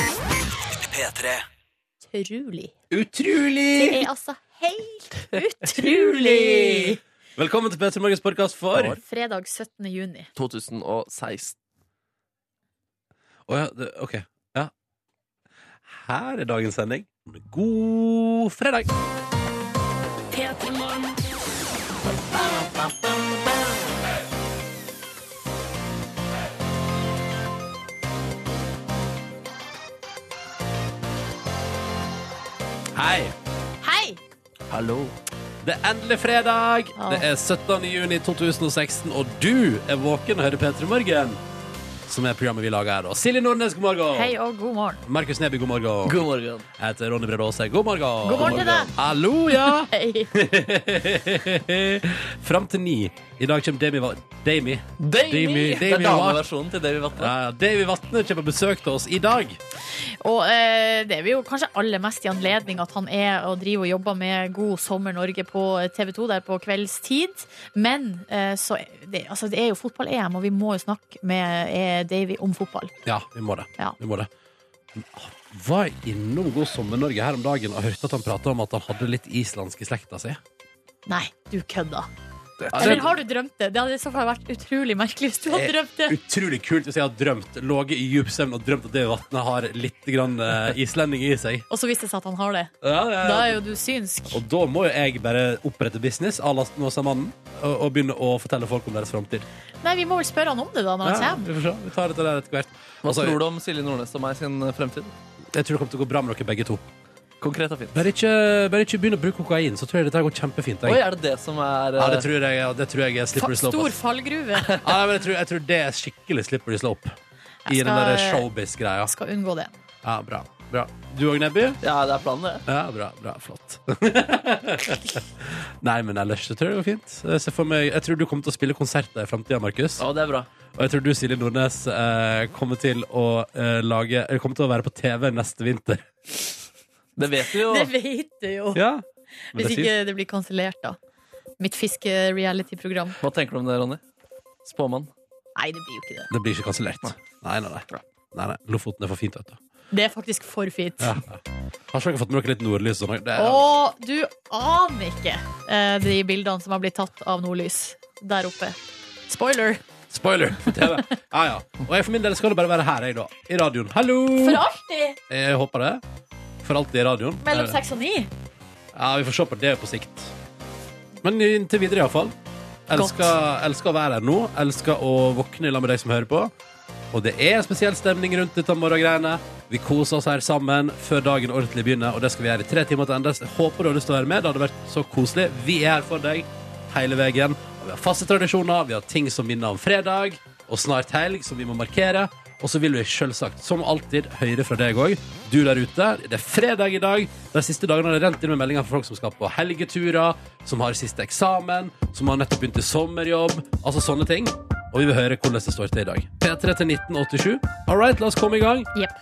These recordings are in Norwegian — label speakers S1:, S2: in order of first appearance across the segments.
S1: P3.
S2: Utrolig. Det
S3: Utrolig!
S2: er altså helt utrolig!
S3: Velkommen til P3 Morgens podkast for Å
S2: Fredag 17. juni.
S4: 2016.
S3: ja, det, OK. Ja. Her er dagens sending. God fredag! Hei!
S2: Hei!
S4: Hallo.
S3: Det er endelig fredag!
S2: Ah.
S3: Det er 17. juni 2016, og du er våken og hører P3 Morgen, som er programmet vi lager her. da. Silje Nordnes, god morgen!
S2: Hei og god morgen.
S3: Markus Neby, god morgen.
S4: God morgen.
S3: Jeg heter Ronny Brede Aase. God morgen!
S2: God morgen til deg.
S3: Hallo, ja!
S2: Hei.
S3: Fram til ni. I dag kommer Demi Va- Dami. Demi-
S4: Det er
S3: Demi Watt.
S4: dameversjonen til Davy Vatne.
S3: Ja, Davy Vatne kommer på besøk til oss i dag.
S2: Og eh, det er vi jo kanskje aller mest i anledning at han er og driver og jobber med God sommer Norge på eh, TV 2 der på kveldstid. Men eh, så er det, altså, det er jo fotball-EM, og vi må jo snakke med eh, Davy om fotball.
S3: Ja, vi må det.
S2: Ja.
S3: Vi må det. Var innom God sommer Norge her om dagen og hørte at han prata om at han hadde litt islandsk i slekta si.
S2: Nei, du kødda.
S4: Det
S3: Ja,
S4: er
S2: Eller har du drømt det? Det hadde i så fall vært utrolig merkelig hvis du hadde drømt det.
S3: Utrolig kult hvis jeg har drømt, ligget i djup søvn og drømt at det vannet har litt grann, eh, islending i seg.
S2: Og så viste det seg at han har det.
S3: Ja, ja, ja.
S2: Da er jo du synsk.
S3: Og da må jo jeg bare opprette business à la Snåsamannen og, og begynne å fortelle folk om deres framtid.
S2: Nei, vi må vel spørre han om det da når han
S3: Ja,
S2: kommer.
S3: vi får se. Vi tar dette der etter hvert.
S4: Hva
S3: Altså,
S4: tror du om Silje Nordnes og meg sin eh, fremtid?
S3: Jeg tror det kommer til å gå bra med dere begge to.
S4: Konkret og fint.
S3: Bare ikke, bare ikke begynn å bruke kokain, så tror jeg dette går kjempefint.
S4: Oi,
S3: Jeg.
S4: er det det som er
S3: Ja,
S4: eh,
S3: det tror jeg, ja, det tror jeg er
S2: Fa
S3: slippery slope.
S2: stor
S3: ass.
S2: fallgruve.
S3: Ja, nei, men jeg, tror, jeg tror det er skikkelig slippery slope. I
S2: Jeg
S3: den
S2: skal-
S3: der showbiz-greia.
S2: Skal unngå det.
S3: Ja, bra. bra. Du òg, Nebby?
S4: Ja, det er planen, det.
S3: Ja, bra. bra, Flott. nei, men ellers så tror jeg det går fint. Jeg, ser for meg, jeg tror du kommer til å spille konserter i framtida, Markus.
S4: Å, det er bra.
S3: Og jeg tror du, Silje Nordnes, eh, kommer til å eh, lage eller kommer til å være på TV neste vinter.
S4: Det vet vi jo.
S2: Det vet du jo.
S3: Ja. Men det
S2: Hvis
S3: er
S2: ikke det blir kansellert, da. Mitt fiske-reality-program.
S4: Hva tenker du om det, Ronny? Spåmann.
S2: Nei, det blir jo ikke det.
S3: Det blir ikke kansellert. Nei, nei, nei. nei, nei. Lofoten er for fint, vet du.
S2: Det er faktisk for fint.
S3: Ja. Har ikke dere fått med dere litt nordlys? og noe? Det er-
S2: Og du aner ikke eh, de bildene som har blitt tatt av nordlys der oppe. Spoiler.
S3: Spoiler! på TV. Ja, ja. Og jeg for min del skal det bare være her, jeg, da. I radioen. Hallo!
S2: For alltid!
S3: Jeg håper det. For alltid i radioen.
S2: Mellom
S3: Eh,
S2: seks og ni.
S3: Ja, vi får se på det på sikt. Men inntil videre, iallfall. Elsker, elsker å være her nå. Elsker å våkne i lag med deg som hører på. Og det er spesiell stemning rundt dette morgengreiene. Vi koser oss her sammen før dagen ordentlig begynner, og det skal vi gjøre i tre timer til endes. Jeg håper du har lyst til å være med. Det hadde vært så koselig. Vi er her for deg hele veien. Og vi har faste tradisjoner, vi har ting som minner om fredag, og snart helg, som vi må markere. Og så vil vi selvsagt, som alltid, høre fra deg òg. Du der ute. Det er fredag i dag. De siste dagene har det rent inn med meldinger fra folk som skal på helgeturer, som har siste eksamen, som har nettopp begynt i sommerjobb. Altså sånne ting. Og vi vil høre hvordan det står til i dag. P3 til 1987. All right, la oss komme i gang.
S2: Jepp.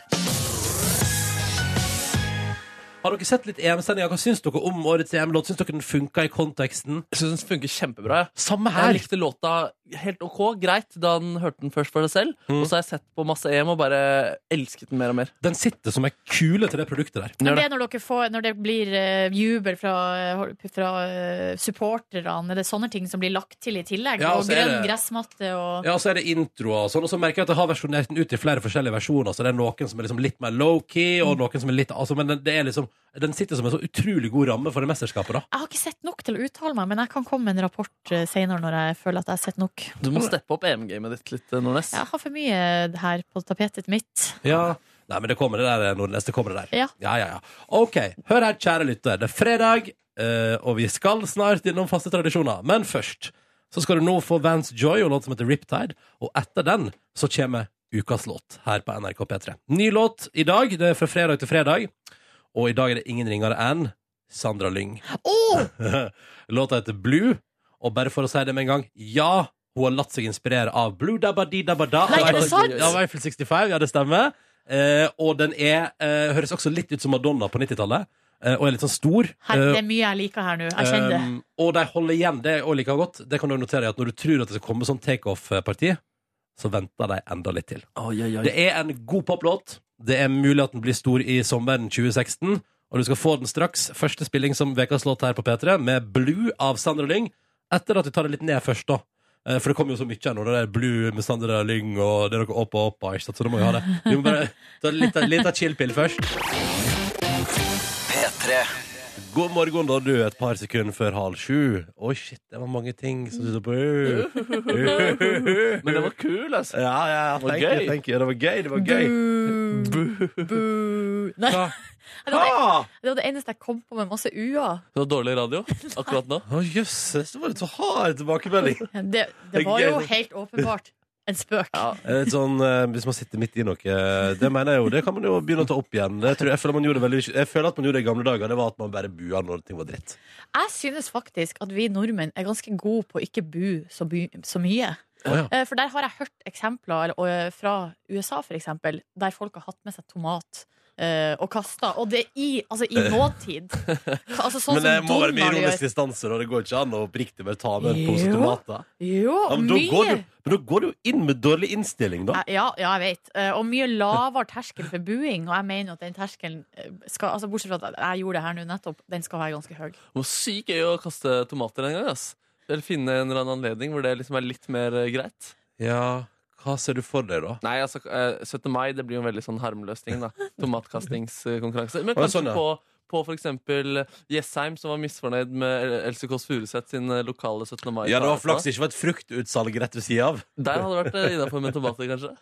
S3: Har dere sett litt EM-sendinger? Hva syns dere om årets EM-låt? Syns dere den funka i konteksten?
S4: Jeg synes den funker kjempebra. jeg.
S3: Samme
S4: Jeg
S3: her.
S4: likte låta helt ok, greit, da den hørte den først for deg selv. Og så har jeg sett på masse EM og bare elsket den mer og mer.
S3: Den sitter som ei kule til det produktet der.
S2: Men det er når, dere får, når det blir eh, jubel fra, eh, fra eh, supporterne. Det er sånne ting som blir lagt til i tillegg.
S3: Ja, og
S2: og
S3: så er
S2: grønn
S3: det-
S2: gressmatte og
S3: Ja, og så er det introer og sånn, og så merker jeg at jeg har versjonert den ut i flere forskjellige versjoner, så det er noen som er liksom litt mer low-key, og noen som er litt altså, Men den, det er liksom, den sitter som en så utrolig god ramme for det mesterskapet, da.
S2: Jeg har ikke sett nok til å uttale meg, men jeg kan komme med en rapport eh, senere når jeg føler at jeg har sett nok.
S4: Du må steppe opp EM-gamet ditt litt, eh, Nordnes.
S2: Jeg har for mye eh, her på tapetet mitt.
S3: Ja. Nei, men det kommer det der, Nordnes. Det kommer det der.
S2: Ja.
S3: ja, ja. OK. Hør her, kjære lytter. Det er fredag, eh, og vi skal snart innom faste tradisjoner. Men først så skal du nå få Vans Joy og låt som heter Riptide, og etter den så kommer ukas låt her på NRK P3. Ny låt i dag. Det er fra fredag til fredag, og i dag er det ingen ringere enn Sandra Lyng.
S2: Oh!
S3: Låta heter Blue, og bare for å si det med en gang Ja, hun har latt seg inspirere av Blue Dabba Di Dabba Da.
S2: Nei, er det sant?
S3: Ja, Eiffel 65, ja, det stemmer. Eh, og den er, eh, høres også litt ut som Madonna på 90-tallet, eh, og er litt sånn stor.
S2: Her, det er mye jeg liker her nå. Jeg kjenner det.
S3: Um, og de holder igjen, det er også like godt. Det kan du notere at Når du tror at det skal komme sånn takeoff-parti, så venter de enda litt til.
S4: Oi, oi, oi.
S3: Det er en god poplåt. Det er mulig at den blir stor i sommeren 2016, og du skal få den straks. Første spilling som ukas låt her på P3, med Blue av Sandra Lyng. Etter at vi tar det litt ned først, da. Eh, For det kommer jo så mye nå. Det er Blue med Sandra Lyng og det er noe Oppa Oppa. Ikke sant? Så da må vi ha det. Vi må bare ta litt, litt av chill-pill først.
S1: P3
S3: God morgen, da, du. Et par sekunder før halv sju. Oi, shit, det var mange ting som du så på.
S4: Men den var kul, altså.
S3: Ja, ja, ja,
S4: var
S3: thank you,
S4: gøy.
S3: thank you. Det var gøy, det var gøy.
S2: Boo. Boo. Nei,
S3: Hva?
S2: det var det, det var det eneste jeg kom på med masse u-er.
S4: Det var dårlig radio akkurat nå.
S3: Å, jøsses, det var en så hard tilbakemelding.
S2: Det,
S3: Det er
S2: det var
S3: gøy,
S2: jo
S3: det.
S2: helt åpenbart en spøk.
S4: Ja.
S3: Det er Litt sånn, eh, Hvis man sitter midt i noe eh, Det mener jeg jo, det kan man jo begynne å ta opp igjen. Det tror jeg, jeg, føler man gjorde veldig, jeg føler at man gjorde det i gamle dager. Det var at man bare bua når ting var dritt.
S2: Jeg synes faktisk at vi nordmenn er ganske gode på å ikke bu så, by, så mye.
S3: Å, ja.
S2: Eh, For der har jeg hørt eksempler eller, og, eh, fra USA, for eksempel, der folk har hatt med seg tomat. eh, og kasta. Og det i, altså, i nåtid. Altså, sånn
S3: Men det
S2: som
S3: må være med
S2: Donald gjør.
S3: ironisk distanse, og det går ikke an å oppriktig bare ta med en pose
S2: Jo.
S3: tomater.
S2: Jo,
S3: Ja, men, da går
S2: mye
S3: du, men da går du jo inn med dårlig innstilling, da.
S2: Eh, Ja, ja, jeg vet. Eh, Og mye lavere terskel for buing. Og jeg mener at den terskelen eh, skal, altså Bortsett fra at jeg gjorde det her nå nettopp, den skal være ganske høy.
S4: Det var sykt gøy å kaste tomater en gang. ass Eller finne en eller annen anledning hvor det liksom er litt mer eh, greit.
S3: Ja, hva ser du for deg, da?
S4: Nei, altså eh, 17. mai det blir jo en veldig sånn harmløs ting. da Tomatkastingskonkurranse. Men
S3: Å, ja,
S4: kanskje
S3: sånn, ja.
S4: på på for eksempel Jessheim, som var misfornøyd med Else Kåss Furuseth sin eh, lokale 17. mai.
S3: Ja, det var flaks det ikke var et fruktutsalg rett ved sida av.
S4: Der hadde det vært eh, innafor med tomater, kanskje.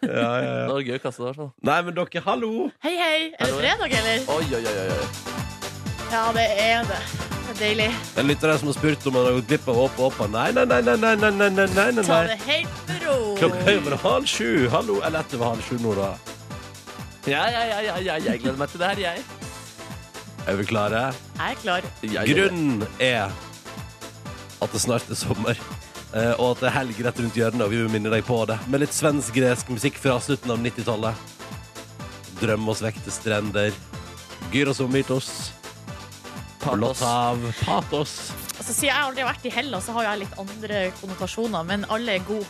S4: Det var gøy å kaste det, i hvert fall.
S3: Nei, men dere, hallo!
S2: Hei, hei! Er det
S4: Hallo,
S2: fredag, eller?
S4: Oi, oi, oi, oi.
S2: Ja, det er det. Det er deilig.
S3: Det er lyttere som har spurt om han har gått glipp av Åpa Åpa. Nei, nei, nei, nei, nei, nei, nei, nei, nei, nei,
S2: Ta
S3: nei.
S2: det helt med ro.
S3: Klokka er jo bare halv sju. Hallo, eller etter halv sju nå, da.
S4: Ja, ja, ja, ja, ja, jeg gleder meg til det her, jeg.
S3: Er vi klare?
S2: Jeg er klar.
S4: jeg
S3: Grunnen er at det snart er sommer. eh, Og at det er helg rett rundt hjørnet, og vi vil minne deg på det. Med litt svensk-gresk musikk fra slutten av 90-tallet. Drøm oss vekk til strender. Gyros og mytos. Blått hav. Patos.
S2: Altså, siden jeg aldri har vært i Hellas, så har jo jeg litt andre konnotasjoner, men alle er gode.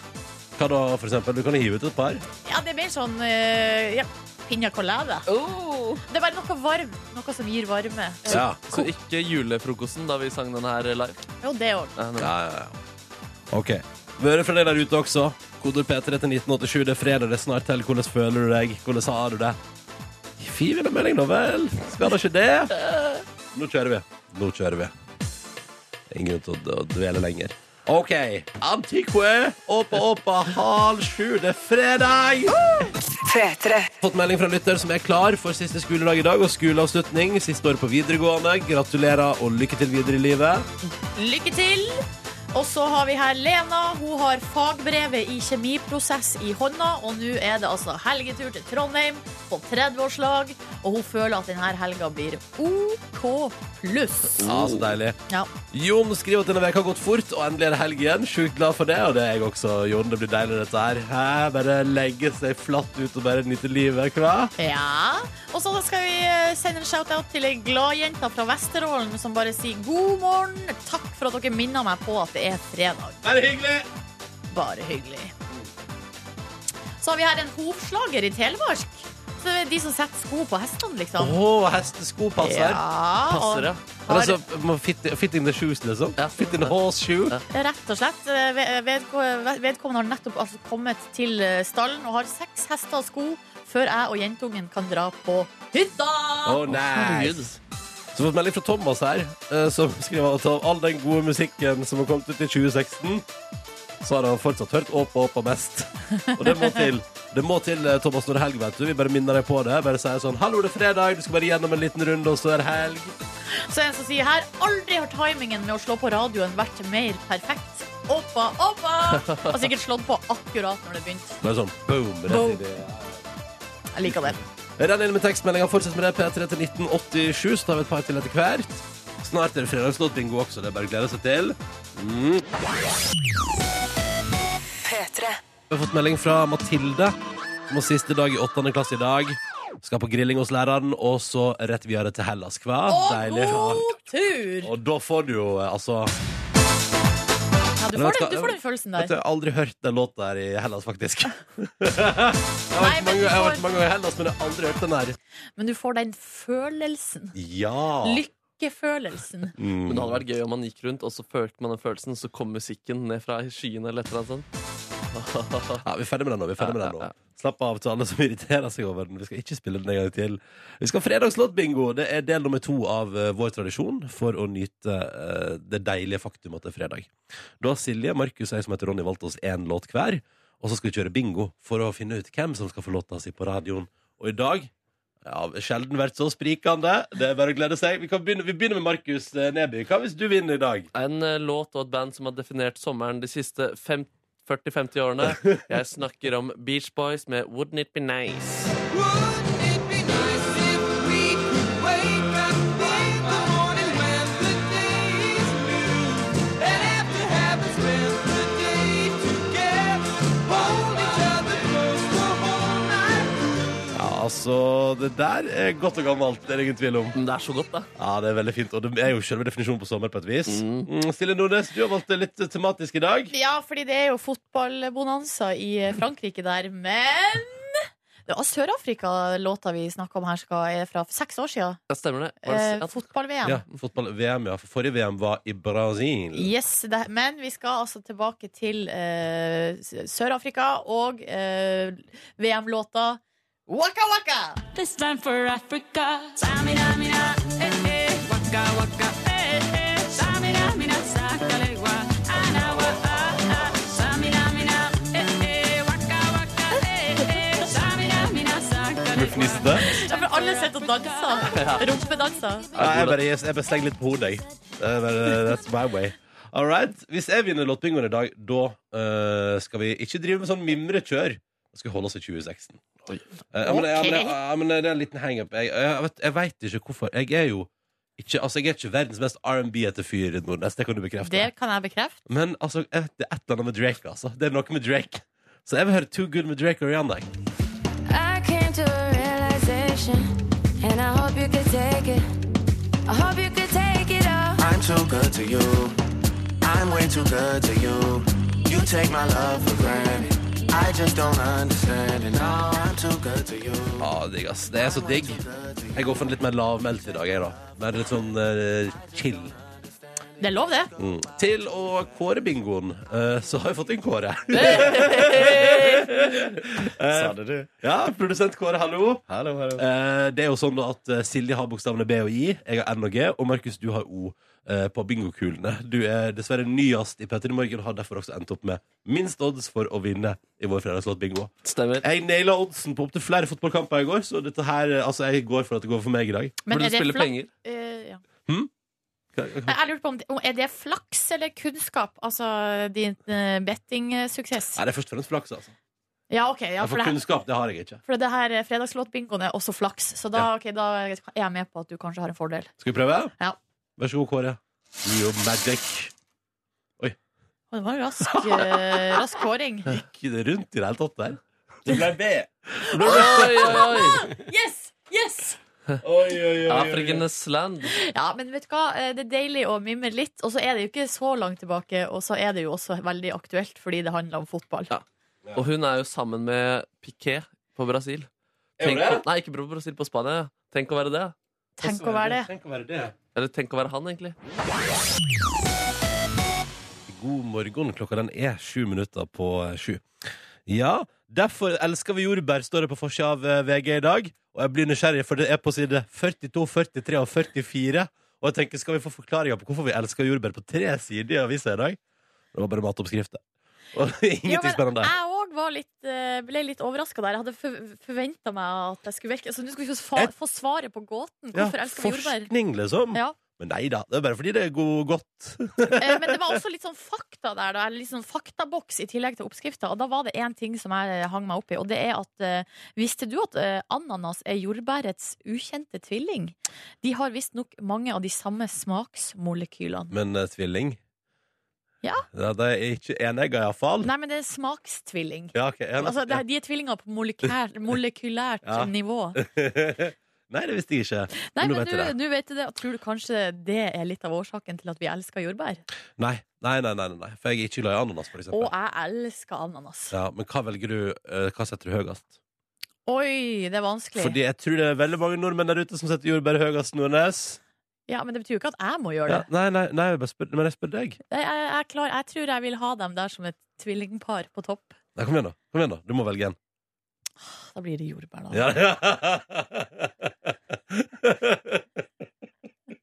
S3: Hva da, for eksempel? Du kan hive ut et par.
S2: Ja, det er mer sånn eh, ja, piña colada. Det er bare noe varmt. Noe som gir varme. Eh,
S3: Ja.
S4: Så ikke julefrokosten da vi sang den her eh, live.
S2: Jo, det òg.
S4: Nei, nei.
S3: Ja, ja, ja. Ok. Vi hører fra deg der ute også. Koder P3 til 1987. Det er fredag, det er snart helg. Hvordan føler du deg? Hvordan har du det? Fy en melding, da vel. Skal da ikke det? Nå kjører vi. Nå kjører vi. Ingen grunn til å- å dvele lenger. OK. Antiqué. Åpa, åpa, halv sju. Det er fredag! Fått melding fra en lytter som er klar for siste skoledag i dag og skoleavslutning. Siste år på videregående. Gratulerer og lykke til videre i livet.
S2: Lykke til! Og så har vi her Lena. Hun har fagbrevet i kjemiprosess i hånda, og nå er det altså helgetur til Trondheim på 30-årslag, og hun føler at denne helga blir OK pluss.
S3: Ja, så deilig.
S2: Ja.
S3: Jon skriver at denne veka har gått fort, og endelig er det helg igjen. Sjukt glad for det, og det er jeg også. Jon, det blir deilig dette her. Hæ? Bare legge seg flatt ut og bare nyte livet, ikke hva?
S2: ja. Og så skal vi eh, sende en shout-out til ei gladjente fra Vesterålen som bare sier god morgen. Takk for at dere minner meg på at det er fredag.
S3: Bare hyggelig!
S2: Bare hyggelig. Så har vi her en hovslager i Telemark. Så det er de som setter sko på hestene,
S3: Å,
S2: liksom.
S3: hestesko altså, passer.
S2: Ja, og-
S4: Passer, ja.
S3: Men altså, man fit, fit in the shoes, liksom.
S4: Ja.
S3: Fit in the horse shoe.
S4: Ja.
S2: Rett og slett. Eh, ved- vedko- Vedkommende har nettopp altså kommet til eh, stallen og har seks hester og sko før jeg og jentungen kan dra på
S3: Å,
S2: hytta!
S3: nei!
S4: Herregud.
S3: Så fått melding fra Thomas her, eh, som skriver at av all den gode musikken som har kommet ut i 2016, så har han fortsatt hørt Åpa Åpa mest. Og det må til. Det må til, eh, Thomas, når det er helg, vet du. Vi bare minner deg på det. Bare sier sånn Hallo, det er fredag, du skal bare gjennom en liten runde, og så er det helg.
S2: Så en som sier her aldri har timingen med å slå på radioen vært mer perfekt. Oppa, oppa! Har sikkert slått på akkurat når det begynte.
S3: Bare sånn boom.
S2: Boom.
S3: Rett i det.
S2: Jeg liker det.
S3: Renn inn med tekstmeldinga. Fortsett med det. P3 til 1987, så tar vi et par til etter hvert. Snart er det fredagslåtbingo også. Det er bare å glede seg til. Mm. Vi har fått melding fra Mathilde, som har siste dag i åttende klasse i dag. Skal på grilling hos læreren, og så rett videre til Hellas. Hva?
S2: Og
S3: Deilig. Ja.
S2: god tur!
S3: Og da får du jo eh, altså
S2: Ja, du
S3: Men
S2: får,
S3: vet du hva?
S2: den, du får den følelsen
S3: Vet du,
S2: der.
S3: jeg har aldri hørt den låta der i Hellas, faktisk. jeg har
S2: Nei,
S3: vært mange,
S2: men du
S3: jeg har
S2: får-
S3: vært mange ganger i Hellas, men jeg har aldri hørt den der.
S2: Men du får den følelsen.
S3: Ja.
S2: Lykkefølelsen.
S3: Mm.
S4: Men det hadde vært gøy om man gikk rundt, og så følte man den følelsen, så kom musikken ned fra skyene eller et eller annet sånt.
S3: Ja, vi er ferdig med den nå. vi er ferdig med
S4: Ja,
S3: den
S4: ja,
S3: nå Slapp av til alle som irriterer seg over den. Vi skal ikke spille den en gang til. Vi skal ha fredagslåtbingo. Det er del nummer to av eh, vår tradisjon for å nyte eh, det deilige faktum at det er fredag. Da har Silje, Markus og jeg som heter Ronny valgt oss én låt hver. Og så skal vi kjøre bingo for å finne ut hvem som skal få låta si på radioen. Og i dag ja, Sjelden vært så sprikende. Det er bare å glede seg. Vi, kan begynne, vi begynner med Markus eh, Neby. Hva hvis du vinner i dag?
S4: En eh, låt og et band som har definert sommeren de siste fem- 40-50 årene. Jeg snakker om Beach Boys med Wouldn't It Be Nice.
S3: Ja, altså Det der er godt og gammelt. Det er det ingen tvil om.
S4: Men det er så godt, da.
S3: Ja, det er veldig fint, og det er jo selve definisjonen på sommer på et vis. Mm. Silje Nordnes, du har valgt det litt tematisk i dag.
S2: Ja, fordi det er jo fotballbonanza i Frankrike der, men det var Sør-Afrika-låta vi snakka om her, skal er fra for seks år siden.
S4: Ja, stemmer det? Var det
S2: Eh,
S4: ja.
S2: Fotball-VM.
S3: Ja, fotball-VM, ja. For forrige VM var i Brasil.
S2: Yes, det, men vi skal altså tilbake til eh, S- Sør-Afrika og eh, VM-låta Waka Waka!
S1: This time for Africa.
S3: Muffnisete.
S2: Ja, for alle sitter og danser. Rumpedanser.
S3: Ja, jeg bare, jeg bare slenger litt på hodet, jeg. Det er bare- That's my way. All right. Hvis jeg vinner Lottbingoen i dag, da eh, skal vi ikke drive med sånn mimrekjør. Da skal vi holde oss i 2016. Eh, ja, men, ja, men, ja, ja, men det er en liten hangup. Jeg, jeg, vet- jeg veit ikke hvorfor. Jeg er jo ikke, altså, jeg er ikke verdens mest R&B-ete fyr, Nordnes. Det kan du bekrefte.
S2: Det kan jeg bekrefte.
S3: Men altså, jeg vet, det er et eller annet med Drake, altså. Det er noe med Drake. Så jeg vil høre Too Good med Drake og Rihanna.
S5: I came to a realization, and I hope you could take it. I hope you could take it all.
S6: I'm too good to you. I'm way too good to you. You take my love for granted. I just don't understand it. No, I'm too good to you.
S3: Ja, Ah, digg, ass. Det er så digg.
S6: Good to you.
S3: Jeg går for en litt mer lavmælt i dag, jeg, da. Bare litt sånn eh, chill.
S2: Det er lov, det.
S3: Mm. Til å kåre bingoen, eh, så har vi fått en Kåre. Sa det du? Ja, produsent Kåre, hallo.
S7: Hallo, hallo.
S3: Eh, det er jo sånn at eh, Silje har bokstavene B og I, jeg har N og G, og Markus, du har O eh, på bingokulene. Du er dessverre nyest i P3 Morgen og har derfor også endt opp med minst odds for å vinne i vår fredagslåt bingo.
S4: Stemmer.
S3: Jeg naila oddsen på opptil flere fotballkamper i går, så dette her, eh, altså, jeg går for at det går for meg i dag.
S2: Men
S4: Burde
S2: er det
S4: spille
S2: flaks-
S4: penger. Hm?
S2: Eh, ja.
S3: Hva-
S2: Nei,
S3: hva-
S2: Jeg lurer på om det, om- Er det flaks eller kunnskap? Altså din eh, bettingsuksess?
S3: Nei, det er først og fremst flaks, altså.
S2: Ja, OK. Ja, for,
S3: for
S2: det, her-
S3: kunnskap, det har jeg ikke.
S2: for det her eh, fredagslåtbingoen er også flaks, så da, ok, da er jeg med på at du kanskje har en fordel.
S3: Skal vi prøve?
S2: Ja.
S3: Vær så god, Kåre. New magic.
S2: Å, det var en rask, eh, rask kåring.
S3: Gikk det rundt i det hele tatt der? Det ble B.
S4: Oi, oi, oi!
S2: Yes! Yes!
S3: Oi, oi,
S4: Afrikanes land.
S2: Ja, men vet du hva? Eh, Det er deilig å mimre litt, og så er det jo ikke så langt tilbake, og så er det jo også veldig aktuelt fordi det handler om fotball.
S4: Ja. Og hun er jo sammen med Piqué på Brasil.
S3: Er hun
S4: Tenk
S3: det?
S4: å- nei, ikke på Brasil, på Spania. ja. Tenk å være det.
S2: Tenk å være det.
S3: Tenk å være det.
S4: Eller tenk å være han, egentlig.
S3: God morgen, klokka den er sju minutter på eh, sju. Ja, derfor elsker vi jordbær, står det på forsida av eh, VG i dag. Og jeg blir nysgjerrig, for det er på side 42, 43 og 44. Og jeg tenker, skal vi få forklaringa på hvorfor vi elsker jordbær på tre sider i avisa i dag? Det var bare matoppskrifter. Og
S2: Ja,
S3: ingenting
S2: men
S3: spennende.
S2: Jeg òg var litt, eh, ble litt overraska der. Jeg hadde forventa meg at jeg skulle virke Så nå skal vi få, sva-
S3: Et-
S2: få svaret på gåten.
S3: Ja,
S2: Hvorfor elsker vi jordbær?
S3: forskning, liksom.
S2: Ja.
S3: Men nei da, det er bare fordi det er go- godt.
S2: Eh, Men det var også litt sånn fakta der, da. Eller litt sånn faktaboks i tillegg til oppskrifta. Og da var det én ting som jeg eh, hang meg opp i, og det er at eh, Visste du at eh, ananas er jordbærets ukjente tvilling? De har visstnok mange av de samme smaksmolekylene.
S3: Men eh, tvilling
S2: Ja.
S3: ja De er ikke enegga, iallfall.
S2: Nei, men det er smakstvilling.
S3: Ja, okay, ja,
S2: Altså,
S3: nettopp,
S2: det, er- de er tvillinger på molekær, molekylært
S3: Ja.
S2: nivå.
S3: Nei, det visste jeg ikke.
S2: Nei,
S3: Men
S2: men
S3: nå vet jeg
S2: nå-
S3: det.
S2: nå vet du det. Tror du kanskje det er litt av årsaken til at vi elsker jordbær?
S3: Nei, nei, nei, nei, nei, nei. For jeg er ikke glad i ananas, for
S2: Og
S3: eksempel.
S2: jeg elsker ananas.
S3: Ja, men hva velger du? eh, Hva setter du høyest?
S2: Oi, det er vanskelig.
S3: Fordi jeg tror det er veldig mange nordmenn der ute som setter jordbær høyest, Nordnes.
S2: Ja, Men det betyr jo ikke at jeg må gjøre
S3: Ja,
S2: det.
S3: nei, nei, nei, jeg bare spør, men jeg spør deg.
S2: Jeg, jeg, jeg, er klar, jeg tror jeg vil ha dem der som et tvillingpar på topp.
S3: Nei, kom igjen, da. Kom igjen da. Du må velge en.
S2: Da blir det jordbær, da.
S3: Ja, ja.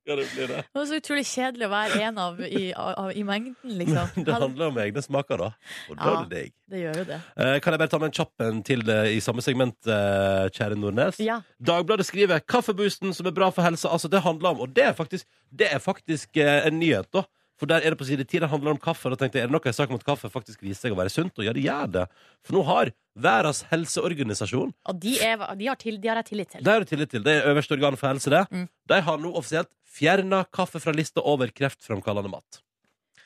S3: ja det blir det.
S2: Det var så utrolig kjedelig å være en av i, av, i mengden, liksom.
S3: Det handler om egne smaker, da. Og da
S2: Ja.
S3: er det deg.
S2: Det gjør jo det.
S3: Eh, Kan jeg bare ta med en kjapp en til det i samme segment, eh, kjære Nordnes?
S2: Ja.
S3: Dagbladet skriver 'Kaffeboosten som er bra for helsa'. Altså, det handler om Og det er faktisk, det er faktisk eh, en nyhet, da. For der er det på side 10, det handler om kaffe. Da tenkte jeg, er det noe i saken om at kaffe faktisk viser seg å være sunt? Og ja, det gjør det. For nå har Verdens helseorganisasjon
S2: Og de, er, de, har til, de har jeg tillit til.
S3: Det har du tillit til. Det er øverste organet for helse, det.
S2: Mm.
S3: De har nå offisielt fjerna kaffe fra lista over kreftframkallende mat.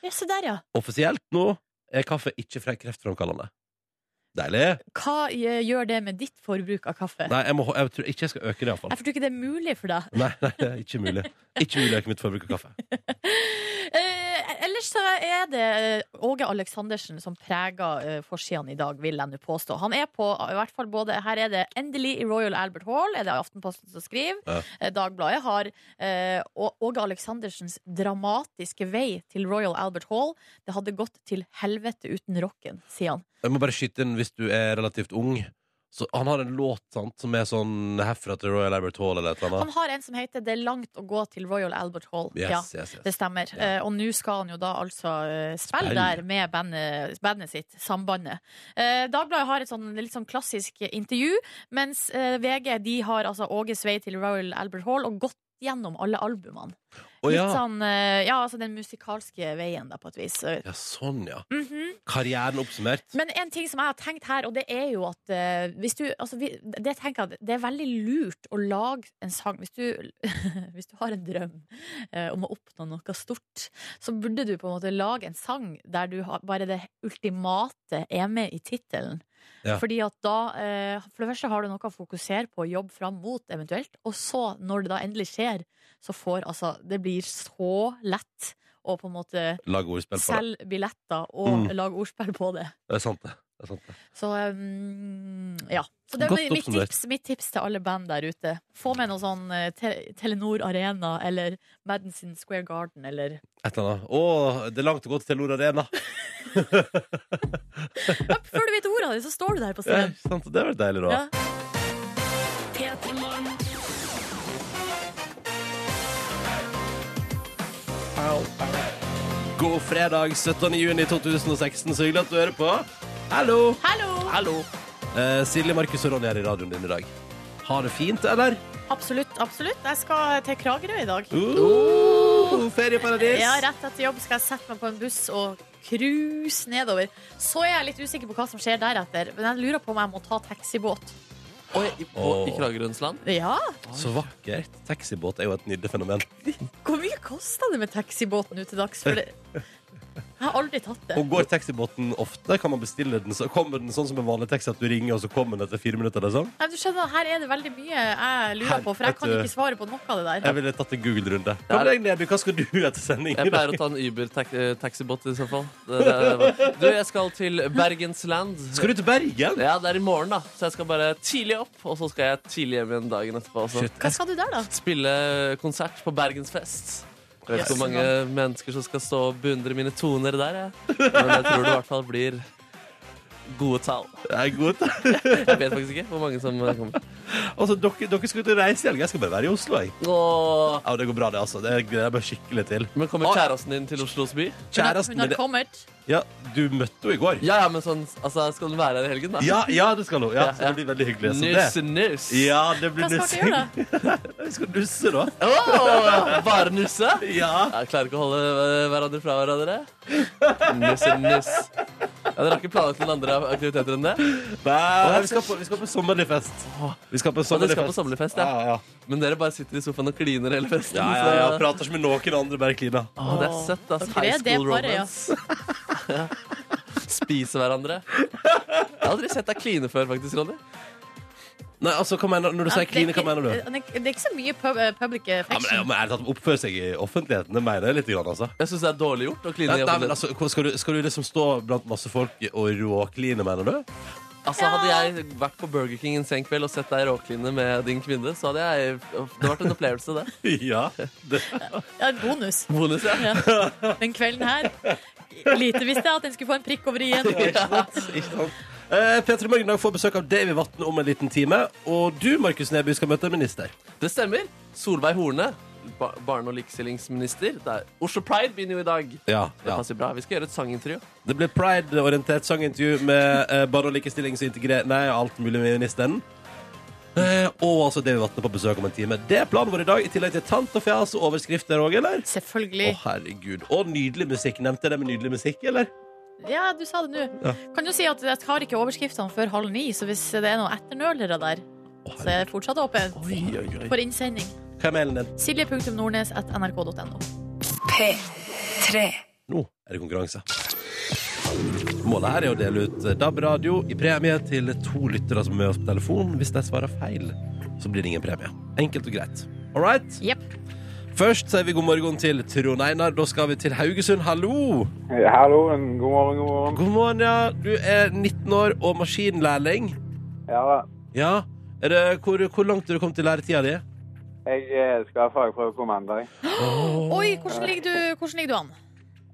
S2: Ja, se der, ja.
S3: Offisielt nå er kaffe ikke fra kreftframkallende. Deilig.
S2: Hva eh, gjør det med ditt forbruk av kaffe?
S3: Nei, jeg, må, jeg tror ikke jeg skal øke det, iallfall.
S2: Jeg tror ikke det er mulig for deg.
S3: Nei, nei, det er ikke mulig. Ikke mulig å øke mitt forbruk av kaffe.
S2: Eh, ellers så er det eh, Åge Aleksandersen som preger eh, forsidene i dag, vil jeg nå påstå. Han er på i hvert fall både Her er det endelig i Royal Albert Hall, er det Aftenposten som skriver.
S3: Ja.
S2: Eh, Dagbladet har eh, Å- Åge Aleksandersens dramatiske vei til Royal Albert Hall. Det hadde gått til helvete uten rocken, sier han.
S3: Jeg må bare skyte inn hvis du er relativt ung. Så han har en låt sant, som er sånn herfra til Royal Albert Hall eller et eller
S2: Han
S3: annet.
S2: har en som heter 'Det er langt å gå til Royal Albert Hall'. Ja.
S3: Yes, yes,
S2: Det
S3: yes.
S2: stemmer.
S3: Ja.
S2: Eh, og nå skal han jo da altså eh, spille
S3: Spille.
S2: der med bandet, bandet sitt, Sambandet. Eh, Dagbladet har et sånn litt sånn klassisk intervju, mens eh, VG de har altså Åges vei til Royal Albert Hall og gått gjennom alle albumene.
S3: Å ja.
S2: Litt sånn eh, Ja, altså den musikalske veien, da, på et vis.
S3: ja, sånn, ja.
S2: Mhm.
S3: Karrieren oppsummert.
S2: Men en ting som jeg har tenkt her, og det er jo at eh, hvis du, altså, vi, det, tenker jeg, at det er veldig lurt å lage en sang Hvis du, hvis du har en drøm eh, om å oppnå noe stort, så burde du på en måte lage en sang der du har, bare det ultimate er med i tittelen.
S3: Ja.
S2: Fordi at da, eh, For det første har du noe å fokusere på og jobbe fram mot, eventuelt. Og så, når det da endelig skjer, så får altså Det blir så lett å på en måte
S3: Lag ordspill på det.
S2: selge billetter og
S3: Mm.
S2: lage ordspill på det.
S3: Det er sant, det. det, er sant, det.
S2: Så um, ja. Så det
S3: Godt
S2: blir mitt
S3: oppsummert.
S2: tips, mitt tips til alle band der ute. Få med noe sånn eh, te Telenor Arena eller Madison Square Garden eller
S3: Et eller annet. Å, det er langt å gå til Telenor Arena.
S2: ja, Før du vet ordet av det, så står du der
S3: Ja,
S2: på scenen.
S3: ikke sant? Det var deilig, da.
S2: Ja.
S3: God fredag 17. juni 2016. Så hyggelig at du hører på. Hallo!
S2: Hallo!
S3: Eh, Silje, Markus og Ronny er i radioen din i dag. Ha det fint, eller?
S2: Absolutt, absolutt. Jeg skal til Kragerø i dag.
S4: Oh,
S3: Uh, ferieparadis!
S2: Ja, Rett etter jobb skal jeg sette meg på en buss og cruise nedover. Så er jeg litt usikker på hva som skjer deretter, men jeg lurer på om jeg må ta taxibåt.
S4: Oi, i, på, i Kragerøens land.
S2: Ja,
S3: Så vakkert. Taxibåt er jo et nydelig fenomen.
S2: Hvor mye kosta det med taxibåt nå til dags? For det... Jeg har aldri tatt det.
S3: Og går taxibåten ofte? Kan man bestille den? Så kommer den sånn som en vanlig taxi, at du ringer, og så kommer den etter fire minutter? Liksom?
S2: Nei, men du skjønner, Her er det veldig mye jeg lurer på, for jeg kan
S3: Helvete.
S2: ikke svare på noe av det der.
S3: Jeg ville tatt en Google-runde. Kom deg ned, du. Hva skal du etter sending? i
S4: Jeg pleier
S3: dag?
S4: å ta en Uber-taxibot i så fall. Det, det, det. Du, jeg skal til Bergensland.
S3: Skal du til Bergen?
S4: Ja, det er i morgen, da. Så jeg skal bare tidlig opp, og så skal jeg tidlig hjem igjen dagen etterpå. Også.
S3: Shit.
S2: Hva skal du der, da?
S4: Spille konsert på Bergensfest. Jeg vet ikke hvor
S2: Yes.
S4: mange mennesker som skal stå og beundre mine toner der, jeg. Men jeg tror det i hvert fall blir gode tall.
S3: Det er godt.
S4: Jeg vet faktisk ikke hvor mange som kommer.
S3: Altså, dere, dere skal ut og reise i helga. Jeg skal bare være i Oslo. Jeg.
S4: Åh.
S3: Ja, det går bra, det. altså Det gleder jeg meg skikkelig til.
S4: Men kommer kjæresten din til Oslos by?
S3: Kjæresten
S2: Hun har
S3: min
S2: kommet.
S3: ja, Du møtte henne i går.
S4: Ja, ja, men sånn, altså, skal den være her i helgen, da?
S3: Ja, ja, det skal hun. Ja,
S4: Ja,
S3: så det blir veldig hyggelig. Så
S4: Nuss,
S3: det.
S4: nuss.
S3: Ja, det blir
S2: Hva skal dere
S3: nussing.
S2: gjøre, da?
S3: Vi skal nusse, da.
S4: Åh, bare nusse?
S3: Ja.
S4: Jeg klarer ikke å holde eh, hverandre fra hverandre. Nuss, nuss. Ja, dere har ikke planlagt noen andre aktiviteter enn det?
S3: Nei, vi skal på, vi skal på sommerligfest. Vi skal på
S4: Og dere skal på
S3: sommerligfest.
S4: sommerfest,
S3: Ja,
S4: ja.
S3: ja.
S4: Men dere bare sitter i sofaen og kliner hele festen.
S3: Ja, ja,
S4: så-
S3: ja, prater ikke med noen andre, bare klina.
S4: Åh, det er søtt, ass.
S2: Dere
S4: High
S2: er det
S4: school
S2: paret, ja.
S4: romance. Ja. Spise hverandre. Jeg har aldri sett deg kline før, faktisk, Ronny.
S3: Nei, altså, hva mener, når du sier
S2: det, er
S3: kline, hva
S2: ikke-
S3: mener du?
S2: det er- det er ikke så mye pub eh, public
S3: Ja, men, ja,
S2: affection.
S3: men er det at de oppfører seg i offentligheten? Det mener jeg litt, grann, altså.
S4: Jeg syns det er dårlig gjort å kline
S3: Nei,
S4: i
S3: nei, men
S4: offentligheten.
S3: altså, hvor- skal, du, skal du liksom stå blant masse folk og råkline, mener du?
S4: Altså, hadde jeg vært på Burger King en sen kveld og sett deg råkline med din kvinne, så hadde jeg Det hadde vært en opplevelse, det.
S3: Ja. Det,
S2: Ja, en bonus
S4: Bonus, ja.
S2: den kvelden her. Lite visste jeg at den skulle få en prikk over i-en.
S3: ikke sant? Eh, P3 Morgen i dag får besøk av Davy Vatne om en liten time. Og du, Markus Neby, skal møte en minister.
S4: Det stemmer. Solveig Horne, ba barne- og likestillingsminister. Det er Oslo Pride begynner jo i dag.
S3: Ja,
S4: Det passer bra. Vi skal gjøre et sangintervju.
S3: Det blir pride-orientert sangintervju med eh, barne- og likestillings- og integrer... Nei, alt mulig med ministeren. Eh, og altså Davy Vatne på besøk om en time. Det er planen vår i dag, i tillegg til tant og fjas og overskrifter òg, eller? Å,
S2: Selvfølgelig.
S3: herregud. Og nydelig musikk. Nevnte jeg det med nydelig musikk, eller?
S2: Ja, du sa det nå. Kan jo si at jeg tar ikke overskriftene før halv ni, så hvis det er noen etternølere der, så er det fortsatt åpent for innsending.
S3: Hva er mailen din?
S2: Silje.nordnes.nrk.no.
S3: Nå er det konkurranse. Målet her er å dele ut DAB-radio i premie til to lyttere som er med oss på telefon. Hvis de svarer feil, så blir det ingen premie. Enkelt og greit. All right?
S2: Jepp.
S3: Først sier vi god morgen til Trond Einar. Da skal vi til Haugesund. Hallo!
S7: Ja, Eh, Hallo, en god morgen, god morgen.
S3: God morgen, ja. Du er 19 år og maskinlærling.
S7: Ja, da.
S3: Ja. Er det, hvor, hvor langt er du kommet i læretida di?
S7: jeg eh, skal ha fagprøve på mandag.
S2: Oi, hvordan ligger du, hvordan ligger du an?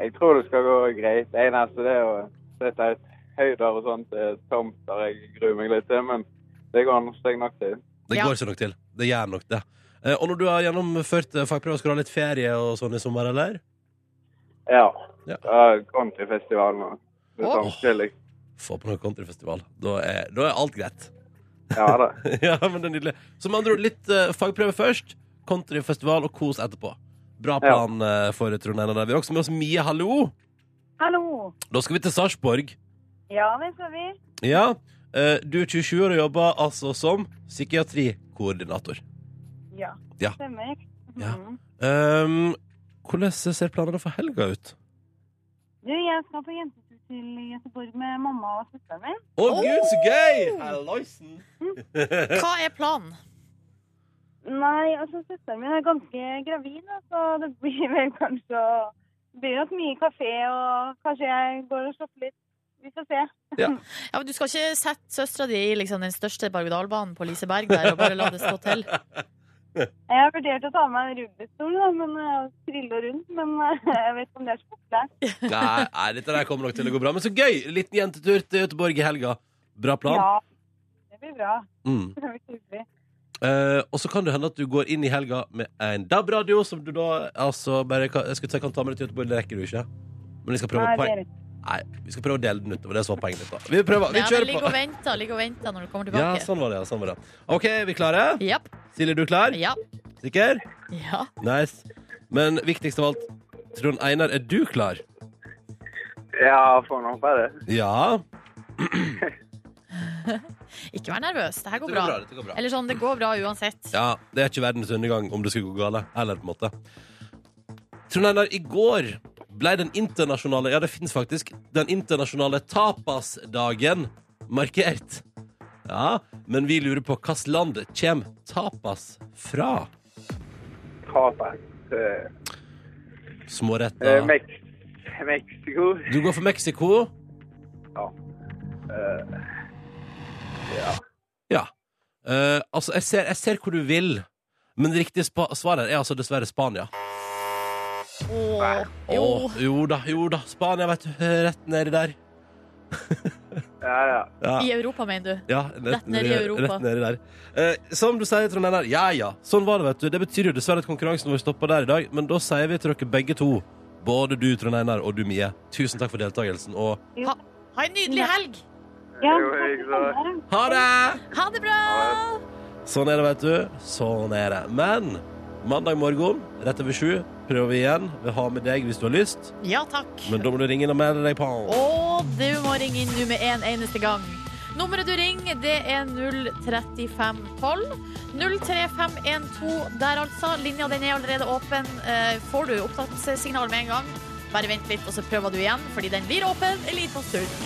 S7: Jeg tror det skal gå greit. Det eneste det er å sette ut høyder og sånt er tomt der jeg gruer meg litt til, men det går an seg nok til.
S3: Det
S2: Ja.
S3: går seg nok til. Det gjør nok det. Eh, Og når du har gjennomført eh, fagprøve, skal du ha litt ferie og sånn i sommer, eller?
S7: Ja.
S3: Ja.
S7: Da kom til festivalen og det er
S2: Åh.
S7: sånn chillig.
S3: Få på noe countryfestival. Da er, da er alt greit.
S7: Ja da.
S3: ja, men det er nydelig. Så med andre ord, litt eh, fagprøve først, countryfestival og kos etterpå. Bra plan eh, for Trond Einar der. Vi har også med oss Mie, hallo!
S8: Hallo.
S3: Da skal vi til Sarpsborg.
S8: Ja, det skal vi.
S3: Ja, eh, du er 27 år og jobber altså som psykiatrikoordinator.
S8: Ja,
S3: Ja.
S8: stemmer.
S3: Ja.
S8: Mhm.
S3: Um, hvordan ser planene for helga ut?
S8: Du, jeg skal på jentetur til Göteborg med mamma og søsteren min.
S3: Å gud, så gøy! Halloisen!
S2: Hva er planen?
S8: Nei, altså søsteren min er ganske gravid, da, så det blir vel kanskje å- Det blir nok mye kafé, og kanskje jeg går og shopper litt. Vi får se.
S2: Ja, men du skal ikke sette søstera di i liksom, den største berg-og-dal-banen på Liseberg der og bare la det stå til?
S8: Jeg har vurdert å ta med en rubbestol da, men, eh, og trille rundt, men eh, jeg vet ikke om det er så populært.
S3: Nei, nei, dette der kommer nok til å gå bra. Men så gøy! Liten jentetur til Göteborg i helga. Bra plan.
S8: Ja, det blir bra.
S3: Mm.
S8: Det blir hyggelig.
S3: Eh, og så kan det hende at du går inn i helga med en DAB-radio som du da altså bare kan, jeg skulle si, kan ta med deg til Göteborg. Det rekker du ikke. Men vi skal prøve,
S8: Nei,
S3: å
S8: det
S3: poeng-
S8: er det.
S3: nei, vi skal prøve å dele den utover. Det som var poenget ditt. da. Vi prøver. Vi
S2: Ja, men
S3: kjører
S2: ligg og
S3: på.
S2: vent da, ligg og vent da når du kommer
S3: Ja,
S2: tilbake.
S3: sånn var det. ja, sånn var det. OK, er vi klare?
S2: Japp.
S3: Silje, du er klar?
S2: Ja.
S3: Sikker?
S2: ja.
S3: Nice. Men viktigst av alt, Trond Einar, er du klar?
S7: Ja, får nå håpe det.
S3: Ja.
S2: Ikke vær nervøs. Det her går
S3: Det
S2: bra.
S3: går bra, det går bra.
S2: Eller sånn, det går bra uansett.
S3: Ja, Det er ikke verdens undergang om det skulle gå gale. Eller på en måte. Trond Einar, i går ble den internasjonale Ja, det fins faktisk. Den internasjonale tapasdagen markert. Ja, men vi lurer på hvilket land kommer tapas fra?
S7: Tapas. Eh, eh,
S3: Småretter.
S7: Mex Mexico.
S3: Du går for Mexico.
S7: Ja.
S3: Ja. Eh, altså, jeg ser, jeg ser hvor du vil, men det riktige spa svaret er altså dessverre Spania.
S2: Åh, jo.
S3: Åh, jo da, jo da. Spania, vet du. Rett nedi der.
S7: Ja, ja.
S3: Ja.
S2: I Europa, mener du.
S3: Ja, rett,
S2: Rett ned i
S3: nedi-
S2: Europa.
S3: Rett nedi der. Eh, som du sier, Trond Einar, ja ja, sånn var det, vet du. Det betyr jo dessverre at konkurransen vår stopper der i dag, men da sier vi til dere begge to, både du, Trond Einar, og du, Mie, tusen takk for deltakelsen, og
S2: Ha en nydelig helg!
S8: Ja,
S7: Jo, jeg sa-
S8: takk for
S3: ha det!
S2: Ha det bra!
S3: Sånn er det, vet du. Sånn er det. Men mandag morgen rett over sju prøver vi igjen. Vi har med deg hvis du har lyst,
S2: Ja takk.
S3: men da må du ringe inn og melde deg på.
S2: Og du må ringe inn nå med en eneste gang. Nummeret du ringer, det er 03512. 03512 der, altså. Linja den er allerede åpen. Eh, Får du opptattsignal med en gang, bare vent litt, og så prøver du igjen, fordi den blir åpen en liten stund.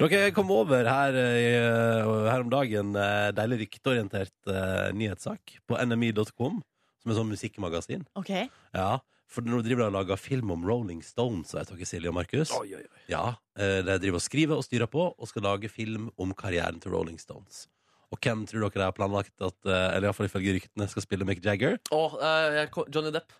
S3: Dere kom over her, eh, her om dagen eh, deilig rykteorientert eh, nyhetssak på nmi.com, som er sånn musikkmagasin.
S2: OK.
S3: Ja, for nå driver de og lager film om Rolling Stones, vet dere, Silje og Markus. Ja, eh, De driver og skriver og styrer på og skal lage film om karrieren til Rolling Stones. Og hvem tror dere har planlagt at, eh, eller i hvert fall ifølge ryktene, skal spille Mick Jagger?
S4: Åh, eh, jeg kom- Johnny Depp.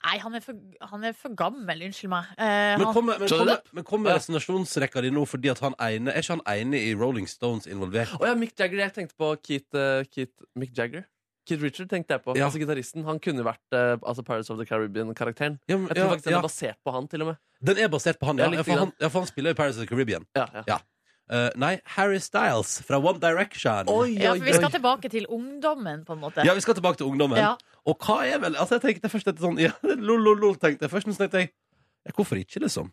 S2: Nei, han er for, han er for gammel. Unnskyld meg. Eh,
S3: Men
S2: han,
S3: kom, med- men
S4: Johnny
S3: kom, med-
S4: Depp?
S3: men kom med resinasjonsrekka di nå, fordi at han ene, er ikke han ene i Rolling Stones involvert?
S4: Å ja, Mick Jagger. Jeg tenkte på Keith, eh, Keith Mick Jagger. Keith Richard tenkte jeg på.
S3: Ja.
S4: Altså gitaristen. Han kunne vært eh, altså Pirates of the Caribbean-karakteren.
S3: Ja, men-
S4: Jeg tror
S3: ja,
S4: faktisk den
S3: ja.
S4: er basert på han, til og med.
S3: Den er basert på han, ja.
S4: Ja,
S3: Ja,
S4: litt
S3: for han, ja, for han spiller jo Paris of the Caribbean.
S4: Ja, ja.
S3: Ja. Eh, nei, Harry Styles fra One Direction.
S2: ja, for vi skal tilbake til ungdommen, på en måte.
S3: Ja, vi skal tilbake til ungdommen.
S2: Ja.
S3: Og hva er vel Altså, jeg tenkte først etter sånn ja, Lol, lol, lol, tenkte jeg først, men så tenkte jeg ja, Hvorfor ikke, liksom?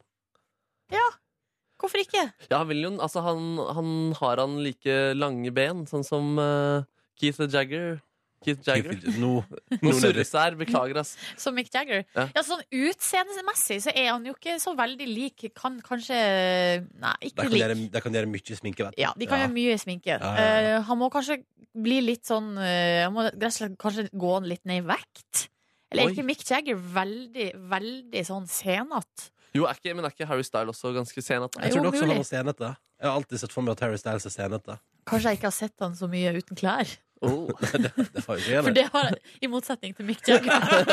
S2: Hvorfor ikke?
S4: Ja, han, vil jo, altså, han, han har han like lange ben, sånn som eh, Keith Jagger. Keith Jagger.
S3: Nå,
S4: Nå
S3: nå
S4: surres det her. Beklager, ass.
S2: Som Mick Jagger. Ja.
S4: Ja.
S2: sånn Utseendemessig så er han jo ikke så veldig lik. Kan kanskje Nei,
S3: de
S2: ikke
S3: kan, gjøre,
S2: lik.
S3: de kan gjøre mye sminke, vet du.
S2: Ja, De kan gjøre mye sminke.
S3: Ja, ja, ja.
S2: Eh, han må kanskje bli litt sånn eh, Han må rett og slett kanskje gå han litt ned i vekt. Eller
S4: Oi.
S2: er ikke Mick Jagger veldig, veldig sånn senete?
S4: Jo, er ikke, men er ikke Harry Style også ganske sen? At,
S3: Jeg tror
S2: Jo,
S3: det også han
S2: mulig.
S3: var senete. Jeg har alltid sett for meg at Harry Styles er senete.
S2: Kanskje jeg ikke har sett han så mye uten klær.
S4: oh.
S3: det, det var jo ikke
S2: For
S3: gjennom.
S2: det har jeg, I motsetning til Mick Jagger.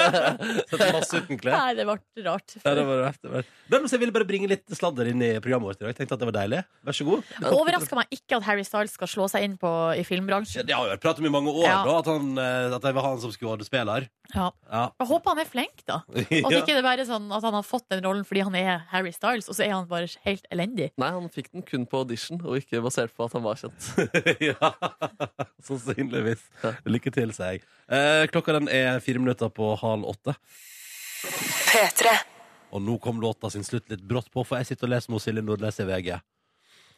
S3: Sett masse uten klær.
S2: Nei, det ble rart.
S3: Ja, det var rett, det var. Men så jeg ville bare bringe litt sladder inn i programmet vårt i dag. Jeg tenkte at det var deilig. Vær så god.
S2: Det overrasker meg ikke at Harry Styles skal slå seg inn på, i
S3: Ja,
S2: filmbransjen.
S3: det har jo vært prat om i mange år,
S2: Ja.
S3: da, at, han, eh, at jeg vil ha han som skuespiller.
S2: Ja.
S3: Ja.
S2: Jeg håper han er flink, da. Og at ikke det bare er sånn at han har fått den rollen fordi han er Harry Styles, og så er han bare helt elendig.
S4: Nei, han fikk den kun på audition, og ikke basert på at han var kjent.
S3: ja. Sannsynligvis.
S4: Ja.
S3: Lykke til, sier jeg. Eh, klokka den er fire minutter på halv åtte. Og nå kom låta sin slutt litt brått på, for jeg sitter og leser med Silje Nordnes i VG.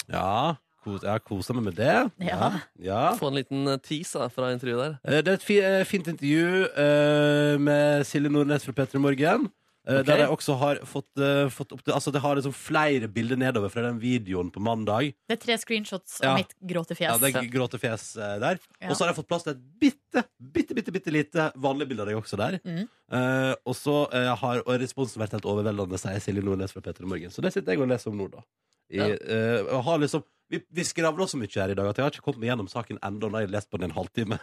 S3: Ja, kos, jeg har kosa meg med det.
S2: Ja.
S3: ja.
S4: Få en liten eh, tease da, fra intervjuet der.
S3: Eh, Det er et fi- eh, fint intervju eh, med Silje Nordnes fra P3 Morgen. eh,
S4: Ok.
S3: Der jeg også har fått, eh, fått opp til Altså, det har liksom flere bilder nedover fra den videoen på mandag.
S2: Det er tre screenshots
S3: Ja.
S2: av mitt gråtefjes.
S3: Ja, det er gråtefjes eh, der.
S2: Ja.
S3: Og så har jeg fått plass til et bitte, bitte, bitte, bitte lite vanlig bilde av deg også der.
S2: Mm.
S3: Eh, og så eh, har og responsen vært helt overveldende, sier Silje Nordnes fra P3 Morgen. Så det sitter jeg og leser om nå, da. I,
S4: Ja.
S3: eh, og har liksom, vi, vi skravler så mye her i dag at jeg har ikke kommet meg gjennom saken ennå når jeg har lest på den en halvtime.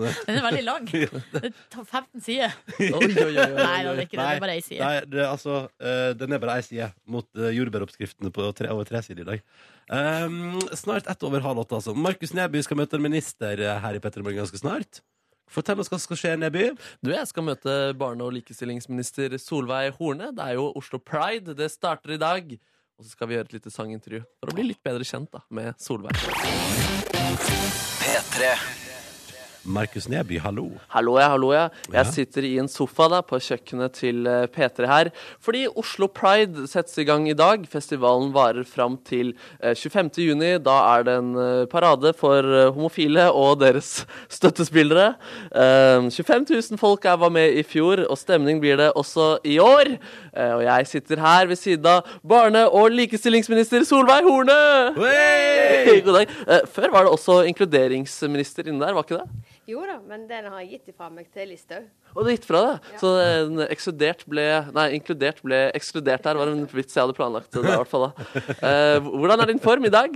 S2: Den er veldig lang. Det tar 15 sider.
S4: Oi, oi, oi, oi, oi.
S2: Nei, det er ikke det. Det er bare ei side.
S3: Nei, det, er altså, eh, den er bare ei side mot eh, jordbæroppskriftene på tre, over tre sider i dag. Um, snart ett over halv åtte, altså. Markus Neby skal møte en minister eh, her i Petter i morgen ganske snart. Fortell oss hva som skal skje, Neby.
S4: Du, jeg skal møte barne- og likestillingsminister Solveig Horne. Det er jo Oslo Pride. Det starter i dag. Og så skal vi gjøre et lite sangintervju for å bli litt bedre kjent da, med Solveig.
S3: Markus Neby, hallo.
S4: Hallo, ja, hallo, ja.
S3: Ja.
S4: Jeg sitter i en sofa da, på kjøkkenet til eh, P3 her. Fordi Oslo Pride settes i gang i dag. Festivalen varer fram til eh, 25. juni. Da er det en eh, parade for eh, homofile og deres støttespillere. Eh, 25 000 folk er, var med i fjor, og stemning blir det også i år. Eh, Og jeg sitter her ved siden av barne- og likestillingsminister Solveig Horne!
S3: Hei!
S4: God dag. Eh, Før var det også inkluderingsminister inne der, var ikke det?
S9: Jo da, men den har jeg gitt ifra meg til Listhaug.
S4: Og det gikk fra det. Så en ekskludert ble Nei, inkludert ble ekskludert her, var en vits jeg hadde planlagt. Det, i hvert fall, da. Eh, hvordan er din form i dag?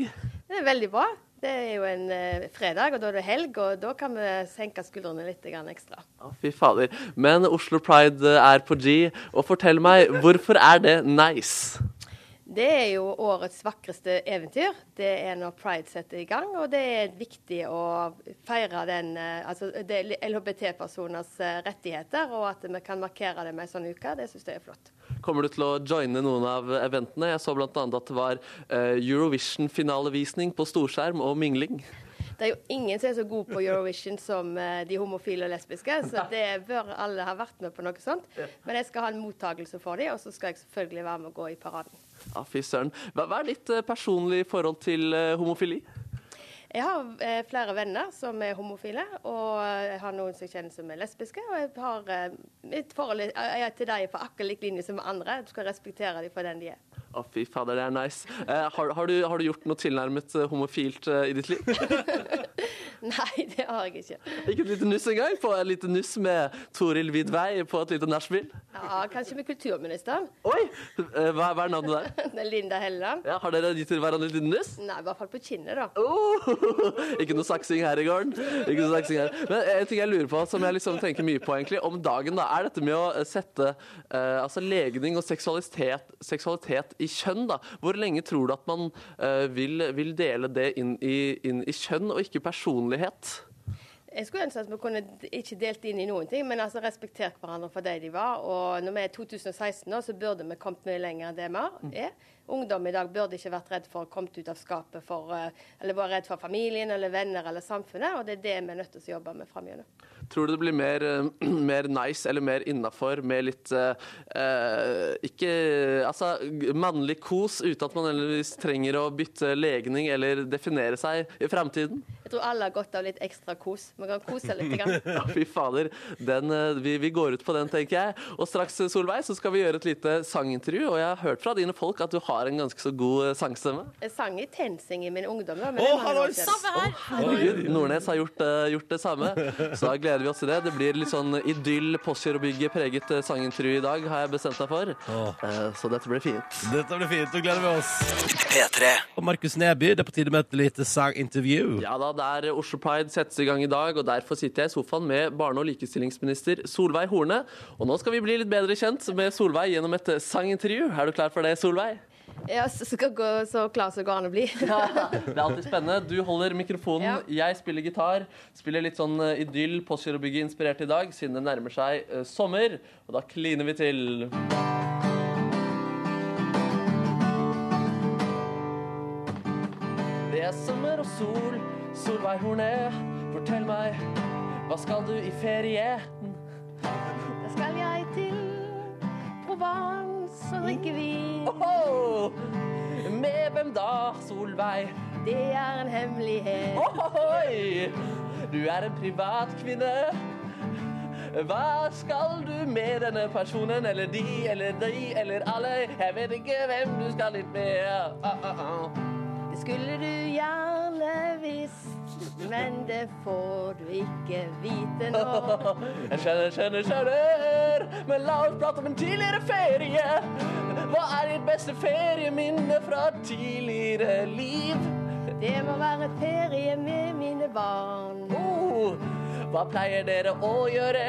S9: Det er veldig bra. Det er jo en eh, fredag, og da er det helg, og da kan vi senke skuldrene litt grann ekstra.
S4: Å, fy fader. Men Oslo Pride er på G. Og fortell meg, hvorfor er det nice?
S9: Det er jo årets vakreste eventyr. Det er når pride setter i gang, og det er viktig å feire den, eh, altså det er LHBT-personers eh, rettigheter, og at vi kan markere det med en sånn uke. Det syns jeg er flott.
S4: Kommer du til å joine noen av eventene? Jeg så bl.a. at det var eh, Eurovision-finalevisning på storskjerm og mingling.
S9: Det er jo ingen som er så god på Eurovision som eh, de homofile og lesbiske, så det bør alle ha vært med på noe sånt. Men jeg skal ha en mottakelse for dem, og så skal jeg selvfølgelig være med og gå i paraden.
S4: Ja, fy søren. Hva, hva er ditt eh, personlige forhold til eh, homofili?
S9: Jeg har eh, flere venner som er homofile, og jeg har noen som jeg kjenner som er lesbiske. Og jeg har eh, mitt forhold er- er til dem på akkurat lik linje som andre. Du skal respektere dem for den de er.
S4: Å, fy fader, det er nice. Eh, har, har, du, har du gjort noe tilnærmet eh, homofilt eh, i ditt liv?
S9: Nei, det har jeg ikke.
S4: Ikke et lite nuss engang? På et lite nuss med Toril Vidvei på et lite nachspiel?
S9: Ja, kanskje med kulturministeren.
S4: Oi! Eh, Hva, hva er navnet der?
S9: Det er Linda Helleland.
S4: Ja, har dere gitt til hverandre et lite nuss?
S9: Nei, i hvert fall på kinnet, da.
S4: Oh! Ikke noe saksing her i gården. Ikke noe saksing her. Men eh, en ting jeg lurer på, som jeg liksom tenker mye på egentlig, om dagen, da, er dette med å sette eh, altså legning og seksualitet, seksualitet i kjønn. da. Hvor lenge tror du at man eh, vil, vil dele det inn i, inn i kjønn, og ikke personlighet?
S9: Jeg skulle ønske at vi kunne d- ikke delt inn i noen ting, men altså respektert hverandre for de de var. Og når vi er i 2016 nå, så burde vi kommet mye lenger enn det vi har- er. Ungdom i dag burde ikke vært redd for å komme ut av skapet for eh, Eller være redd for familien eller venner eller samfunnet, og det er det vi er nødt til å jobbe med framover.
S4: Tror du det blir mer, eh, mer nice eller mer innafor med litt eh, eh, Ikke Altså, mannlig kos uten at man nødvendigvis trenger å bytte legning eller definere seg i framtiden?
S9: Jeg tror alle har godt av litt ekstra kos. Vi kan kose litt. Grann.
S4: Ja, fy fader. Den, eh, vi, vi går ut på den, tenker jeg. Og straks, eh, Solveig, så skal vi gjøre et lite sangintervju. Og jeg har hørt fra dine folk at du har en ganske så god eh, sangstemme.
S9: Jeg sang i TenSing i min ungdom. da, men
S4: Å,
S9: det er mange år
S4: hallois!
S9: siden.
S2: Samme her.
S4: Herregud, Nordnes har gjort, eh, gjort det samme. Så da gleder vi oss til det. Det blir litt sånn idyll, Postgirobygget preget eh, sangintervju i dag, har jeg bestemt meg for. Eh, Så dette blir fint.
S3: Dette blir fint. Nå gleder vi oss. Og Markus Neby, det er på tide med et lite sangintervju.
S4: Ja da, det er Oslo Pride settes i gang i dag, og derfor sitter jeg i sofaen med barne- og likestillingsminister Solveig Horne. Og nå skal vi bli litt bedre kjent med Solveig gjennom et eh, sangintervju. Er du klar for det, Solveig?
S9: Ja, så skal jeg gå så klar som det går an å bli.
S4: Det er alltid spennende. Du holder mikrofonen, jeg spiller gitar. Spiller litt sånn eh, idyll, Postgirobygget inspirert i dag, siden det nærmer seg eh, sommer. Og da kliner vi til. Det er sommer og sol, Solveig Horne, fortell meg, hva skal du i ferie?
S9: Da skal jeg til Provence og drikke vin.
S4: Oho! Med hvem da, Solveig?
S9: Det er en hemmelighet.
S4: Ohoi! Du er en privat kvinne. Hva skal du med denne personen, eller de, eller de, eller alle? Jeg vet ikke hvem du skal litt med. Ah, ah, ah.
S9: Det skulle du gjerne visst, men det får du ikke vite nå.
S4: Jeg skjønner, skjønner, skjønner. Men la oss prate om en tidligere ferie. Hva er ditt beste ferieminne fra tidligere liv?
S9: Det må være ferie med mine barn.
S4: Oh, hva pleier dere å gjøre?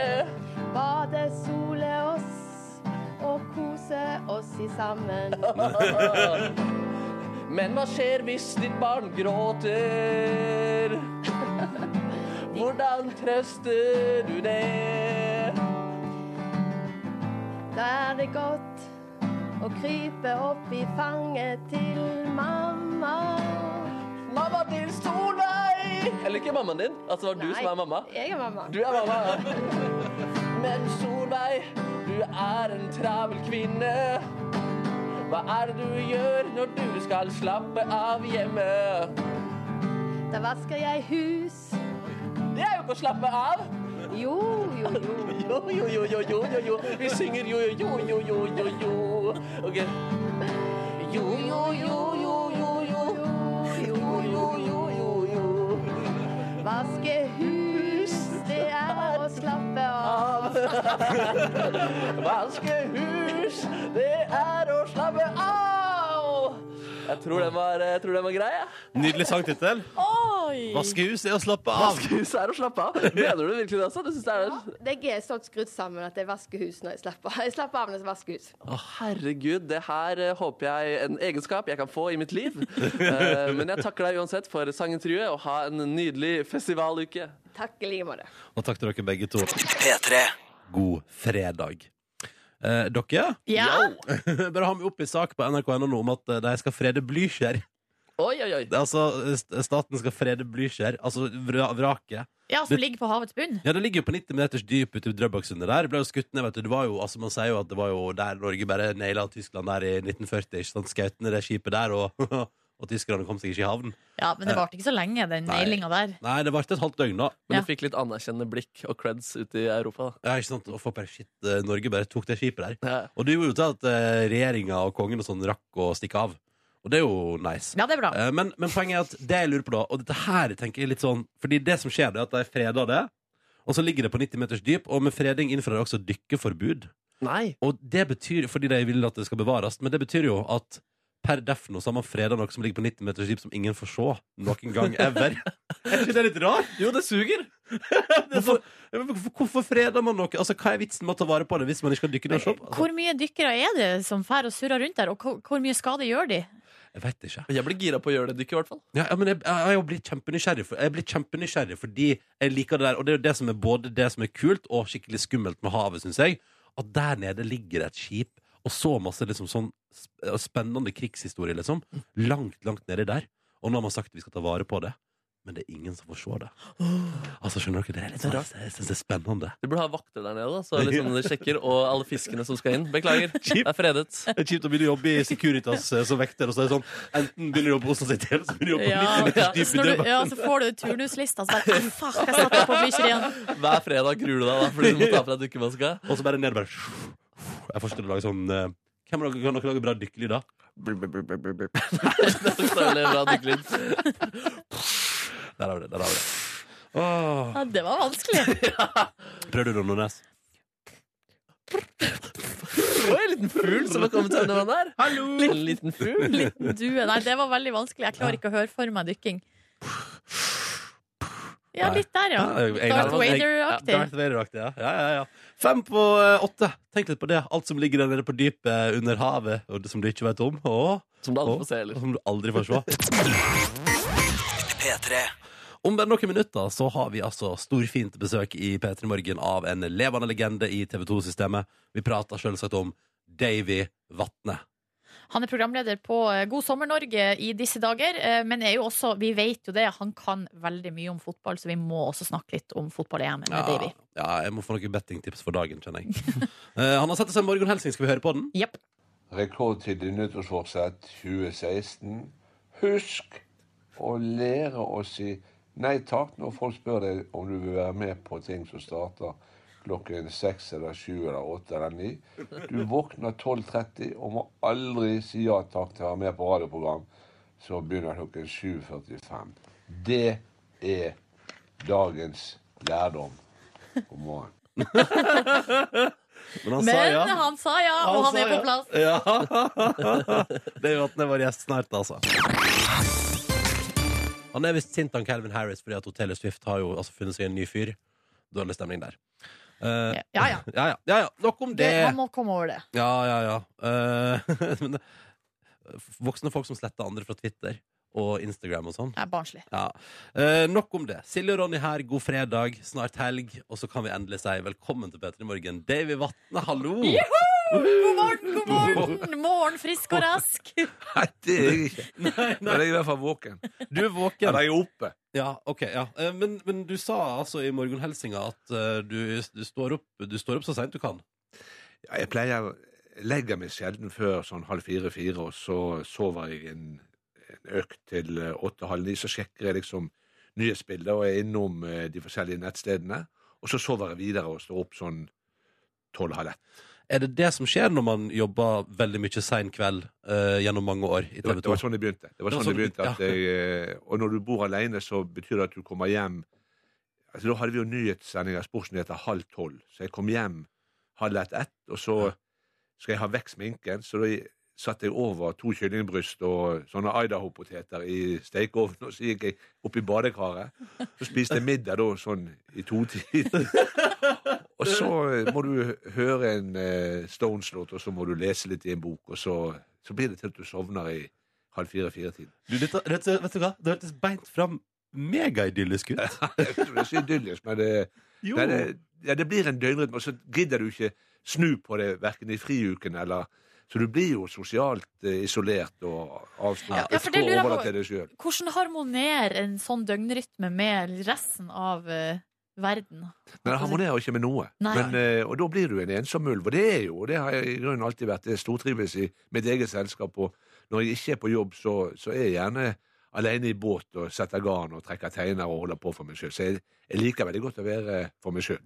S9: Bade, sole oss og kose oss i sammen.
S4: Men hva skjer hvis ditt barn gråter? Hvordan trøster du det?
S9: Da er det godt å krype opp i fanget til mamma.
S4: Mamma til Solveig! Eller ikke mammaen din. Altså, det var du som er mamma.
S9: Jeg er mamma.
S4: Du er mamma. Men Solveig, du er en travel kvinne. Hva er det du gjør når du skal slappe av hjemme?
S9: Da vasker jeg hus.
S4: Det er jo ikke å slappe av.
S9: Jo, jo, jo.
S4: Jo, jo, jo, jo, jo, jo, jo. Vi synger jo, jo, jo, jo, jo, jo, jo. Ok. Jo, jo, jo, jo, jo, jo. Jo, jo, jo, jo, jo.
S9: Vaske hus, det er å slappe av.
S4: Av. Vaskehus, det er å slappe av. Jeg tror den var, jeg tror den var grei, jeg.
S3: Nydelig sangtittel. Vaskehus er å slappe av.
S4: Vaskehus er å slappe av. Mener du det virkelig det, altså? Du synes det er
S9: Jeg er sånn skrudd sammen at jeg vasker hus når jeg slapper av. Jeg slapper av når jeg vasker hus.
S4: Å, herregud, det her eh, håper jeg er en egenskap jeg kan få i mitt liv. Eh, men jeg takker deg uansett for sangintervjuet, og ha en nydelig festivaluke.
S9: Takk i like måte.
S3: Og takk til dere begge to. God fredag. Eh, dere,
S2: Ja.
S3: bare ha med opp i sak på nrk.no nå om at eh, de skal frede Blücher.
S4: Oi, oi, oi.
S3: Det er Altså, st- staten skal frede Blücher, altså vra vraket.
S2: ja, som ligger på havets bunn.
S3: Ja, det ligger jo på 90 meters dyp ute ved Drøbaksundet der. Det ble jo skutt ned, vet du. Det var jo, altså, man sier jo at det var jo der Norge bare naila Tyskland der i 1940, ikke sant. Skjøt ned det skipet der og og tyskerne kom seg ikke i havn.
S2: Ja, men det varte ikke så lenge, den
S3: Nei.
S2: nailinga der.
S3: Nei, det varte et halvt døgn, da.
S4: Men
S2: Ja.
S4: du fikk litt anerkjennende blikk og creds ute i Europa. da.
S3: Ja, ikke sant? Og for per shit, eh, Norge bare tok det skipet der.
S4: Ja.
S3: Og det gjorde jo til at eh, regjeringa og kongen og sånn rakk å stikke av. Og det er jo nice.
S2: Ja, det er bra.
S3: Eh, Men, men poenget er at det jeg lurer på da, og dette her tenker jeg litt sånn Fordi det som skjer, det er at de freder det, og så ligger det på 90 meters dyp, og med freding innfører de også dykkeforbud.
S4: Nei.
S3: Og det betyr, fordi de vil at det skal bevares, men det betyr jo at per def nå så har man freda noe som ligger på 90 meters dyp som ingen får se noen gang ever. er ikke det litt rart?
S4: Jo, det suger!
S3: Det er så- Ja, men Hvorfor, hvorfor freder man noe? Altså, Hva er vitsen med å ta vare på det hvis man ikke kan dykke ned og se på? Altså,
S2: Hvor mye dykkere er det som fær og surrer rundt der, og hvor- hvor mye skade gjør de?
S3: jeg vet ikke.
S4: Jeg blir gira på å gjøre det dykket, i hvert fall.
S3: Ja, ja, men jeg, jeg, jeg blir kjempenysgjerrig for, jeg blir kjempenysgjerrig fordi jeg liker det der. Og det er jo det som er både det som er kult og skikkelig skummelt med havet, syns jeg. At der nede ligger det et skip og så masse liksom sånn sp- og spennende krigshistorie, liksom. Langt, langt nedi der. Og nå har man sagt vi skal ta vare på det. Men det er ingen som får se det. Altså, skjønner dere? Det er litt sånn, jeg syns det er spennende.
S4: Du burde ha vakter der nede, da, så liksom de sjekker, og alle fiskene som skal inn. Beklager, det
S3: Chip.
S4: er fredet.
S3: Det er kjipt å begynne å jobbe i Securitas eh, som vekter. Og så er det sånn, Enten begynner du å jobbe hos City, eller så begynner du å jobbe
S2: Ja,
S3: på 90 meters
S2: så
S3: dyp i
S2: når du,
S3: døden.
S2: ja, så får du turnuslista, så bare «Ah, Fuck, jeg satte opp på mye igjen.
S4: Hver fredag gruer du deg da, fordi du må ta på deg dykkemaska.
S3: Og så bare ned bare Jeg får ikke til å lage sånn eh, Hvem av dere kan dere lage bra dykkelyder?
S4: Det er så jævlig bra dykkelyd.
S3: Der har vi det. der har vi det Åh.
S2: Ja, det var vanskelig.
S3: Prøvde du det, Nordnes?
S4: Oi, en liten fugl som har kommet under vann der. Hallo! En liten fugl.
S2: Liten due. Nei, det var veldig vanskelig. Jeg klarer ikke å høre for meg dykking. Ja, litt der, ja.
S3: Ja, jeg-
S2: Darth
S3: jeg- Ja,
S2: Vader-aktig.
S3: Darth Vader-aktig, ja. ja, ja, ja. Fem på eh, åtte. Tenk litt på det. Alt som ligger der nede på dypet eh, under havet, og det som du ikke vet om. Åh.
S4: Som du aldri får
S3: Og
S4: se heller.
S3: Som du aldri får se. Om bare noen minutter så har vi altså storfint besøk i P3 Morgen av en levende legende i TV 2-systemet. Vi prater selvsagt om Davy Vatne.
S2: Han er programleder på eh, God sommer Norge i disse dager, eh, men er jo også, vi vet jo det, han kan veldig mye om fotball, så vi må også snakke litt om fotball-EM med Davy.
S3: ja, jeg må få noen bettingtips for dagen, kjenner jeg. Eh, han har sett seg morgenhelsing. Skal vi høre på den?
S2: Jepp.
S10: Rekordtid i nyttårsforsett 2016. Husk å lære å si nei takk når folk spør deg om du vil være med på ting som starter klokken seks eller sju eller åtte eller ni. Du våkner 12.30 og må aldri si ja takk til å være med på radioprogram som begynner klokken 7.45. Det er dagens lærdom. God morgen.
S3: Men han sa
S2: Men
S3: ja.
S2: han sa ja, og han
S3: sa
S2: er
S3: ja.
S2: på plass.
S3: Ja. Davy Vatne er vår gjest snart, altså. Han er visst sint han Calvin Harris fordi at Hotellet Swift har jo altså, funnet seg en ny fyr. Dårlig stemning der. Eh,
S2: Ja, ja.
S3: ja, ja, ja, ja. Nok om det.
S2: Det, han må komme over det.
S3: Ja, ja, ja. Eh, men det, voksne folk som sletter andre fra Twitter og Instagram og sånn.
S2: Det er barnslig.
S3: Ja. Eh, nok om det. Silje og Ronny her, god fredag, snart helg. Og så kan vi endelig si velkommen til Petter i morgen. Davy Vatne, hallo!
S2: God morgen, god morgen! Morgen frisk og rask.
S10: Nei, det er jeg ikke. Men jeg er i hvert fall våken.
S3: Du er våken.
S10: Eller jeg er oppe.
S3: Ja, ok, ja. Eh, Men, men du sa altså i morgenhelsinga at eh, du, du, står opp, du står opp så seint du kan.
S10: Ja, jeg pleier jeg legger meg sjelden før sånn halv fire-fire, og så sover jeg en, en økt til eh, åtte-halv ni. Så sjekker jeg liksom nyhetsbilder og er innom eh, de forskjellige nettstedene. Og så sover jeg videre og står opp sånn tolv-halv ett.
S3: Er det det som skjer når man jobber veldig mye sein kveld eh, gjennom mange år i
S10: Det var,
S3: TV
S10: det
S3: 2?
S10: var sånn det begynte. Det var
S3: Det var
S10: sånn det
S3: sånn det
S10: begynte at
S3: begynte,
S10: jeg, eh, og når du bor alene, så betyr det at du kommer hjem altså Da hadde vi jo nyhetssendinger, sportsnyheter, halv tolv. Så jeg kom hjem halv ett, ett, og så skal jeg ha vekk sminken. Så da satte jeg over to kyllingbryst og sånne Idaho-poteter i stekeovnen, og så gikk jeg opp i badekaret. Så spiste jeg middag da sånn i totiden. og så eh, må du høre en eh, Stones-låt, og så må du lese litt i en bok, og så, så blir det til at du sovner i halv fire-fire-tiden.
S3: Du, dette, vet, du- vet du hva? Det hørtes beint fram megaidyllisk ut.
S10: Jeg vet ikke om det er så idyllisk, men det,
S3: Jo.
S10: nei, det, ja, det blir en døgnrytme, og så gidder du ikke snu på det verken i friuken eller Så du blir jo sosialt eh, isolert og
S2: Ja,
S10: avstand.
S2: ja, for det lurer jeg på.
S10: overlatt til deg sjøl.
S2: Hvordan harmonerer en sånn døgnrytme med resten av eh, verden?
S10: Men det harmonerer ikke med noe.
S2: Altså- Nei.
S10: Men, eh, og da blir du en ensom ulv. Og det er jo, og det har jeg i grunnen alltid vært, det stortrives i mitt eget selskap. Og når jeg ikke er på jobb, så, så er jeg gjerne alene i båt og setter garn og trekker teiner og holder på for meg sjøl. Så jeg, jeg liker veldig godt å være for meg sjøl.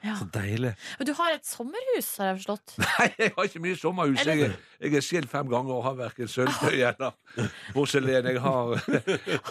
S2: Ja.
S10: Så deilig.
S2: Men Du har et sommerhus, har jeg forstått.
S10: Jeg har ikke mye sommerhus. Jeg, er- jeg er skilt fem ganger og har verken
S2: Ah.
S10: sølvtøy eller porselen. Jeg, har,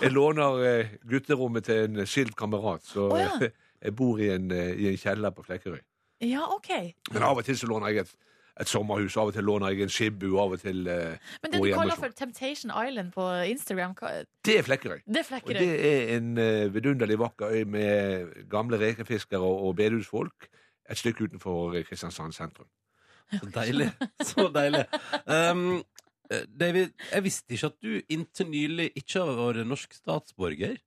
S10: jeg låner eh, gutterommet til en skilt kamerat, så
S2: Å, ja.
S10: eh, jeg bor i en, eh, i en kjeller på Flekkerøy.
S2: Ja, ok.
S10: Men av og til så låner jeg et, et sommerhus, av og til låner jeg en skibbu, av og til eh,
S2: Men det
S10: bor
S2: du
S10: hjemme
S2: kaller
S10: hos
S2: for Temptation Island på Instagram, hva
S10: Det er Flekkerøy.
S2: Det er Flekkerøy.
S10: Og det er en eh, vidunderlig vakker øy med gamle rekefiskere og bedehusfolk et stykke utenfor Kristiansand sentrum.
S3: Så deilig. Så deilig. Um, eh, David, jeg visste ikke at du inntil nylig ikke har vært norsk statsborger.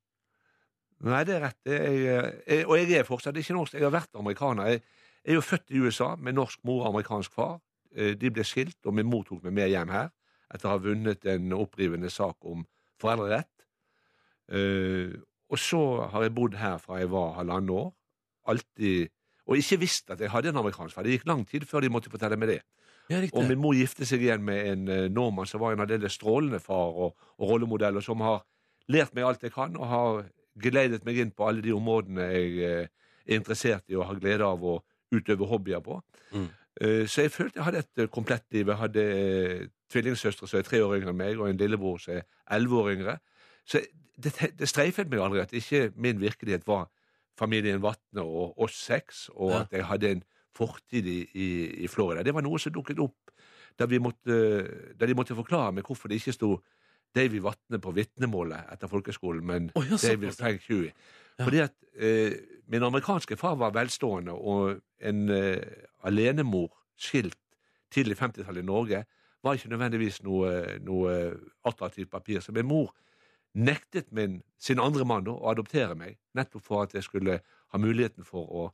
S10: Nei, det er rett. Jeg, jeg, og jeg er fortsatt ikke norsk. Jeg har vært amerikaner. Jeg, jeg er jo født i USA med norsk mor og amerikansk far. Eh, De ble skilt, og min mor tok meg med hjem her etter å ha vunnet en opprivende sak om foreldrerett. Eh, Og så har jeg bodd her fra jeg var halvannet år. Alltid Og ikke visst at jeg hadde en amerikansk far. Det gikk lang tid før de måtte fortelle meg det. og min mor gifte seg igjen med en eh, nordmann som var en aldeles strålende far og, og rollemodell, og som har lært meg alt jeg kan, og har geleidet meg inn på alle de områdene jeg eh, er interessert i og har glede av å utøve hobbyer på. Eh, Så jeg følte jeg hadde et eh, komplett liv. Jeg hadde eh, tvillingsøstre som er tre år yngre enn meg, og en lillebror som er elleve år yngre. Så det, det streifet meg aldri at ikke min virkelighet var familien Vatne og oss seks, og
S3: Ja.
S10: at jeg hadde en fortid i, i, i Florida. Det var noe som dukket opp da, vi måtte, da de måtte forklare meg hvorfor det ikke sto Davy Vatne på vitnemålet etter folkeskolen, men
S3: ja, såpass,
S10: David Frank Huey. Fordi at eh, min amerikanske far var velstående, og en eh, alenemor skilt tidlig 50-tallet i Norge var ikke nødvendigvis noe, noe attraktivt papir. Så min mor nektet min, sin andre mann da, å adoptere meg, nettopp for at jeg skulle ha muligheten for å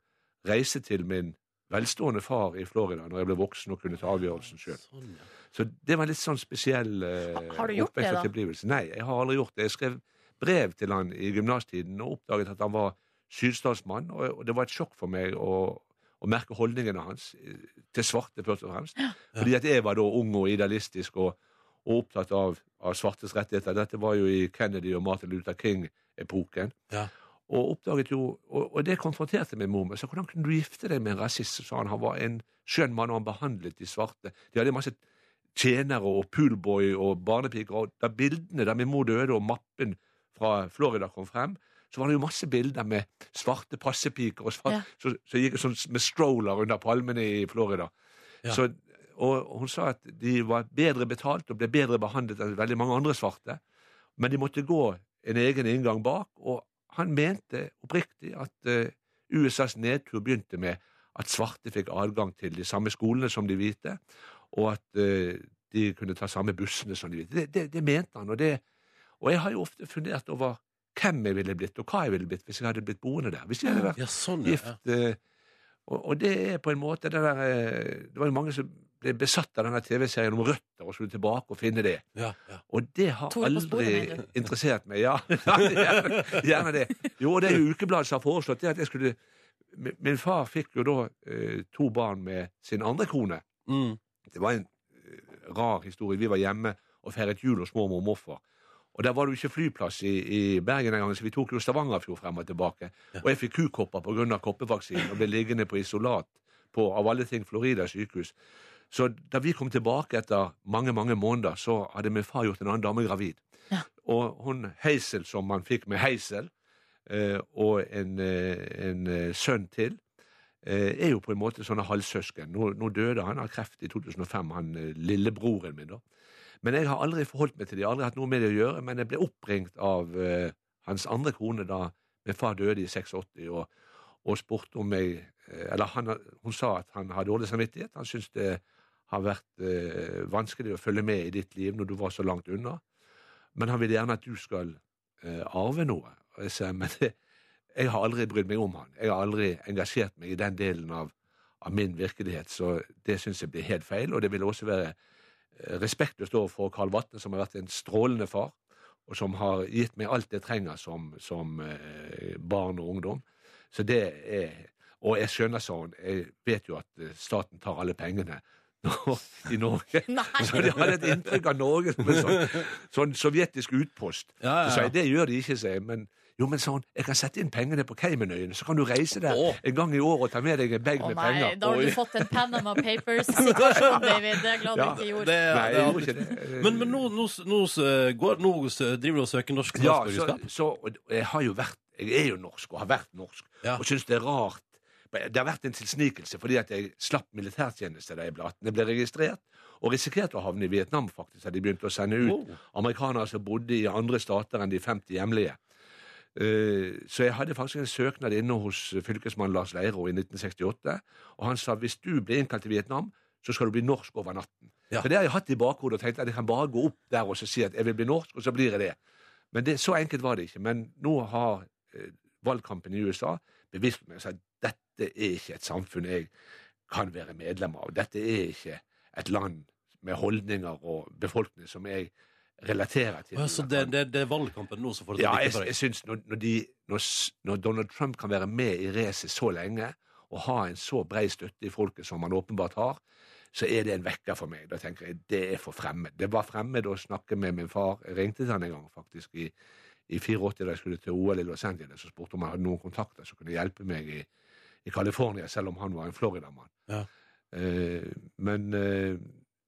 S10: reise til min velstående far i Florida når jeg ble voksen og kunne ta avgjørelsen sjøl.
S3: Sånn,
S10: Så det var en litt sånn spesiell eh,
S2: Har du gjort det,
S10: oppvekst og
S2: da?
S10: tilblivelse. Nei, jeg har aldri gjort det. Jeg skrev brev til han i gymnastiden og oppdaget at han var sydstatsmann, og, og det var et sjokk for meg å, å merke holdningene hans eh, til svarte, først og fremst. Fordi at jeg var da ung og idealistisk og, og opptatt av, av svartes rettigheter. Dette var jo i Kennedy og Martin Luther King-epoken. Og oppdaget jo, og, og det konfronterte min mor med. Så hvordan kunne du gifte deg med en rasist? Så sa han han var en skjønn mann, og han behandlet de svarte. De hadde masse tjenere og poolboy og barnepiker. Og da bildene da min mor døde og mappen fra Florida kom frem, så var det jo masse bilder med svarte passepiker og svarte,
S2: Ja.
S10: så, så gikk sånn med stroller under palmene i Florida.
S3: Ja.
S10: Så, og hun sa at de var bedre betalt og ble bedre behandlet enn veldig mange andre svarte. Men de måtte gå en egen inngang bak, og han mente oppriktig at eh, USAs nedtur begynte med at svarte fikk adgang til de samme skolene som de hvite, og at eh, de kunne ta samme bussene som de hvite. Det, det, det mente han, og det Og jeg har jo ofte fundert over hvem jeg ville blitt, og hva jeg ville blitt hvis jeg hadde blitt boende der. Hvis jeg hadde vært
S3: Ja, sånn, ja.
S10: gift eh, og, og det er på en måte det der eh, Det var jo mange som ble besatt av denne TV-serien om røtter, og skulle tilbake og finne det.
S3: Ja,
S10: Og det har
S3: Tore på sporet,
S10: aldri
S3: mener du?
S10: interessert meg. Ja, gjerne, gjerne det. Jo, og det er jo Ukebladet som har foreslått det at jeg skulle Min min far fikk jo da eh, to barn med sin andre kone.
S3: Mm.
S10: Det var en eh, rar historie. Vi var hjemme og feiret jul hos mormor og morfar. Og der var det jo ikke flyplass i, i Bergen den gangen, så vi tok jo Stavangerfjord frem og tilbake. Og jeg fikk kukopper pga. koppevaksinen og ble liggende på isolat på av alle ting Florida sykehus. Så da vi kom tilbake etter mange mange måneder, så hadde min far gjort en annen dame gravid. Og hun Heisel, som man fikk med Heisel, eh, og en, eh, en eh, sønn til, eh, er jo på en måte sånne halvsøsken. Nå, nå døde han av kreft i 2005, han eh, lillebroren min, da. Men jeg har aldri forholdt meg til det, aldri hatt noe med det å gjøre, men jeg ble oppringt av eh, hans andre kone da min far døde i 86, og, og spurte om jeg eh, Eller han, hun sa at han har dårlig samvittighet. Han syntes det har vært eh, vanskelig å følge med i ditt liv når du var så langt unna, men han vil gjerne at du skal eh, arve noe. Og jeg sier, men det, jeg har aldri brydd meg om han. Jeg har aldri engasjert meg i den delen av, av min virkelighet, så det syns jeg blir helt feil. Og det vil også være eh, respektløst overfor Karl Vatne, som har vært en strålende far, og som har gitt meg alt jeg trenger som, som eh, barn og ungdom. Så det er Og jeg skjønner, sa hun, jeg vet jo at eh, staten tar alle pengene, i Norge.
S2: Nei.
S10: Så de hadde et inntrykk av Norge som en sånn, sånn sovjetisk utpost.
S3: Ja, ja, ja.
S10: Så sa jeg det gjør de ikke, sier jeg. Men jo, men sa hun, jeg kan sette inn pengene på Caymanøyene, så kan du reise der
S3: Åh.
S10: en gang i året og ta med deg en bag
S2: Å
S10: med
S2: nei,
S10: penger.
S2: da har du
S10: Oi.
S2: fått en Panama Papers-situasjon, David. Det er jeg glad du
S10: Ja,
S2: ikke
S3: Det,
S2: gjorde.
S10: Nei,
S3: det
S10: jeg
S3: hadde
S10: gjorde
S3: ikke-
S10: ikke det.
S3: Men, men nå, nå, s- nå, s- går, nå s- driver du og søker norsk
S10: Ja, så,
S3: statsborgerskap?
S10: så og jeg har jo vært Jeg er jo norsk, og har vært norsk,
S3: Ja.
S10: og syns det er rart. Men Det har vært en tilsnikelse fordi at jeg slapp militærtjeneste da jeg ble 18. Jeg ble registrert og risikerte å havne i Vietnam, faktisk, da de begynte å sende ut
S3: Wow.
S10: amerikanere som bodde i andre stater enn de 50 hjemlige. Eh, Så jeg hadde faktisk en søknad inne hos eh, fylkesmann Lars Leiro i 1968, og han sa hvis du blir innkalt til Vietnam, så skal du bli norsk over natten.
S3: Ja.
S10: For det har jeg hatt i bakhodet og tenkt at jeg kan bare gå opp der og så si at jeg vil bli norsk, og så blir jeg det. Men det, så enkelt var det ikke. Men nå har eh, valgkampen i USA bevist meg og sagt at dette er ikke et samfunn jeg kan være medlem av. Dette er ikke et land med holdninger og befolkning som jeg relaterer til.
S3: Å, ja, så det, det, det er valgkampen nå som får det
S10: Ja,
S3: til å
S10: jeg,
S3: klikke for
S10: jeg
S3: deg?
S10: synes når, når, de, når, s- når Donald Trump kan være med i racet så lenge, og ha en så brei støtte i folket som han åpenbart har, så er det en vekker for meg. Da tenker jeg det er for fremmed. Det var fremmed å snakke med min far. Jeg ringte til han en gang faktisk i, i 84 da jeg skulle til OL i Los Angeles, og spurte om han hadde noen kontakter som kunne hjelpe meg i, i California, selv om han var en Florida-mann.
S3: Ja.
S10: Eh, men eh,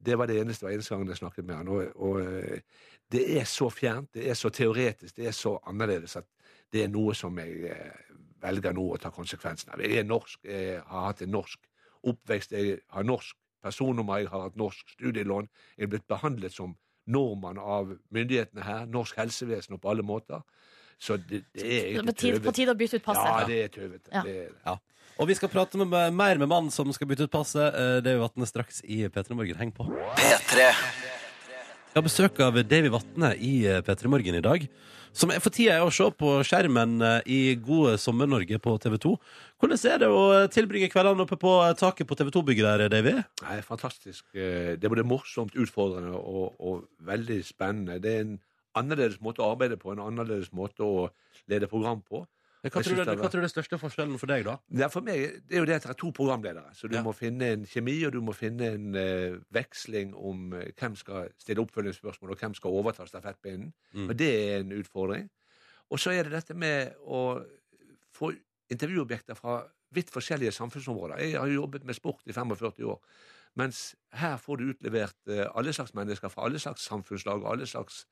S10: det var det eneste og eneste gangen jeg snakket med han. Og, og eh, det er så fjernt, det er så teoretisk, det er så annerledes at det er noe som jeg eh, velger nå å ta konsekvensen av. Jeg er norsk, jeg har hatt en norsk oppvekst, jeg har norsk personnummer, jeg har hatt norsk studielån, jeg er blitt behandlet som nordmann av myndighetene her, norsk helsevesen og på alle måter. Så det, det er
S2: Det er
S10: egentlig
S2: På tide, på
S10: tøvet.
S2: tide å bytte ut passet.
S10: Ja, det er tøvet.
S2: Ja.
S10: Det er det.
S3: Ja. Og vi skal prate med, med, mer med mannen som skal bytte ut passet. Eh, Det er jo Vatne straks i P3 Morgen. Heng på. Jeg har besøk av Davy Vatne i eh, P3 Morgen i dag. Som er for tida er å se på skjermen eh, i Gode sommer-Norge på TV2. Hvordan er det å eh, tilbringe kveldene oppe på eh, taket på TV2-bygget der, Davy?
S10: Nei, fantastisk. Eh, Det er både morsomt, utfordrende og, og veldig spennende. Det er en annerledes måte å arbeide på, en annerledes måte å lede program på.
S3: Hva
S10: Jeg synes
S3: tror du
S10: det er
S3: hva tror du er den største forskjellen for deg, da?
S10: Det er for meg det er jo det at det er to programledere, så du
S3: Ja.
S10: må finne en kjemi, og du må finne en eh, veksling om eh, hvem skal stille oppfølgingsspørsmål, og hvem skal overta stafettpinnen.
S3: Mm.
S10: Og det er en utfordring. Og så er det dette med å få intervjuobjekter fra vidt forskjellige samfunnsområder. Jeg har jo jobbet med sport i 45 år, mens her får du utlevert eh, alle slags mennesker fra alle slags samfunnslag og alle slags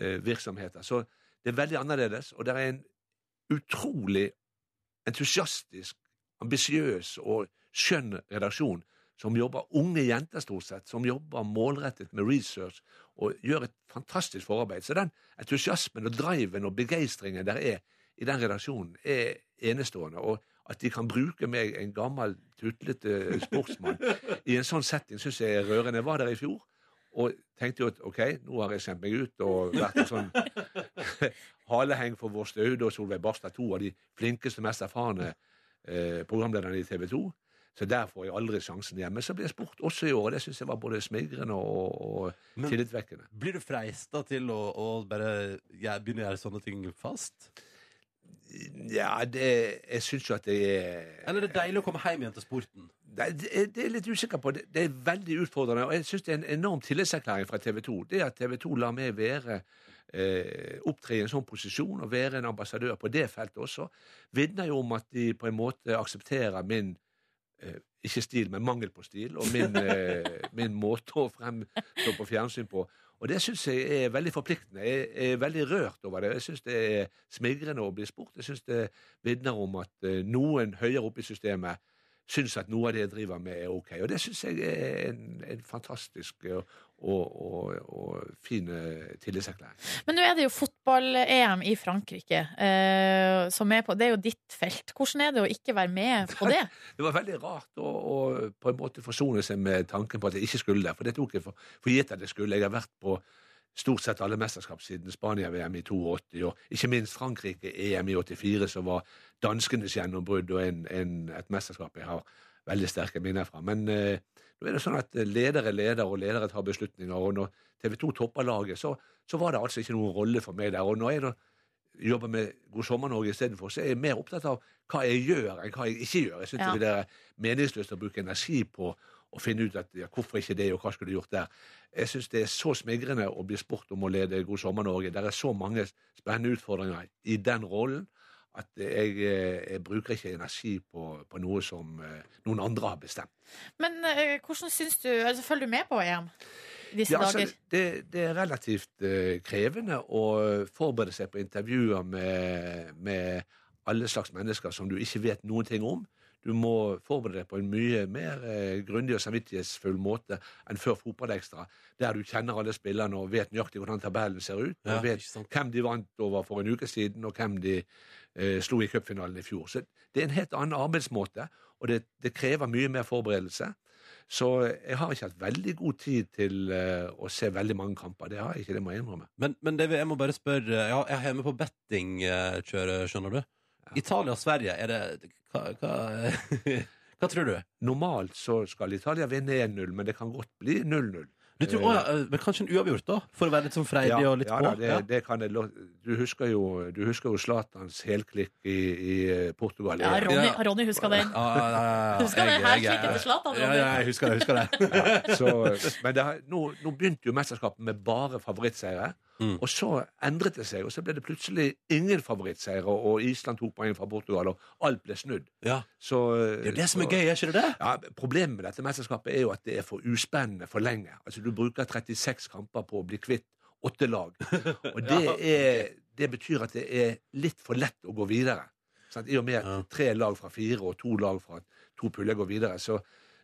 S10: eh, virksomheter. Så det er veldig annerledes, og det er en utrolig entusiastisk, ambisiøs og skjønn redaksjon som jobber unge jenter stort sett, som jobber målrettet med research og gjør et fantastisk forarbeid. Så den entusiasmen og driven og begeistringen der er i den redaksjonen, er enestående. Og at de kan bruke meg, en gammel, tutlete sportsmann, i en sånn setting, syns jeg er rørende. Jeg var der i fjor. Og tenkte jo at ok, nå har jeg sendt meg ut og vært en sånn haleheng for Vår Staude og Solveig Barstad, to av de flinkeste, mest erfarne eh, programlederne i TV 2. Så der får jeg aldri sjansen igjen. Men så ble jeg spurt også i år, og det syns jeg var både smigrende og, og
S3: Men-
S10: tillitvekkende.
S3: Blir du freista til å, å bare ja, begynne å gjøre sånne ting fast?
S10: Ja, det, jeg syns jo at det er
S3: Eller er det deilig å komme hjem igjen til sporten?
S10: Nei, det er- det er jeg litt usikker på. Det, det er veldig utfordrende, og jeg syns det er en enorm tillitserklæring fra TV 2. Det at TV 2 lar meg være eh, opptre i en sånn posisjon og være en ambassadør på det feltet også, vitner jo om at de på en måte aksepterer min eh, ikke stil, men mangel på stil, og min, eh, min måte å fremstå på fjernsyn på. Og det syns jeg er veldig forpliktende. Jeg er veldig rørt over det. Jeg syns det er smigrende å bli spurt. Jeg syns det vitner om at eh, noen høyere oppe i systemet syns at noe av det jeg driver med, er ok. Og det syns jeg er en, en fantastisk og, og, og, og fin eh, tillitserklæring.
S2: Men nå er det jo fotball-EM i Frankrike, eh, som er på Det er jo ditt felt. Hvordan er det å ikke være med på det?
S10: Det var veldig rart å, å på en måte forsone seg med tanken på at jeg ikke skulle der, for det tok jeg for, for gitt at jeg skulle. Jeg har vært på stort sett alle mesterskap siden Spania-VM i 82, og ikke minst Frankrike-EM i 84, som var danskenes gjennombrudd og en, en, et mesterskap jeg har veldig sterke minner fra. Men eh, nå er det sånn at ledere leder, og ledere tar beslutninger, og når TV 2 topper laget, så, så var det altså ikke noen rolle for meg der. Og når jeg da jobber med God sommer Norge istedenfor, så er jeg mer opptatt av hva jeg gjør, enn hva jeg ikke gjør. Jeg syns
S2: Ja.
S10: det er meningsløst å bruke energi på og finne ut at ja, hvorfor ikke det, og hva skulle du gjort der. Jeg syns det er så smigrende å bli spurt om å lede God sommer Norge. Det er så mange spennende utfordringer i den rollen at jeg, eh, jeg bruker ikke energi på, på noe som eh, noen andre har bestemt.
S2: Men eh, hvordan syns du altså, Følger du med på EM i disse
S10: Ja, altså,
S2: dager?
S10: det, det er relativt eh, krevende å forberede seg på intervjuer med, med alle slags mennesker som du ikke vet noen ting om. Du må forberede deg på en mye mer eh, grundig og samvittighetsfull måte enn før Fotballekstra, der du kjenner alle spillerne og vet nøyaktig hvordan tabellen ser ut, og
S3: Ja,
S10: vet hvem de vant over for en uke siden, og hvem de eh, slo i cupfinalen i fjor. Så det er en helt annen arbeidsmåte, og det, det krever mye mer forberedelse. Så jeg har ikke hatt veldig god tid til eh, å se veldig mange kamper. Det har jeg ikke, det må jeg innrømme.
S3: Men, men det, jeg må bare spørre Jeg har- jeg er hjemme på bettingkjøret, skjønner du. Italia og Sverige, er det Hva, hva, hva tror du?
S10: Normalt så skal Italia vinne 1-0, men det kan godt bli 0-0.
S3: Du tror, å, ja, men Kanskje en uavgjort, da? For å være litt sånn freidig og litt
S10: ja,
S3: på?
S10: da, det, det kan jeg, lo- du husker jo Du husker jo Zlatans helklikk i, i eh, Portugal.
S2: Ja, Ronny, Ronny husker den.
S3: Ja, ja, ja, ja.
S2: Husker
S10: Jeg-
S2: det her
S10: jeg-
S2: klikket til Zlatan?
S3: Ja, ja, jeg husker det. Jeg husker det.
S10: Ja, så, men det, har- nå, nå begynte jo mesterskapet med bare favorittseiere.
S3: Mm.
S10: Og så endret det seg, og så ble det plutselig ingen favorittseiere. Og Island tok poeng fra Portugal, og alt ble snudd. Så,
S3: Det er jo det som er gøy, er ikke det det?
S10: Ja, problemet med dette mesterskapet er jo at det er for uspennende for lenge. Altså Du bruker 36 kamper på å bli kvitt åtte lag. Og det,
S3: Ja.
S10: er, det betyr at det er litt for lett å gå videre. Sant? I og med at tre lag fra fire og to lag fra to puller går videre. Så,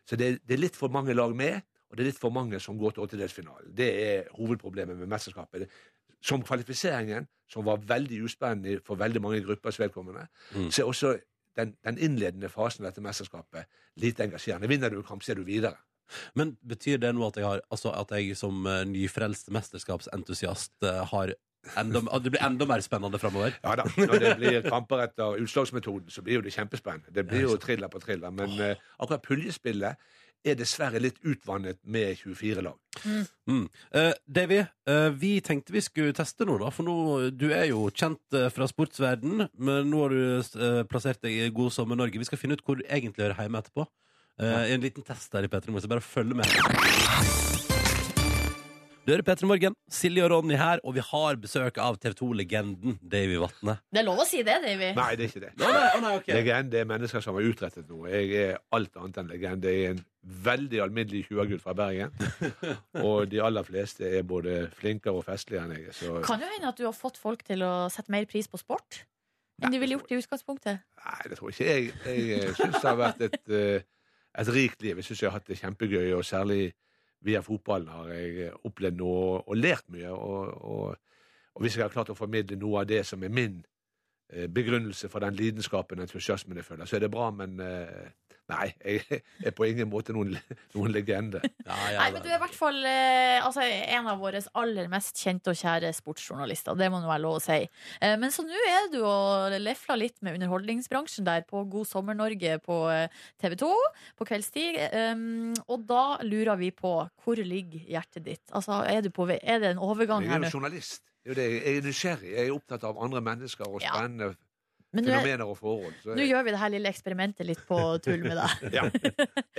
S10: så det, det er litt for mange lag med, og det er litt for mange som går til åttedelsfinalen. Det er hovedproblemet med mesterskapet. Det- Som kvalifiseringen, som var veldig uspennende for veldig mange gruppers vedkommende,
S3: Mm.
S10: så er også den, den innledende fasen av dette mesterskapet lite engasjerende. Vinner du en kamp, så er du videre.
S3: Men betyr det nå at jeg, har, altså at jeg som eh, nyfrelst mesterskapsentusiast eh, har enda, at Det blir enda mer spennende framover?
S10: Ja da. Når det blir kamper etter utslagsmetoden, så blir jo det kjempespennende. Det blir jo thriller på thriller. Men eh, akkurat puljespillet er dessverre litt utvannet med 24 lag.
S3: Mm. Eh, Davy, eh, vi tenkte vi skulle teste noe, da. For nå, du er jo kjent eh, fra sportsverden, men nå har du eh, plassert deg i God sommer Norge. Vi skal finne ut hvor du egentlig hører hjemme etterpå. Eh, en liten test der i P3 Morgen, så bare følg med. Du hører P3 Morgen. Silje og Ronny her, og vi har besøk av TV 2-legenden Davy Vatne.
S2: Det er lov å si det, Davy.
S10: Nei, det er ikke det. Legende er mennesker som har utrettet noe. Jeg er alt annet enn legende. Jeg er en veldig alminnelig tjuagutt fra Bergen. Og de aller fleste er både flinkere og festligere enn jeg er. Så
S2: Kan jo hende at du har fått folk til å sette mer pris på sport enn de ville gjort i utgangspunktet.
S10: Nei, det tror jeg ikke. Jeg, jeg syns det har vært et, eh, et rikt liv. Jeg syns jeg har hatt det kjempegøy, og særlig via fotballen har jeg eh, opplevd noe og, og lært mye. Og, og, og hvis jeg har klart å formidle noe av det som er min eh, begrunnelse for den lidenskapen og entusiasmen jeg føler, så er det bra, men eh, nei, jeg er på ingen måte noen, noen legende.
S2: Nei, men du er i hvert fall eh, altså, en av våre aller mest kjente og kjære sportsjournalister. Det må nå være lov å si. Eh, men så nå er du og lefler litt med underholdningsbransjen der på God sommer Norge på eh, TV 2 på kveldstid. Um, og da lurer vi på hvor ligger hjertet ditt? Altså, er, du på, vei- Sånn er det en overgang
S10: Jeg
S2: her
S10: er
S2: nå?
S10: jo journalist. Det er jo det. Jeg er nysgjerrig. Jeg er opptatt av andre mennesker og
S2: Ja.
S10: spennende
S2: Men du er-
S10: fenomener og forhold. Så
S2: Nå gjør vi det her lille eksperimentet litt på tull med deg.
S10: ja,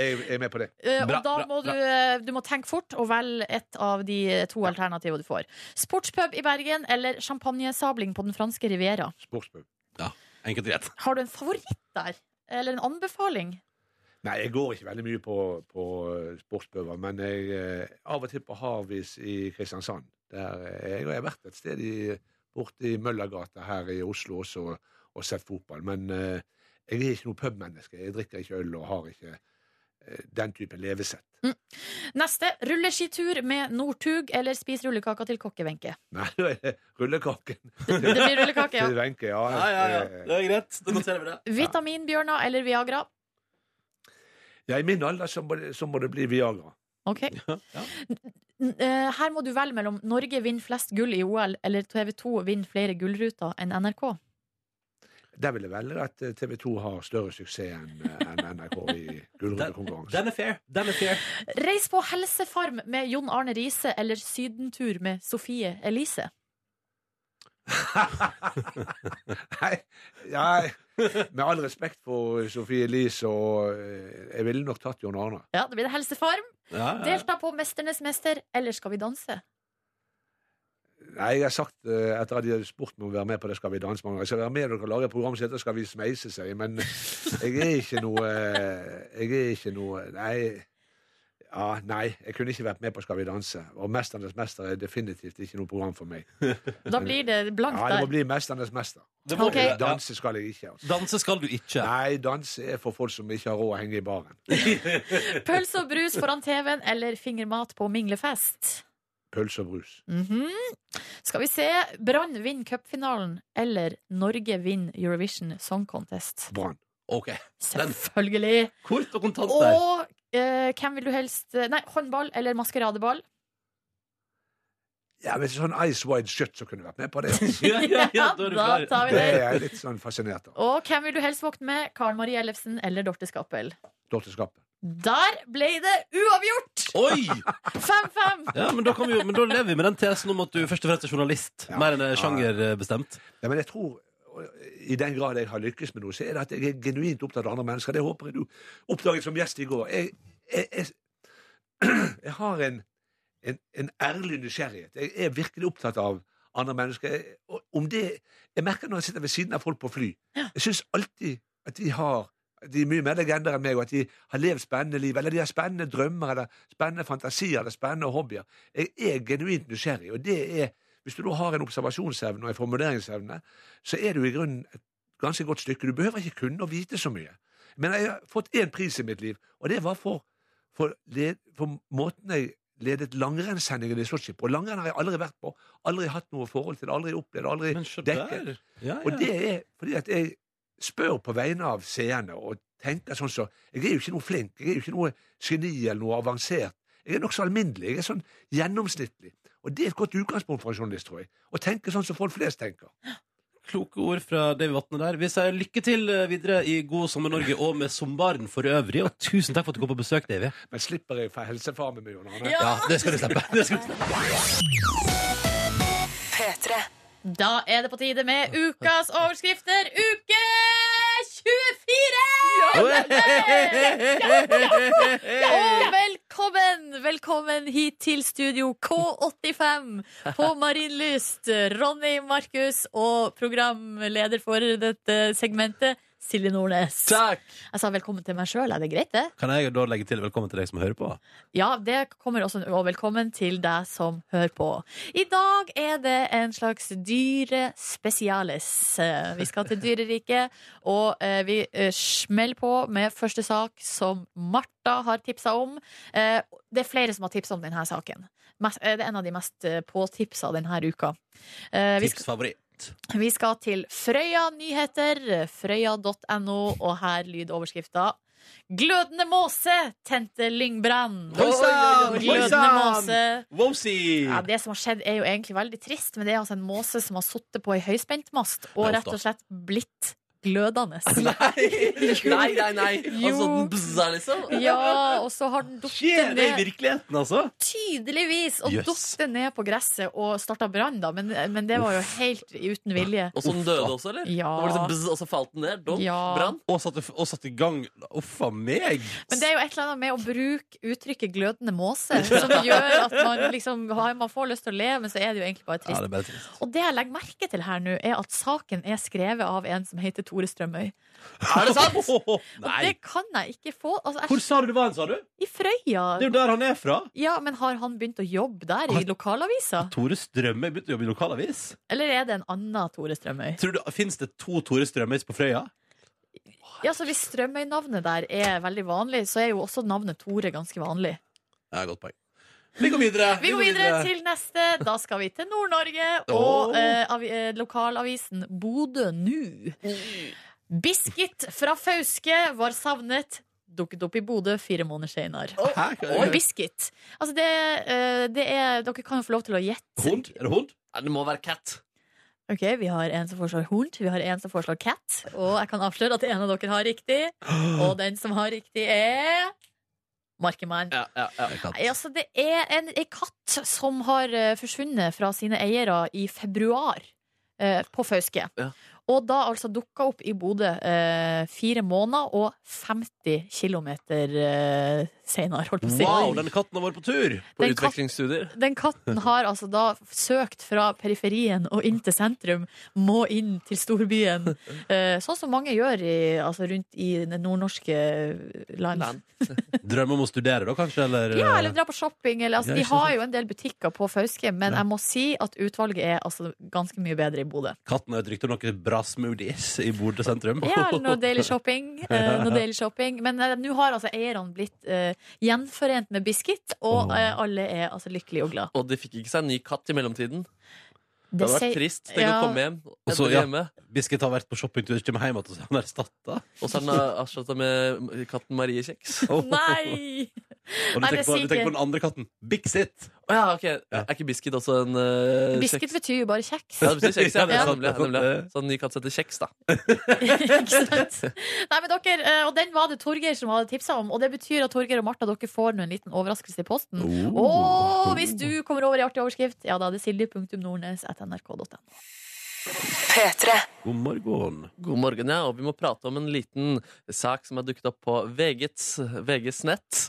S10: jeg er med på det.
S2: Eh, og da må du, eh, du må tenke fort og velge et av de eh, to alternativene du får. Sportspub i Bergen eller champagnesabling på den franske Riviera.
S10: Sportsbøk.
S3: Ja, enkelt og greit.
S2: Har du en favoritt der? Eller en anbefaling?
S10: Nei, jeg går ikke veldig mye på, på eh, sportsbøver, men jeg eh, av og til på Havis i Kristiansand. Der jeg, jeg har vært et sted i, borte i Møllergata her i Oslo også og sett fotball, men eh, jeg er ikke noe pubmenneske. Jeg drikker ikke øl og har ikke eh, den type levesett.
S2: Neste. Rulleskitur med Northug eller spis rullekaka til Kokke-Wenche.
S10: Nei, rullekaken.
S2: Det blir rullekake, ja.
S10: Til Wenche, ja. eh,
S3: Ja, ja, ja. Det er greit. Da noterer vi det.
S2: Vitaminbjørner eller Viagra?
S10: ja, I min alder så må, det- så må det bli Viagra.
S2: Ok. N- eh, Her må du velge mellom Norge vinner flest gull i OL eller TV 2 vinner flere gullruter enn NRK.
S10: Der vil jeg velge at eh, TV 2 har større suksess enn eh, enn NRK i gullrutekonkurransen.
S3: Den er fair. Den er fair.
S2: Reis på helsefarm med Jon Arne Riise eller sydentur med Sofie Elise.
S10: Nei, ja, Med all respekt for Sofie Elise og eh, Jeg ville nok tatt John Arne.
S2: Ja, det blir det Helsefarm.
S10: Ja, ja.
S2: Delta på Mesternes mester, eller Skal vi danse?
S10: Nei, jeg har sagt eh, etter at de hadde spurt meg om å være med på det Skal vi danse mange ganger. Jeg skal være med dere og lage et program som heter Skal vi smeise seg, men jeg er ikke noe eh, Jeg er ikke noe Nei. Ja, nei, jeg kunne ikke vært med på Skal vi danse. Og Mesternes mester er definitivt ikke noe program for meg.
S2: Da blir det blankt
S10: Ja, det
S2: der.
S10: må bli Mesternes mester.
S2: Det må Ok. bli det, ja.
S10: Danse skal jeg ikke. Altså.
S3: Danse skal du ikke?
S10: Nei, danse er for folk som ikke har råd å henge i baren.
S2: Pølse og brus foran TV-en eller fingermat på minglefest?
S10: Pølse og brus.
S2: Mhm. Skal vi se. Brann vinner cupfinalen eller Norge vinner Eurovision Song Contest?
S10: Brann.
S3: Ok.
S2: Selvfølgelig.
S3: Kort og kontant der.
S2: Og eh, hvem vil du helst Nei, håndball eller maskeradeball?
S10: Ja, men sånn Ice Wide Shut så kunne jeg vært med på det.
S2: Ja, ja, ja, da er du Ja, da klar. tar vi det.
S10: er jeg litt sånn fascinert av.
S2: Og hvem vil du helst våkne med? Karen Marie Ellefsen eller Dorte Skappel?
S10: Dorte Skappen.
S2: Der ble det uavgjort!
S3: Oi!
S2: 5-5!
S3: Ja, men da, kan vi, jo- men da lever vi med den tesen om at du først og fremst er journalist, mer enn er sjangerbestemt.
S10: Ja, men jeg tror i den grad jeg har lykkes med noe, så er det at jeg er genuint opptatt av andre mennesker. Det håper jeg du oppdaget som gjest i går. Jeg, jeg, jeg, jeg har en, en, en ærlig nysgjerrighet. Jeg er virkelig opptatt av andre mennesker. Jeg- Og om det, jeg merker når jeg sitter ved siden av folk på fly, jeg syns alltid at de har at de er mye mer legender enn meg, og at de har levd spennende liv, eller de har spennende drømmer, eller spennende fantasier, eller spennende hobbyer. Jeg er genuint nysgjerrig, og det er Hvis du da har en observasjonsevne og en formuleringsevne, så er du i grunnen et ganske godt stykke. Du behøver ikke kunne å vite så mye. Men jeg har fått én pris i mitt liv, og det var for, for, led, for måten jeg ledet langrennssendingen i Sotsji på. Langrenn har jeg aldri vært på, aldri hatt noe forhold til, aldri opplevd, aldri dekket.
S3: der. Ja, ja.
S10: Og det er fordi at jeg spør på vegne av seerne og tenker sånn som Jeg er jo ikke noe flink, jeg er jo ikke noe geni eller noe avansert. Jeg er nokså alminnelig, jeg er sånn gjennomsnittlig. Og det er et godt utgangspunkt for en journalist, tror jeg. Å tenke sånn som folk flest tenker.
S3: Kloke ord fra Davy Vatne der. Vi sier lykke til videre i God sommer Norge og med sommeren for øvrig, og tusen takk for at du kom på besøk, Davy.
S10: Men slipper jeg fra helsefarmen med Jon Arne?
S3: Ja! det skal du slippe. Det skal du slippe.
S2: Da er det på tide med ukas overskrifter. Uke 24! Og velkommen, velkommen hit til studio K85 på Marienlyst. Ronny Markus og programleder for dette segmentet, Silje Nordnes.
S3: Takk!
S2: Jeg sa velkommen til meg sjøl. Er det greit, det?
S3: Kan jeg da legge til velkommen til deg som hører på?
S2: Ja, det kommer også, og velkommen til deg som hører på. I dag er det en slags dyrespesialis. Eh, Vi skal til dyreriket, og eh, vi eh, smeller på med første sak som Martha har tipsa om. Eh, Det er flere som har tipsa om denne saken. Mest- eh, Det er en av de mest eh, påtipsa denne uka. Eh, vi skal-
S3: Tipsfavoritt.
S2: vi skal til Frøya nyheter, frøya.no, og her lyder overskrifta. Glødende måse tente lyngbrann.
S3: Oi sann! Mm. Oi
S2: Glødende måse.
S3: sann! Wowsy!
S2: Ja, det som har skjedd, er jo egentlig veldig trist, men det er altså en måse som har sittet på ei høyspentmast
S3: Nei,
S2: og
S3: uff
S2: rett
S3: da.
S2: og slett blitt glødende.
S4: Nei, nei, nei.
S2: Jo.
S4: Altså, den bzzzer, liksom.
S2: Ja, og så har den
S3: Skjer
S2: datt
S3: det i
S2: ned.
S3: virkeligheten, altså?
S2: Tydeligvis! Og
S3: Jøss.
S2: datt ned på gresset og starta brann, da, men, men det var jo helt uten vilje.
S4: Og så den døde også, eller?
S2: Ja.
S4: Det var liksom bzz, og så falt den ned. Dunk,
S2: Ja.
S4: brann.
S3: Og satte satt i gang Uff a meg!
S2: Men det er jo et eller annet med å bruke uttrykket 'glødende måse' som gjør at man liksom har- man får lyst til å le, men så er det jo egentlig bare
S3: Ja,
S2: trist.
S3: det er bare trist.
S2: Og det jeg legger merke til her nå, er at saken er skrevet av en som heter Tore Strømøy.
S3: Er det sant?
S2: Og
S3: Nei.
S2: det kan jeg ikke få. Altså, jeg,
S3: Hvor sa du det var hen, sa du?
S2: I
S3: Det er
S2: Frøya.
S3: jo der han er fra.
S2: Ja, men har han begynt å jobbe der, i lokalavisa?
S3: Tore Strømøy begynte å jobbe i lokalavis.
S2: Eller er det en annen Tore Strømøy?
S3: Tror du, Fins det to Tore Strømøys på Frøya?
S2: Ja, så Hvis Strømøy-navnet der er veldig vanlig, så er jo også navnet Tore ganske vanlig.
S3: Ja, godt poeng. Vi går videre.
S2: Vi går videre til neste. Da skal vi til Nord-Norge
S3: Åh.
S2: og eh, avi- eh, lokalavisen Bodø Nu. Biskit fra Fauske var savnet. Dukket opp i Bodø fire måneder senere.
S3: Hæ?
S2: Og Biskit. Altså det, eh, det er, dere kan jo få lov til å gjette.
S3: Hund? Er det hund?
S4: Ja, det må være cat.
S2: Ok, Vi har en som foreslår hund, vi har en som foreslår cat. Og jeg kan avsløre at en av dere har riktig. Og den som har riktig, er Markemann.
S4: Ja, ja, ja.
S2: Nei, altså det er en, en katt som har eh, forsvunnet fra sine eiere i februar eh, på Fauske.
S4: Ja.
S2: Og da altså dukka opp i Bodø eh, fire måneder og 50 km eh, senere, holdt på å si.
S3: Wow, denne katten har vært på tur!
S4: På
S2: Den katt-
S4: utvekslingsstudier.
S2: Den katten har altså da søkt fra periferien og inn til sentrum, må inn til storbyen. Eh, Sånn som mange gjør i, altså rundt i det nordnorske land.
S3: Drømmer om å studere, da, kanskje? Eller,
S2: Ja, eller dra på shopping. Eller, altså,
S3: Ja,
S2: de
S3: ikke
S2: har
S3: sant.
S2: jo en del butikker på Fauske, men jeg må si at utvalget er altså, ganske mye bedre i Bodø.
S3: eh, Katten har et rykte om noen bra smoothies i Bodø sentrum.
S2: Ja, eller noe daily shopping. eh, noe daily shopping. Men eh, nå har altså eierne blitt eh, gjenforent med Biskit, og eh, alle er altså lykkelige og glad.
S4: Og de fikk ikke seg en ny katt i mellomtiden. Det,
S2: Det
S4: hadde
S2: sier-
S4: vært trist. Tenk
S2: ja.
S4: å komme hjem.
S3: Og så,
S4: etter
S3: ja,
S4: hjemme.
S3: Biscuit har vært på shoppingtur, kommer hjem igjen, og så er han erstatta.
S4: Og så er den erstatta med katten Marie Kjeks.
S2: Nei!
S3: Og du
S2: Nei,
S3: tenker,
S2: det
S3: på,
S2: sier
S3: du tenker
S2: ikke-
S3: på den andre katten. Bixit.
S4: Å ja, ok. Er ikke Biscuit også en eh,
S2: Biskit
S4: kjeks?
S2: betyr jo bare kjeks.
S4: Ja, det betyr kjeks, ja.
S2: Ja.
S4: Nemlig, nemlig. Så en ny katt heter Kjeks, da.
S2: Ikke sant? Nei, men dere, eh, og den var det Torgeir som hadde tipsa om. Og det betyr at Torgeir og Martha dere får nå en liten overraskelse i posten. Og hvis du kommer over i artig overskrift, ja da er det silje.nordnes.nrk.no.
S3: God morgen.
S4: God morgen, ja. Og vi må prate om en liten sak som har dukket opp på VGs, VGs nett.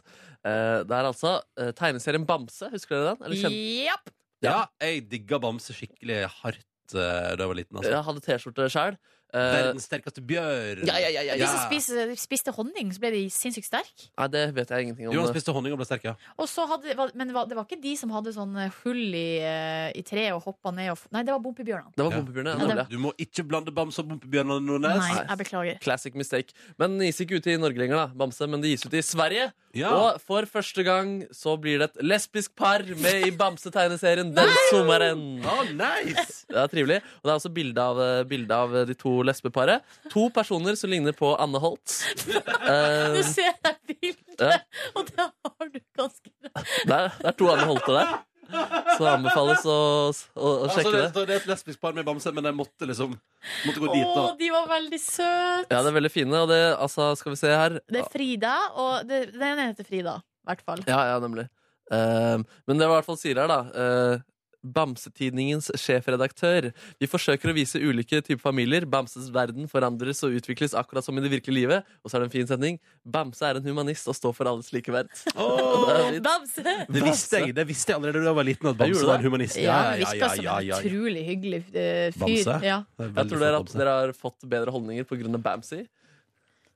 S4: Eh, det er altså eh, tegneserien Bamse. Husker dere den? Eller kjente
S2: Japp.
S3: Ja, jeg digga Bamse skikkelig hardt eh, da jeg var liten. Altså.
S4: Jeg hadde T-skjorte sjøl.
S2: eh,
S3: Verdens sterkeste bjørn.
S4: ja, ja, ja, ja,
S2: De
S4: ja.
S2: som spiste, eh, spiste honning, så ble de sinnssykt sterke.
S4: Nei, det vet jeg ingenting om.
S3: Jo, han spiste honning og ble sterk, ja.
S2: Og så hadde, var- men det var, det var ikke de som hadde sånn eh, hull i, eh, i treet og hoppa ned og f- Nei, det var bompebjørnene.
S4: Det var
S3: Ja.
S4: pumpebjørnet.
S2: Ja, det-
S4: nemlig.
S3: Du må ikke blande Bamse og Bompebjørnene Nordnes.
S2: Nei, jeg beklager.
S4: Classic mistake. Men den gis ikke ut i Norge lenger, da, Bamse, men det gis ut i Sverige.
S3: Ja.
S4: Og for første gang så blir det et lesbisk par med i Bamse-tegneserien den sommeren.
S3: Ah, nice!
S4: Det er trivelig. Og det er også bilde av, eh, bilde av de to lesbeparet. To personer som ligner på Anne Holt.
S2: Nå
S4: Eh,
S2: ser jeg bildet,
S4: ja.
S2: og det har du ganske rett.
S4: det, er, det er to Anne Holte der. Så det anbefales å, å, å
S3: Altså,
S4: sjekke
S3: det,
S4: det.
S3: det er et lesbisk par med Bamse, men jeg måtte liksom måtte gå dit,
S2: Å,
S3: da.
S2: de var veldig søte!
S4: Ja, det er veldig fine. Og det, altså, skal vi se her
S2: Det er Frida, og det, den ene heter Frida, i hvert fall.
S4: Ja, ja, nemlig. Ehm, men det var i hvert fall sier her, da. eh, Bamsetidningens sjefredaktør. Vi forsøker å vise ulike typer familier. Bamses verden forandres og utvikles akkurat som i det virkelige livet. Og så er det en fin setning. Bamse er en humanist og står for alles likeverd.
S3: Åh,
S4: Det er litt-
S2: Bamse!
S3: det visste jeg det visste jeg allerede da jeg var liten, at
S4: gjorde
S3: Bamse
S4: det.
S3: var en humanist.
S2: Ja, han virka som en utrolig hyggelig eh, fyr.
S3: Bamse?
S2: Ja.
S3: Det er veldig
S4: Jeg tror dere,
S3: flott,
S4: at
S3: Bamse.
S4: dere har fått bedre holdninger pga. Bamsey.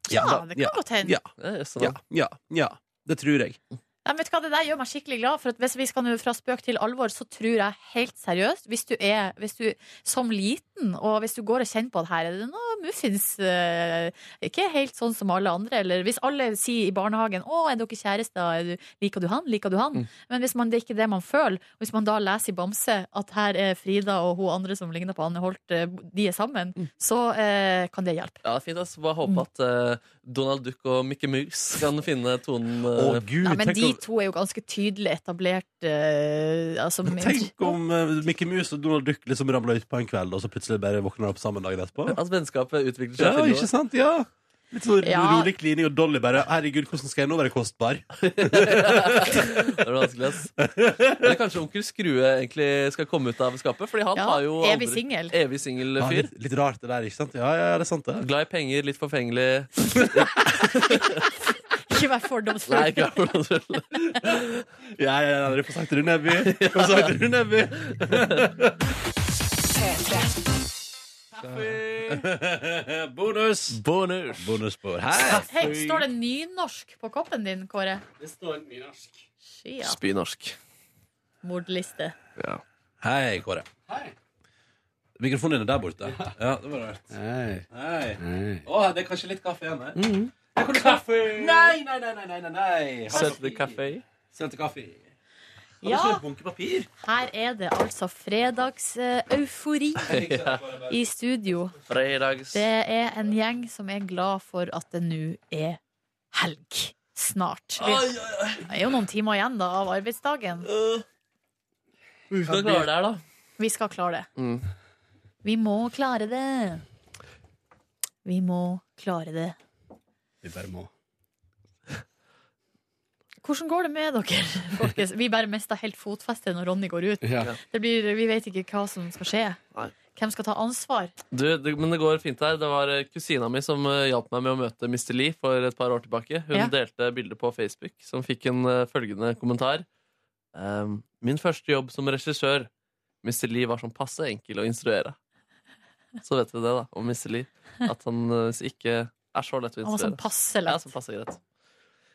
S2: ja, det kan godt hende.
S3: Ja,
S4: Ja, jøss,
S3: ja,
S4: sånn.
S3: ja, ja. Det tror jeg.
S2: Nei, men vet du hva, det der gjør meg skikkelig glad. For at hvis vi skal nå fra spøk til alvor, så tror jeg helt seriøst Hvis du er hvis du, som liten, og hvis du går og kjenner på at her er det noe muffins eh, Ikke helt sånn som alle andre. Eller hvis alle sier i barnehagen 'Å, er dere kjærester? Er du- Liker du han? Liker du han?'
S3: Mm.
S2: Men hvis man, det er ikke det man føler, og hvis man da leser i Bamse at her er Frida og hun andre som ligner på Anne Holt, eh, de er sammen,
S3: Mm.
S2: så eh, kan det hjelpe.
S4: Ja, det er fint. ass. Bare håpe at eh, Donald Duck og Mickey Mouse kan finne tonen
S3: Å,
S4: eh,
S3: gud,
S2: Nei, men
S3: tenk,
S2: de
S3: om,
S2: to er jo ganske tydelig etablert eh, altså,
S3: tenk om eh, Mickey Mouse og Donald Duck liksom ramla ut på en kveld, og så plutselig bare våkner opp sammen dagen etterpå.
S4: At vennskapet utvikler seg.
S3: Ja,
S4: til noe.
S3: ikke sant? Ja. Litt sånn
S2: Ja.
S3: rolig klining og Dolly bare Herregud, hvordan skal jeg nå være kostbar?
S4: Det er vanskelig, ass. Eller kanskje onkel Skrue egentlig skal komme ut av skapet? Fordi han
S2: Ja,
S4: har jo
S2: evig
S4: aldri-
S2: singel.
S4: Evig singel
S3: Ja,
S4: fyr.
S3: litt, litt rart det der, ikke sant? Ja, ja, det er sant, det.
S4: Glad i penger, litt forfengelig.
S2: Ikke vær
S4: Nei,
S2: fordomsfull.
S4: ikke akkurat.
S3: Ja, ja, ja, dere får sagt Rune Nebby. Dere får sagt Rune Nebby. Bonus!
S4: Bonus!
S3: Bonusspor her.
S2: Hei, står det nynorsk på koppen din, Kåre?
S11: Det står nynorsk.
S2: Skya.
S4: Spynorsk.
S2: Mordliste.
S3: Hei, Kåre.
S11: Hei.
S3: Mikrofonen din er der borte. Ja, det var rart.
S11: Hei.
S3: Hei. Mhm.
S11: Å, det er kanskje litt kaffe igjen her. Jeg kunne kaffe! Nei, nei, nei, nei, nei, nei, nei. Har du
S4: Søte kaffe.
S11: sølte kaffe?
S2: Ja,
S11: Har du sølt bunke papir?
S2: her er det altså fredagseufori i studio.
S4: Fredags.
S2: Det er en gjeng som er glad for at det nå er helg. Snart. Vi- Det er jo noen timer igjen da av arbeidsdagen.
S4: Vi skal klare det her, da.
S2: Vi skal klare det.
S4: Mm.
S2: Vi må klare det. Vi må klare det.
S11: Vi bare må.
S2: Hvordan går det med dere, folkens? Vi bare mista helt fotfestet når Ronny går ut.
S11: Ja.
S2: Det blir, vi vet ikke hva som skal skje. Hvem skal ta ansvar?
S4: Du, det, men det går fint her. Det var eh, kusina mi som eh, hjalp meg med å møte Mr. Lee for et par år tilbake. Hun
S2: Ja.
S4: delte bilder på Facebook som fikk en eh, følgende kommentar. Ehm, min første jobb som regissør. Mr. Lee var sånn passe enkel å instruere. Så vet vi det, da, om Mr. Lee. At han eh, ikke er så lett å
S2: Han var
S4: instruere.
S2: sånn passe lett.
S4: Ja, sånn passe greit.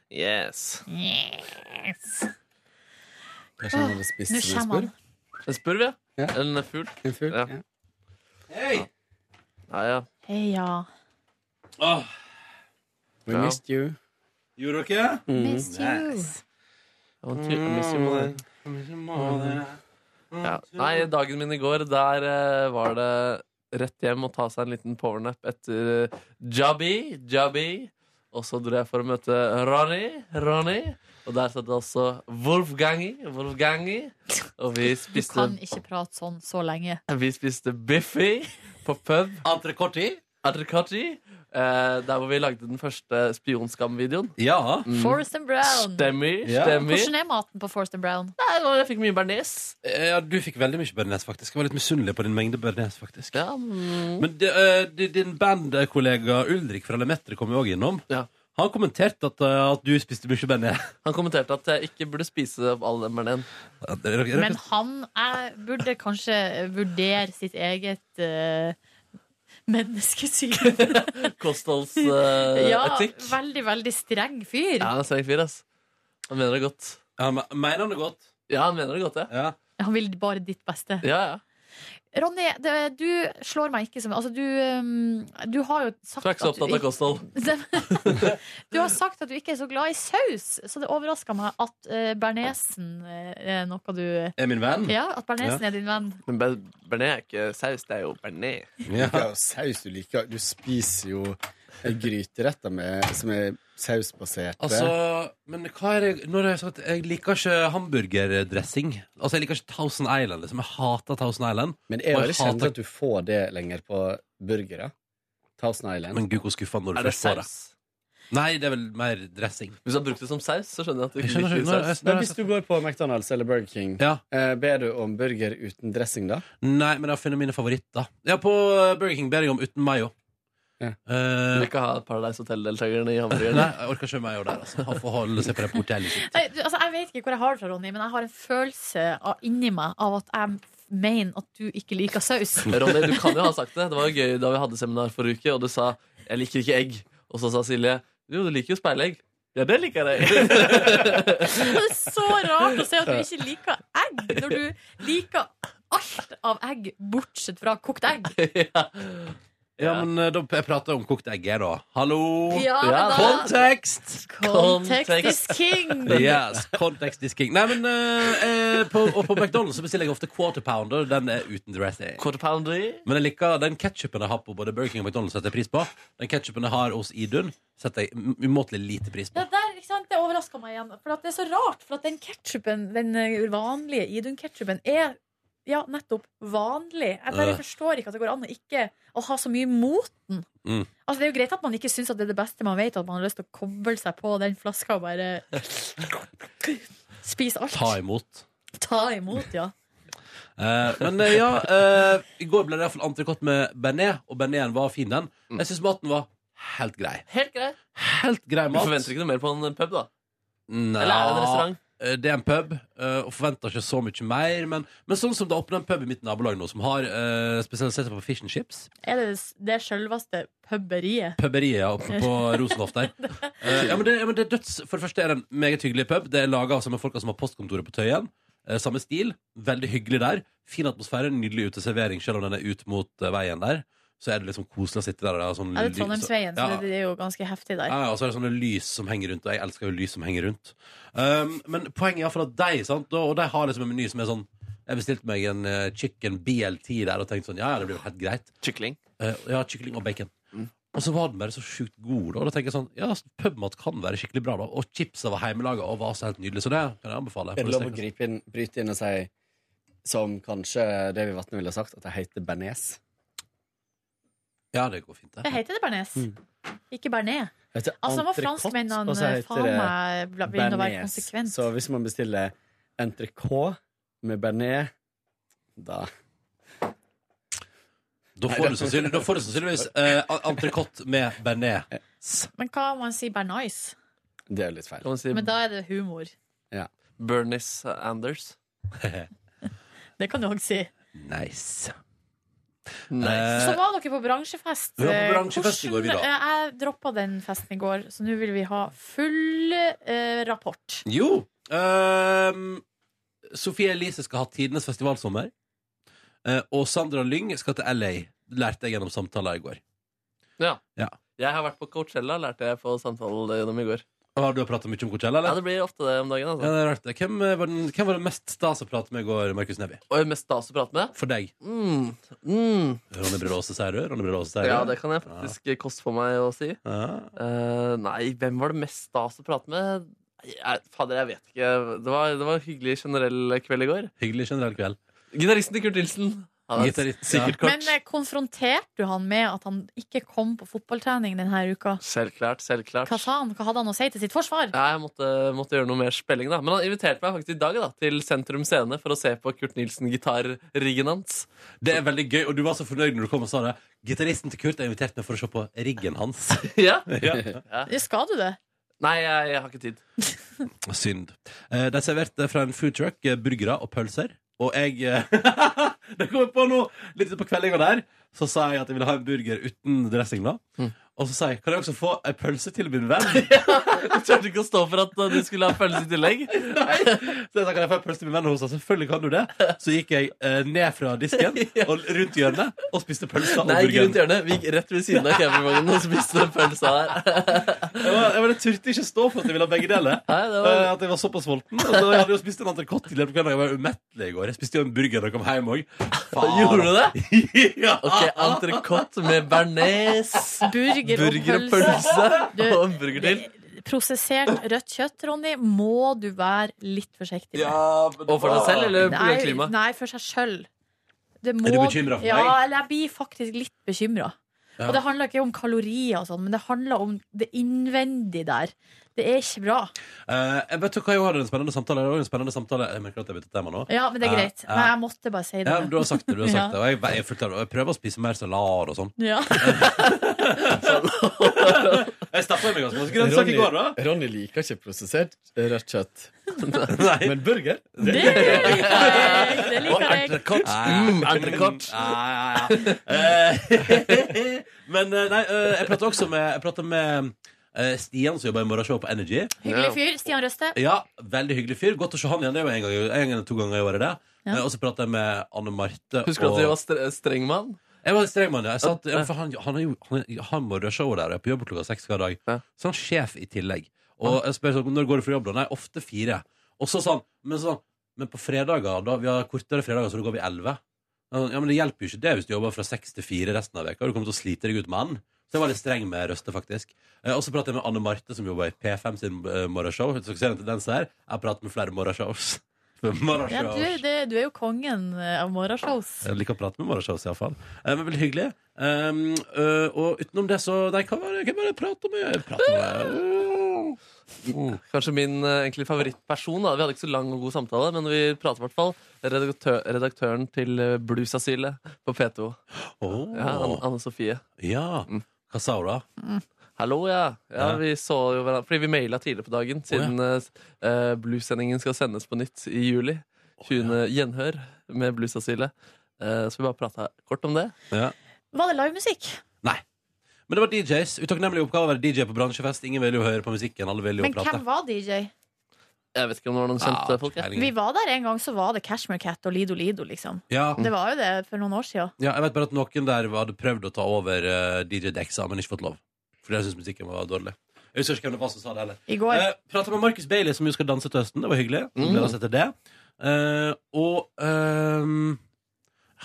S4: Yes.
S2: Yes.
S12: Jeg kjenner det spiste
S2: Nå
S12: en
S2: kommer
S12: spurv.
S2: han.
S4: En spurv, ja. En fugl.
S12: En fugl, ja.
S11: Hei!
S4: Ja, ja.
S2: Heia.
S11: Åh,
S12: We
S4: Ja.
S12: missed you.
S11: gjorde dere?
S12: Mm.
S2: Missed you.
S4: I want to- I miss you more.
S3: Mm.
S4: Ja. Nei, dagen min i går, der eh, var det rett hjem og ta seg en liten powernap etter uh, Jabby, Jabby. Og så dro jeg for å møte Ronny, Ronny. Og der satt det også Wolfgangi, Wolfgangi. Og vi spiste,
S2: Kan ikke prate sånn så lenge.
S4: vi spiste Biffy på pub. Entrecotti. Eh, der hvor vi lagde den første Spionskam-videoen.
S11: Ja.
S2: Forrest and Brown.
S4: Mm. Stemmer, stemmer.
S2: Sånn. Hvordan er maten på Forrest and Brown?
S4: jeg fikk mye bearnés.
S3: Eh, Ja, du fikk veldig mye bearnés, faktisk. Jeg var litt misunnelig på din mengde bearnés, faktisk.
S4: Ja, mm.
S3: Men det, eh, di- din bandkollega Ulrik fra Lemetre kom jo òg innom. Han kommenterte at, eh, at du spiste mye bearnés.
S4: Han kommenterte at jeg ikke burde spise opp all den bearnésen.
S2: Men han jeg burde kanskje vurdere sitt eget eh, menneskesyn. ja,
S4: Kostholdsetikk.
S2: veldig, veldig streng fyr.
S4: Eh, Ja, han er streng fyr, ass. Han mener det godt.
S3: mener han det godt?
S4: Ja, han mener det godt, ja.
S3: Ja,
S2: Han vil bare ditt beste.
S4: ja.
S2: Ronny, det, du slår meg ikke som Altså, du, um, du har jo sagt
S4: Du er ikke så opptatt av kosthold.
S2: Du har sagt at du ikke er så glad i saus, så det overrasker meg at uh, bearnésen eh, er noe du
S3: Er min venn?
S2: Ja, at bearnésen er din venn.
S4: Men be- bearnés er ikke saus, det er jo bearnés.
S12: Du liker jo saus du liker. Du spiser jo gryteretter med, som er sausbaserte.
S3: Altså, men hva er det Når har jeg sagt Jeg liker ikke hamburgerdressing. Altså, jeg liker ikke Thousand Island. Liksom. Jeg hater Thousand Island.
S12: men jeg
S3: Og
S12: har ikke
S3: hater-
S12: kjent at du får det lenger på burgere. Thousand Island.
S3: Men gud, hvor skuffa når du
S12: Er det
S3: først får det.
S12: saus?
S3: Nei, det er vel mer dressing.
S4: Hvis du har brukt det som saus, så skjønner jeg at du
S3: Jeg
S4: ikke
S3: skjønner
S4: liker
S3: ikke, når-
S4: saus.
S3: når-
S12: Men hvis du går på McDonald's eller Burger King, eh, ber du om burger uten dressing da?
S3: Nei, men jeg har funnet mine favoritter. Ja, på Burger King ber jeg om uten mayo. Eh,
S4: Du vil ikke ha Paradise Hotel-deltakerne i
S3: Nei,
S4: hamburgeren?
S3: jeg orker ikke mayo der, altså. Han får holde seg på det portellet sitt.
S2: Nei, du, altså, jeg vet ikke hvor jeg har det fra, Ronny, men jeg har en følelse av, inni meg av at jeg f- mener at du ikke liker saus.
S4: Ronny, du kan jo ha sagt det. Det var jo gøy da vi hadde seminar forrige uke, og du sa 'jeg liker ikke egg'. Og så sa Silje 'jo, du liker jo speilegg'. Ja, det liker jeg.
S2: Det er så rart å se at du ikke liker egg, når du liker alt av egg bortsett fra kokt egg.
S3: Ja, men eh, da, jeg prater om kokt egg her, da. Hallo!
S2: Ja, men da-
S3: Kontekst!
S2: Context is king.
S3: Yes, context is king. Nei, men eh, eh, på, og på McDonald's så bestiller jeg ofte quarter pounder. Den er uten dressing.
S4: Quarter pounder
S3: Men jeg liker den ketchupen jeg har på både Burger King og McDonald's, setter jeg pris på. Den ketchupen jeg har hos Idun, setter jeg m- umåtelig lite pris på.
S2: Det der, ikke sant, det overraska meg igjen. For at det er så rart, for at den ketchupen, den eh, vanlige Idun-ketchupen, er ja, nettopp vanlig. Jeg bare
S3: Øh.
S2: forstår ikke at det går an å ikke å ha så mye mot den.
S3: Mm.
S2: Altså, det er jo greit at man ikke syns at det er det beste man vet, at man har lyst til å koble seg på den flaska og bare spise alt.
S3: Ta imot.
S2: Ta imot, ja.
S3: Eh, men eh, ja, eh, i går ble det iallfall entrecôte med bearnés, og bearnésen var fin, den.
S4: Mm.
S3: Jeg syns maten var helt grei.
S4: Helt grei.
S3: Helt grei
S4: Du
S3: mat.
S4: forventer ikke noe mer på en pub, da?
S3: Nei.
S4: Eller er det en restaurant?
S3: Eh, Det er en pub, eh, og forventer ikke så mye mer. Men, men sånn som det åpner en pub i mitt nabolag nå, som har eh, spesialisert seg på fish and chips.
S2: Er det det sjølveste puberiet?
S3: Puberiet ja, oppe på Rosenhoff der. Eh, ja, men det, ja, men det er døds For det første er det en meget hyggelig pub. Det er laga av samme folka som har postkontoret på Tøyen. Eh, samme stil. Veldig hyggelig der. Fin atmosfære, nydelig uteservering, selv om den er ut mot eh, veien der. Så er det liksom koselig å sitte der. og det er sånn
S2: Ja, Mm, det er
S3: lys-
S2: Trondheimsveien, så det, det er jo ganske heftig der.
S3: Ja, ja, og så er det sånne lys som henger rundt, og jeg elsker jo lys som henger rundt. Um, men poenget er iallfall at de, sant, og og de har liksom en meny som er sånn Jeg bestilte meg en eh, chicken BLT der og tenkte sånn, ja, ja, det blir jo helt greit. Eh,
S4: Kykling?
S3: ja, kykling og bacon. Og så var den bare så sjukt god, da. Og da tenker jeg sånn, ja, altså, Pubmat kan være skikkelig bra, da. Og chipsa var hjemmelaga og var så helt nydelig, så det kan jeg anbefale.
S12: Er det lov å gripe inn, bryte inn og si, som kanskje Davy Vatne ville ha sagt, at det heter bearnés?
S3: Ja, det går fint,
S2: Det heter det bearnés.
S12: Mm.
S2: Ikke bearnés.
S12: Heter
S2: Altså, hva franskmennene, faen meg, bla- begynner å være konsekvent.
S12: Så hvis man bestiller entrecôte med bearnés, da
S3: Da får du sannsynlig- da får du sannsynligvis eh, entrecôte med bearnés.
S2: Men hva om man sier bare nice?
S4: Det er litt feil.
S2: Men da er det humor.
S4: Bernice Anders.
S2: Det kan du òg si.
S3: nice.
S2: Så
S3: Eh,
S2: var dere på bransjefest.
S3: Vi var på bransjefest i går, vi da.
S2: Hvordan- eh, Jeg droppa den festen i går, så nå vil vi ha full eh, rapport.
S3: jo. ehm, Sofie Elise skal ha tidenes festivalsommer. Eh, og Sandra Lyng skal til LA. Lærte jeg gjennom samtaler i går.
S4: Ja.
S3: Ja.
S4: Jeg har vært på Coachella, lærte jeg på samtale gjennom i går.
S3: Har du pratet mye om Coachella, eller?
S4: Ja, det blir ofte det om dagen.
S3: Ja,
S4: altså.
S3: det er rart. det. Hvem eh, var, den, hvem var det mest stas å prate med i går, Markus Neby?
S4: Og mest stas å prate med?
S3: For deg.
S4: Mm. Mm.
S3: Ronny Brulåse, sier du? Ronny Brulåse, sier du?
S4: Ja, det kan jeg faktisk koste på meg å si. Eh, nei, hvem var det mest stas å prate med? Nei, Jeg, fader, jeg vet ikke. Det var, det var en hyggelig generell kveld i går.
S3: Hyggelig generell kveld.
S4: Gitaristen til Kurt Nilsen. Han er
S3: Gitarist, ja.
S4: sikkert
S2: Men
S4: kort.
S2: eh, konfronterte du han med at han ikke kom på fotballtrening denne uka?
S4: Selvklart, selvklart.
S2: Hva sa han? Hva hadde han å si til sitt forsvar?
S4: Nei, jeg måtte, måtte gjøre noe mer spilling, da. Men han inviterte meg faktisk i dag da, til Sentrum Scene for å se på Kurt Nilsen-gitarriggen hans.
S3: Det er veldig gøy, og du var så fornøyd når du kom og sa det. Gitaristen til Kurt er invitert med for å se på riggen hans.
S4: ja.
S2: Skal du det?
S4: Nei, jeg, jeg har ikke tid.
S3: Synd. Eh, de serverte fra en food truck eh, burgere og pølser, og jeg eh, Det kom jeg på nå! Litt på kveldinga der så sa jeg at jeg ville ha en burger uten dressing. da
S4: Mm.
S3: Og så sa jeg kan jeg også få ei pølse til min venn.
S4: Du turte ikke å stå for at eh, du skulle ha pølse i tillegg?
S3: Nei. Så jeg sa kan jeg få en pølse til min venn hos deg? Selvfølgelig kan du det. Så gikk jeg eh, ned fra disken og rundt hjørnet og spiste pølsa og
S4: Nei, ikke
S3: burgeren.
S4: rundt hjørnet. Vi gikk rett ved siden av campingvognen og spiste den pølsa der.
S3: Jeg, var, jeg, var, jeg turte ikke stå for at jeg ville ha begge deler.
S4: det var-
S3: Eh, At jeg var såpass sulten. Og så hadde jeg jo spist en entrecôte tidligere på kvelden. og Jeg var umettelig i går. Jeg spiste jo en burger da jeg kom hjem òg.
S4: Gjorde du det?
S2: Ah,
S4: Ok, entrecôte med bearnés.
S2: Burger og pølse. Du,
S4: Og en burger til.
S2: Prosessert rødt kjøtt, Ronny, må du være litt forsiktig med.
S4: og for deg selv, eller på grunn av klimaet?
S2: Nei, for seg sjøl. Er
S4: du bekymret for
S2: ja,
S4: meg?
S2: eller jeg blir faktisk litt bekymra.
S4: Ja.
S2: Og det handler ikke om kalorier, og sånn, men det handler om det innvendig der. Det er ikke bra.
S3: Eh, jeg vet jo hva jeg hadde en spennende samtale. Det var jo en spennende samtale. Jeg merker at jeg bytter tema nå.
S2: Ja, men det er
S3: Eh,
S2: greit.
S3: eh,
S2: Men jeg måtte bare si det.
S3: ja, men du har sagt det. du har sagt det
S2: Ja.
S3: Og jeg, jeg, er fullt av det. Og jeg prøver å spise mer salat og sånn.
S2: Ja.
S3: jeg stappa i meg altså. ganske masse grønnsaker i går, da.
S12: Ronny liker ikke prosessert
S4: eh,
S12: rødt kjøtt.
S3: Nei.
S12: Men burger?
S3: Det
S12: liker
S2: jeg! Det
S12: liker jeg.
S3: Entrecôte.
S12: Mm,
S3: entrecôte. Eh, Men eh, nei, eh, jeg prater også med, jeg prater med eh, Stian, som jobber i morgenshow på Energy.
S2: Hyggelig fyr. Stian Røste.
S3: Ja, veldig hyggelig fyr. Godt å se han igjen. Det er jo en gang, en gang eller to ganger i året, det.
S2: Ja.
S3: Eh, Og så prater jeg med Anne Marte.
S4: Husker du at du var stre streng mann?
S3: Jeg var streng mann, ja. Jeg sa at, ja, for han, han, er jo, han, er- han må rushe over der og er på jobb klokka seks hver dag. Så han er sjef i tillegg. Og jeg spør sånn, når går du fra jobb da? Nei, ofte fire. Og så sånn, men sånn, men på fredager, da vi har kortere fredager, så da går vi elleve. Ja, sånn, ja, men det hjelper jo ikke det hvis du jobber fra seks til fire resten av veka. Du kommer til å slite deg ut med han. Så jeg var litt streng med Røste, faktisk. Eh, Og så prater jeg med Anne Marte, som jobber i P5 sin eh, morgenshow. Så dere ser en tendens her. Jeg prater med flere morgenshows.
S2: Ja, du,
S3: Morgenshows.
S2: det, du er jo kongen av morgenshows.
S3: Jeg liker å prate med morgenshows i hvert fall. Eh, Men veldig hyggelig. Um, øh, og utenom det, så Nei, hva var det hva var det jeg prata med? Jeg pratet med
S4: Kanskje min eh, egentlig favorittperson. da Vi hadde ikke så lang og god samtale, men vi prater i hvert fall. Redaktør, redaktøren til eh, Bluesasylet på P2. Ja, Anne, Anne Sofie.
S3: Ja.
S2: Mm.
S3: Hva sa hun da?
S4: Hallo, ja. ja
S3: Ja.
S4: vi så jo hverandre Fordi vi maila tidligere på dagen, siden eh, eh, bluessendingen skal sendes på nytt i juli. 20. Gjenhør med Bluesasylet. Eh, så vi bare prata kort om det.
S3: Ja.
S2: Var det livemusikk?
S3: Nei. Men det var DJs. Utakknemlig oppgave å være DJ på bransjefest. Ingen vil jo høre på musikken. Alle vil jo
S2: Men
S3: prate.
S2: hvem var DJ?
S4: Jeg vet ikke om det var noen kjente
S3: Ja,
S4: folk.
S3: peiling.
S2: Vi var der en gang, så var det Cashmere Cat og Lido Lido, liksom.
S3: Ja.
S2: Det var jo det for noen år siden.
S3: ja, jeg vet bare at noen der hadde prøvd å ta over eh, DJ Dexa, men ikke fått lov. Fordi jeg syntes musikken var dårlig. Jeg husker ikke hvem det var som sa det heller.
S2: I går.
S3: Eh, Prata med Marcus Bailey, som jo skal danse til høsten. Det var hyggelig. Gleder oss etter det. Eh, og ehm,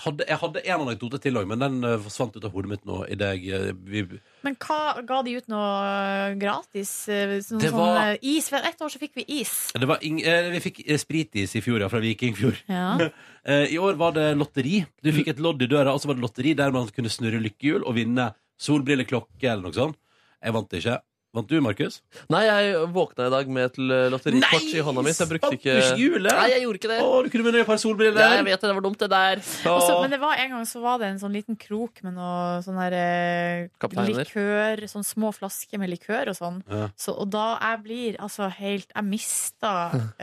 S3: hadde, jeg hadde en anekdote til òg, men den eh, forsvant ut av hodet mitt nå. I det, jeg, eh, vi,
S2: Men hva ga de ut noe gratis? Eh, Sånn,
S3: Det
S2: sånn,
S3: var-
S2: eh, is. For ett år så fikk vi is.
S3: det var ing, eh, vi fikk eh, spritis i fjor, ja, fra Vikingfjord.
S2: Ja.
S3: Eh, I år var det lotteri. Du fikk et lodd i døra, og så var det lotteri der man kunne snurre lykkehjul og vinne solbrilleklokke eller noe sånt. Jeg vant det ikke, Vant du, Markus?
S4: Nei, jeg våkna i dag med et l- lotterikort i hånda mi, så jeg brukte ikke
S3: Stakkars jule!
S4: Nei, jeg gjorde ikke det.
S3: Å, du kunne vunnet et par solbriller.
S4: Ja, jeg vet det, det var dumt, det der.
S2: Også, men det var en gang så var det en sånn liten krok med noe sånn her eh,
S4: Kapteiner.
S2: likør, sånn små flasker med likør og sånn.
S4: Ja.
S2: Så, og da jeg blir altså helt Jeg mista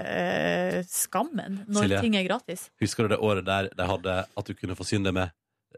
S2: eh, skammen når
S3: Silje.
S2: ting er gratis.
S3: Husker du det året der de hadde at du kunne forsyne deg med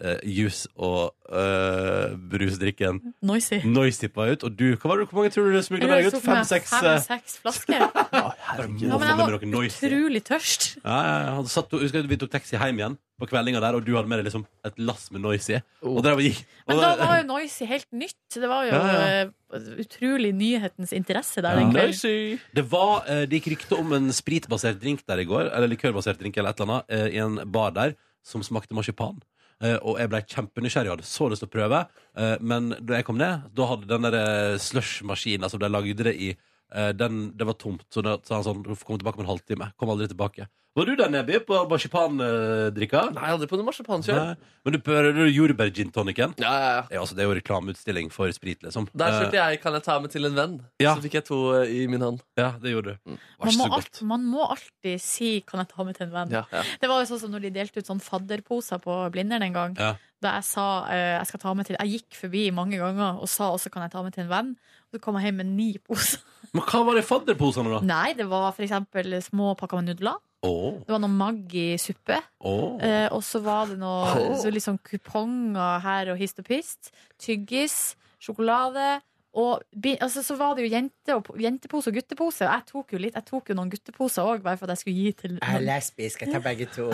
S3: eh, juice og eh, brusdrikken?
S2: Noisy.
S3: Noisy var ut, og du, hva var det, hvor mange tror du du smugla deg ut? eh, Fem-seks?
S2: Fem-seks flasker.
S3: Må
S2: Ja, men
S3: få
S2: jeg
S3: med
S2: var
S3: noe noisy.
S2: utrolig tørst.
S3: Ja, ja, ja. Han satt, husker jeg, vi tok taxi hjem igjen på kveldinga der, og du hadde med deg liksom et lass med Noisy. Og der gikk
S2: Men
S3: og
S2: da
S3: der-
S2: var jo Noisy helt nytt. Det var jo
S3: Ja, ja.
S2: eh, utrolig nyhetens interesse der den kvelden.
S3: Det, var, eh, det gikk rykte om en spritbasert drink der i går, eller likørbasert drink eller et eller annet, eh, i en bar der som smakte marsipan. Eh, Og jeg ble kjempenysgjerrig og hadde så lyst til å prøve. eh, Men da jeg kom ned, da hadde den der eh, slush-maskinen som de lagde det i, eh, den, det var tomt. Så da sa han sånn Du får komme tilbake om en halvtime. Kom aldri tilbake. Var du der, Neby, på marsipandrikka?
S4: Nei, aldri på noe marsipan
S3: Nei. Men du prøver jordbær-gin-tonicen? Ja, ja, ja. altså, det er jo reklameutstilling for sprit, liksom.
S4: Der
S3: Eh,
S4: kjørte jeg 'Kan jeg ta med til en venn'?
S3: Ja.
S4: Så fikk jeg to eh, i min hånd.
S3: Ja, det gjorde
S4: Mm.
S3: du.
S2: Man må, alt, man må alltid si 'kan jeg ta med til en venn'?
S4: Ja, ja.
S2: Det var jo sånn som når de delte ut sånn fadderposer på Blindern en gang.
S3: Ja.
S2: Da jeg sa eh, jeg skal ta med til Jeg gikk forbi mange ganger og sa også 'kan jeg ta med til en venn'? Og så kom jeg hjem med ni poser.
S3: Men hva var det i fadderposene, da?
S2: Nei, det var for eksempel små pakker med nudler.
S3: Åh,
S2: Det var noe Maggi-suppe.
S3: åh.
S2: Eh, og så var det noe
S3: Åh.
S2: så liksom kuponger her og hist og pist. Tyggis, sjokolade. Og bi- altså, så var det jo jente og, jentepose og guttepose. Og Jeg tok jo litt, jeg tok jo noen gutteposer òg, bare for at jeg skulle gi til
S13: Jeg er
S2: noen.
S13: lesbisk, jeg tar begge to.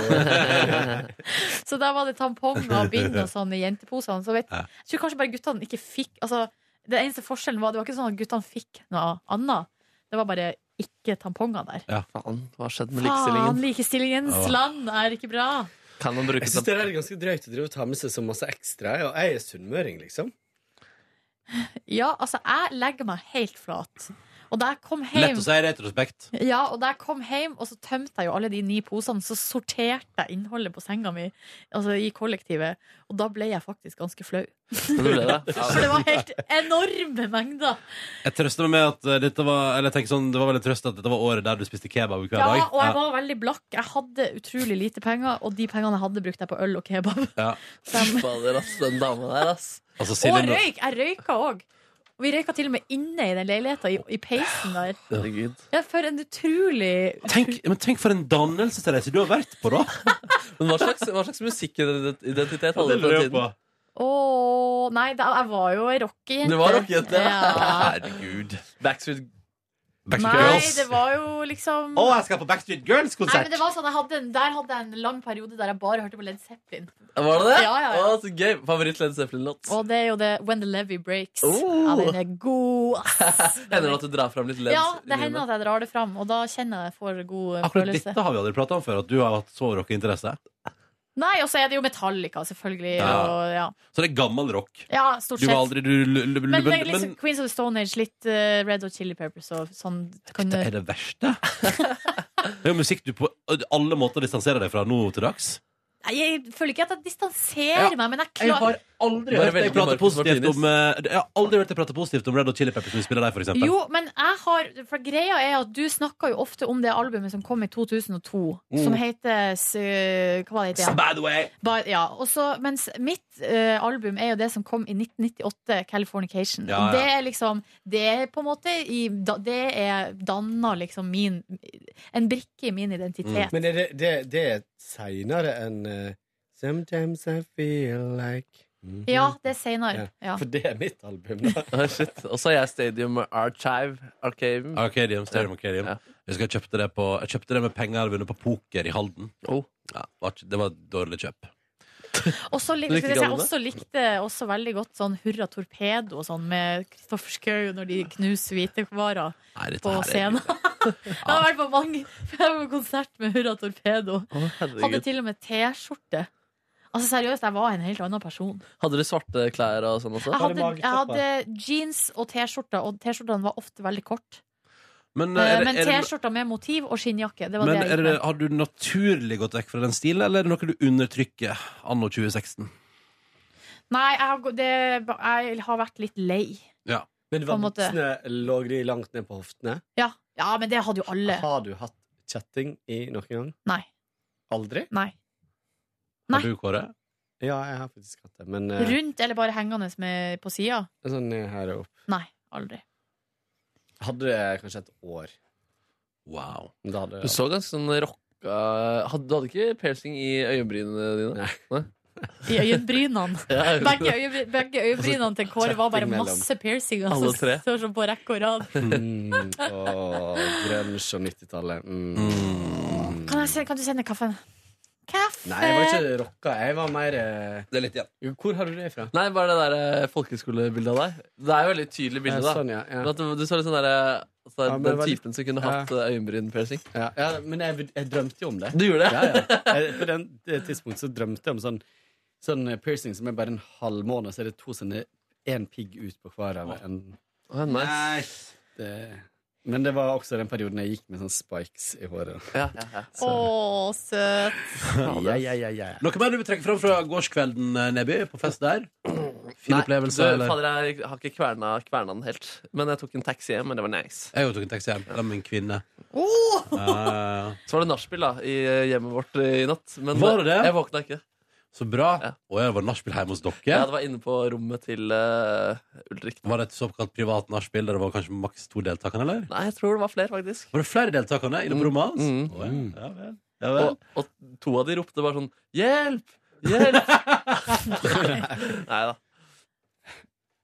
S2: Så der var det tamponger og bind og sånn i jenteposene. Så vet, jeg tror kanskje bare guttene ikke fikk altså, Den eneste forskjellen var det var ikke sånn at guttene fikk noe annet. Det var bare ikke tamponger der.
S3: Ja.
S4: Faen, hva har skjedd med
S2: Faen,
S4: likestillingen?
S2: likestillingens
S12: Åh.
S2: land er ikke bra.
S4: Kan man
S12: Jeg synes det er ganske drøyt å drive og ta med seg så masse ekstra. Og jeg er sunnmøring, liksom.
S2: Ja, altså, jeg legger meg helt flat. Og da jeg kom
S3: Lett
S2: hjem
S3: å si i retrospekt.
S2: ja, og da jeg kom hjem, og så tømte jeg jo alle de ni posene, så sorterte jeg innholdet på senga mi, altså i kollektivet, og da ble jeg faktisk ganske flau. For det var helt enorme mengder.
S3: Jeg trøster meg med at eh, dette var Eller jeg tenker sånn, det var vel en trøst at dette var året der du spiste kebab hver dag.
S2: Ja, og jeg var veldig blakk. Jeg hadde utrolig lite penger, og de pengene jeg hadde, brukte jeg på øl og kebab. um,
S3: Ja.
S4: Fader, ass, den dama der, ass.
S3: Altså, Silje,
S2: Og
S3: nå-
S2: røyk! Jeg røyka òg. Og vi røyka til og med inne i den leiligheta, i, i peisen der.
S4: Herregud.
S2: Ja, for en utrolig
S3: Tenk, men tenk for en dannelsesreise du har vært på, da!
S4: Men hva slags, hva slags musikkidentitet
S3: Ja, det
S4: hadde du på
S3: lurer
S4: den
S3: jeg
S4: tiden?
S3: på.
S2: Å nei, da, jeg var jo ei rockejente.
S4: Du var rockejente?
S2: Ja.
S3: Herregud.
S4: Backstreet,
S2: Nei, det var jo liksom
S3: Å, jeg skal på Backstreet
S2: Nei, men
S3: Girls-konsert!
S2: det var sånn, jeg hadde en, Der hadde jeg en lang periode der jeg bare hørte på Led Zeppelin.
S4: Var det det?
S2: Ja, ja, ja.
S4: Å, så gøy. Favoritt Led Zeppelin-låt.
S2: Og det er jo det When the Levy Breaks.
S4: Oh.
S2: Ja, den er god.
S4: Hender det at du drar fram litt Led?
S2: Ja, det hender at jeg drar det fram, og da kjenner jeg jeg får god eh,
S3: Akkurat
S2: følelse.
S3: dette har vi aldri prata om før, at du har hatt så rockeinteresse.
S2: Nei, og så er det jo Metallica, selvfølgelig.
S3: Ja.
S2: Og, ja.
S3: Så det er gammel rock.
S2: ja, stort
S3: Du var
S2: sett.
S3: aldri du, l- l-
S2: Men, det
S3: men-
S2: er liksom
S3: men-
S2: Queens of the Stone Age, litt eh, Red og Chili Peppers og sånn. Kan,
S3: Det er det verste. Det er jo musikk du på alle måter distanserer deg fra nå til dags.
S2: Nei, jeg føler ikke at jeg distanserer
S3: Ja.
S2: meg, men jeg
S3: Jeg har
S2: klarer
S3: aldri
S4: Bare
S3: hørt deg
S4: velge
S3: prate
S4: Marcus
S3: positivt om eh, Jeg har aldri hørt deg prate positivt om Red Hot Chili Peppers når vi spiller der, for eksempel.
S2: Jo, men jeg har For greia er at du snakker jo ofte om det albumet som kom i 2002,
S3: Mm.
S2: som heter eh, Hva var det heter igjen?
S3: By the way.
S2: Ba- ja, og så, mens mitt eh, album er jo det som kom i 1998, 'Californication'.
S3: Ja, ja.
S2: Og det er liksom Det er på en måte i, da, Det er danna liksom min En brikke i min
S3: Mm.
S2: identitet.
S12: Men er det, det, det er seinere enn eh, Sometimes I feel like
S2: Ja, det er seinere. Ja.
S12: For det er mitt album, da.
S4: Ah, shit. Og så er jeg Stadium Archive. Arcadium.
S3: Arcadium, Ah, Stadium Arcadium. Jeg husker jeg kjøpte det, på, jeg kjøpte det med penger jeg hadde vunnet på poker i Halden. Ja, det var ikke- det var et dårlig kjøp.
S2: Og så lik-
S3: Du likte
S2: skal jeg si, jeg
S3: gamle?
S2: også likte også veldig godt sånn Hurra Torpedo og sånn med Kristoffer Schou når de knuser hvitevarer
S3: dette
S2: på
S3: her er
S2: scenen. Jeg har vært på mange jeg har vært på konsert med Hurra Torpedo.
S4: herregud.
S2: Hadde til og med T-skjorte. Altså Seriøst, jeg var en helt annen person.
S4: Hadde du svarte klær og sånn også?
S2: Jeg hadde, jeg hadde jeans og T-skjorter, og T-skjortene var ofte veldig kort
S3: Men, eh,
S2: Eh,
S3: er det-
S2: Men
S3: er det-
S2: T-skjorter med motiv og skinnjakke. Det var
S3: men
S2: det jeg
S3: er
S2: gikk
S3: det,
S2: med.
S3: har du naturlig gått vekk fra den stilen, eller er det noe du undertrykker anno 2016?
S2: Nei, jeg har, gå- det, jeg har vært litt lei.
S3: Ja.
S2: på
S13: Men
S2: en måte.
S13: voksne lå de langt ned på hoftene?
S2: Ja. ja, men det hadde jo alle.
S13: Har du hatt kjetting i noen gang?
S2: Nei.
S13: Aldri?
S2: Nei.
S13: Har du, Kåre? Ja, jeg har faktisk hatt det, men eh,
S2: Rundt eller bare hengende med, på sida?
S13: sånn ned her og opp.
S2: Nei, aldri.
S13: Hadde det kanskje et år.
S3: Wow.
S13: Da hadde
S4: Du så ganske sånn rocka hadde, Du hadde ikke piercing i øyenbrynene dine? Nei.
S2: I øyenbrynene.
S4: Ja, jo.
S2: Begge, øye, begge øyenbrynene
S3: Altså,
S2: til Kåre var bare
S13: kjetting mellom.
S2: masse piercinger
S13: Alle
S2: som
S13: tre.
S2: står sånn på rekke og rad.
S13: Mm, åh, grunge og 90-tallet. Mm.
S2: Kan, jeg se, kan du sende kaffen? Kaffe!
S13: Nei, jeg var ikke rocka. Jeg var mer Det er litt igjen. Hvor har du det fra?
S4: Nei, bare det der eh, folkeskolebildet av deg. Det er jo veldig tydelig bilde,
S13: Ja,
S4: da.
S13: sånn, ja, ja.
S4: Men at du, du så litt sånn derre altså,
S13: Ja, men
S4: Den
S13: det var litt-
S4: typen som kunne
S13: ja.
S4: hatt eh, øyenbrynpiercing.
S13: Ja, ja men jeg, jeg drømte jo om det.
S4: Du gjorde det?
S13: Ja, ja. Jeg, på den det tidspunktet så drømte jeg om sånn, sånn piercing som er bare en halv måned, så er det to sånne én pigg ut på hver av en.
S11: nice.
S13: Det, men det var også den perioden jeg gikk med sånn spikes i håret.
S2: Å, søt.
S13: Ja, ja, ja, ja.
S3: Noe mer du vil trekke fram fra gårdskvelden, eh, Neby, på fest der? Fin opplevelse,
S4: du,
S3: eller?
S4: Fader, jeg har ikke kverna, kverna den helt. Men jeg tok en taxi hjem, men det var nice.
S3: Jeg tok en taxi hjem sammen med en kvinne.
S2: Oh!
S3: Eh,
S4: Så var det nachspiel da, i eh, hjemmet vårt eh, i natt. Men
S3: Var det det?
S4: jeg våkna ikke.
S3: Så bra. Og jeg var nachspiel hjemme hos dere.
S4: Ja, det var inne på rommet til eh, Ulrik.
S3: Var det et såkalt privat nachspiel der det var kanskje maks to deltakere, eller?
S4: Nei, jeg tror det var flere, faktisk.
S3: Var det flere deltakerne inne på rommet hans?
S4: Mm.
S3: Å, ja. Ja, vel. Ja, vel.
S4: Og, og to av de ropte bare sånn Hjelp! Hjelp! Nei da.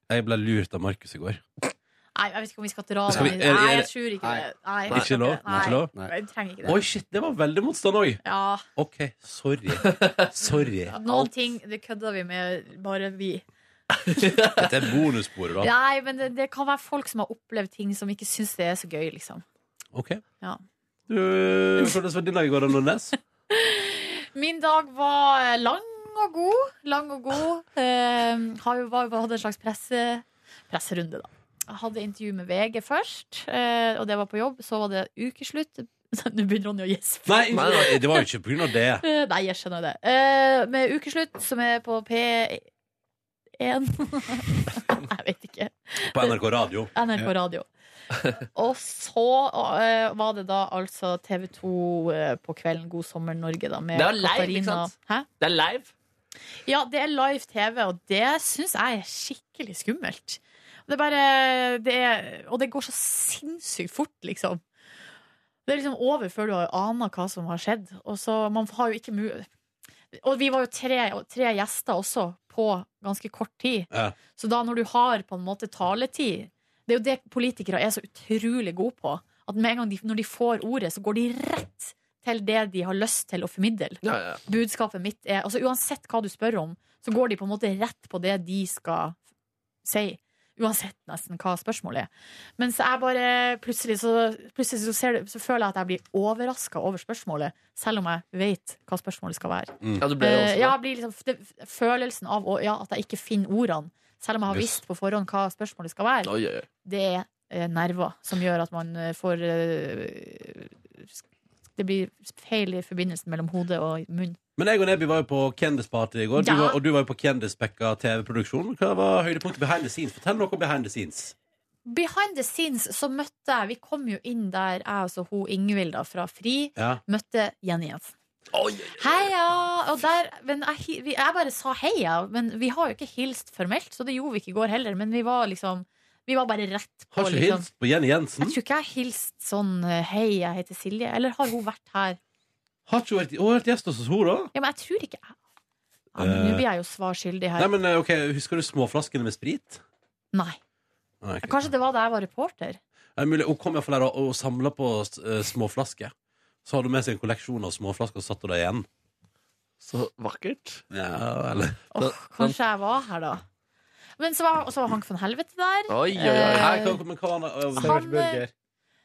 S3: Jeg ble lurt av Markus i går.
S2: Nei, jeg vet ikke om vi skal dra
S3: Skal vi-
S2: den.
S3: er- er-
S2: Nei, jeg tror ikke det. Nei, jeg
S3: Ikke lov?
S2: Nei,
S3: Ikke lov?
S2: jeg trenger ikke det.
S3: Oi, shit, det var veldig motstand òg.
S2: Ja,
S3: OK, sorry. Sorry.
S2: noen ting det kødder vi med, bare vi.
S3: Dette er bonussporet, da.
S2: Nei, men det, det kan være folk som har opplevd ting som ikke syns det er så gøy, liksom.
S3: OK.
S2: Ja.
S3: Du, Hvordan var din dag i går, Anne Nordnes?
S2: Min dag var eh, lang og god. Lang og god. Eh, har jo var, hadde en slags presse, presserunde, da. Jeg hadde intervju med VG først, eh, og det var på jobb. Så var det ukeslutt. Nå begynner Ronny å gjespe.
S3: Nei, nei, det var jo ikke på grunn av det.
S2: Eh, Nei, jeg skjønner jo det. Eh, Med ukeslutt, som er på P1 Jeg vet ikke.
S3: På NRK Radio.
S2: NRK Radio. Og så eh, var det da altså TV 2 eh, på kvelden God sommer Norge, da, med
S4: Det er live, ikke
S2: Katarina.
S4: sant?
S2: Hæ?
S4: Det er live.
S2: Ja, det er live TV, og det syns jeg er skikkelig skummelt. Det er bare, det er, og det går så sinnssykt fort, liksom. Det er liksom over før du har aner hva som har skjedd. Og så man har jo ikke mu Og vi var jo tre, tre gjester også på ganske kort tid.
S3: Ja.
S2: Så da når du har på en måte taletid Det er jo det politikere er så utrolig gode på. At med en gang de, når de får ordet, så går de rett til det de har lyst til å formidle.
S4: Ja, ja.
S2: Budskapet mitt er altså Uansett hva du spør om, så går de på en måte rett på det de skal si. Uansett nesten hva spørsmålet er. Men så jeg bare plutselig så, plutselig så, ser, det- så føler jeg at jeg blir overraska over spørsmålet, selv om jeg vet hva spørsmålet skal være.
S4: Mm. Ja, du ble det også,
S2: Eh,
S4: da.
S2: ja, jeg blir liksom, det, følelsen av å- ja, at jeg ikke finner ordene, selv om jeg har
S4: Yes.
S2: visst på forhånd hva spørsmålet skal være,
S4: Oi, oi, oi.
S2: det er eh, nerver som gjør at man eh, får eh, Det blir feil i forbindelsen mellom hode og munn.
S3: Men jeg og Nebby var jo på Kendisparty i går, du
S2: Ja.
S3: var, og du var jo på Kendisbekka TV-produksjon. Hva var høydepunktet behind the scenes? Fortell noe om behind the scenes.
S2: Behind the scenes så møtte jeg Vi kom jo inn der, jeg altså hun Ingvild da, fra Fri,
S3: Ja.
S2: møtte Jenny Jensen. Heia! Og der, men jeg, hi- vi- jeg bare sa heia, men vi har jo ikke hilst formelt, så det gjorde vi ikke i går heller. Men vi var liksom Vi var bare rett på.
S3: Har ikke
S2: liksom.
S3: hilst på Jenny
S2: Jeg
S3: Jensen?
S2: tror ikke jeg har hilst sånn eh, hei, jeg heter Silje. Eller har hun vært her?
S3: Har ikke hun vært, hun har vært gjest hos oss, hun, da?
S2: Ja, men jeg tror ikke jeg ja, men Nå blir jeg jo svar skyldig her.
S3: Nei, men eh, ok, Husker du småflaskene med sprit?
S2: Nei.
S3: Nei, ok.
S2: Kanskje det var da jeg var reporter.
S3: Det er mulig. Hun kom iallfall der og, og samla på eh, småflasker. Så hadde hun med seg en kolleksjon av småflasker og satte det igjen.
S4: Så vakkert.
S3: Ja, eller
S2: Kanskje jeg var her da. Men så var, og så var Hank von Helvete der.
S3: Oi, oi, oi.
S2: Eh,
S3: Hæ, hva- men hva var han- øh,
S2: han, eh, Servert burger.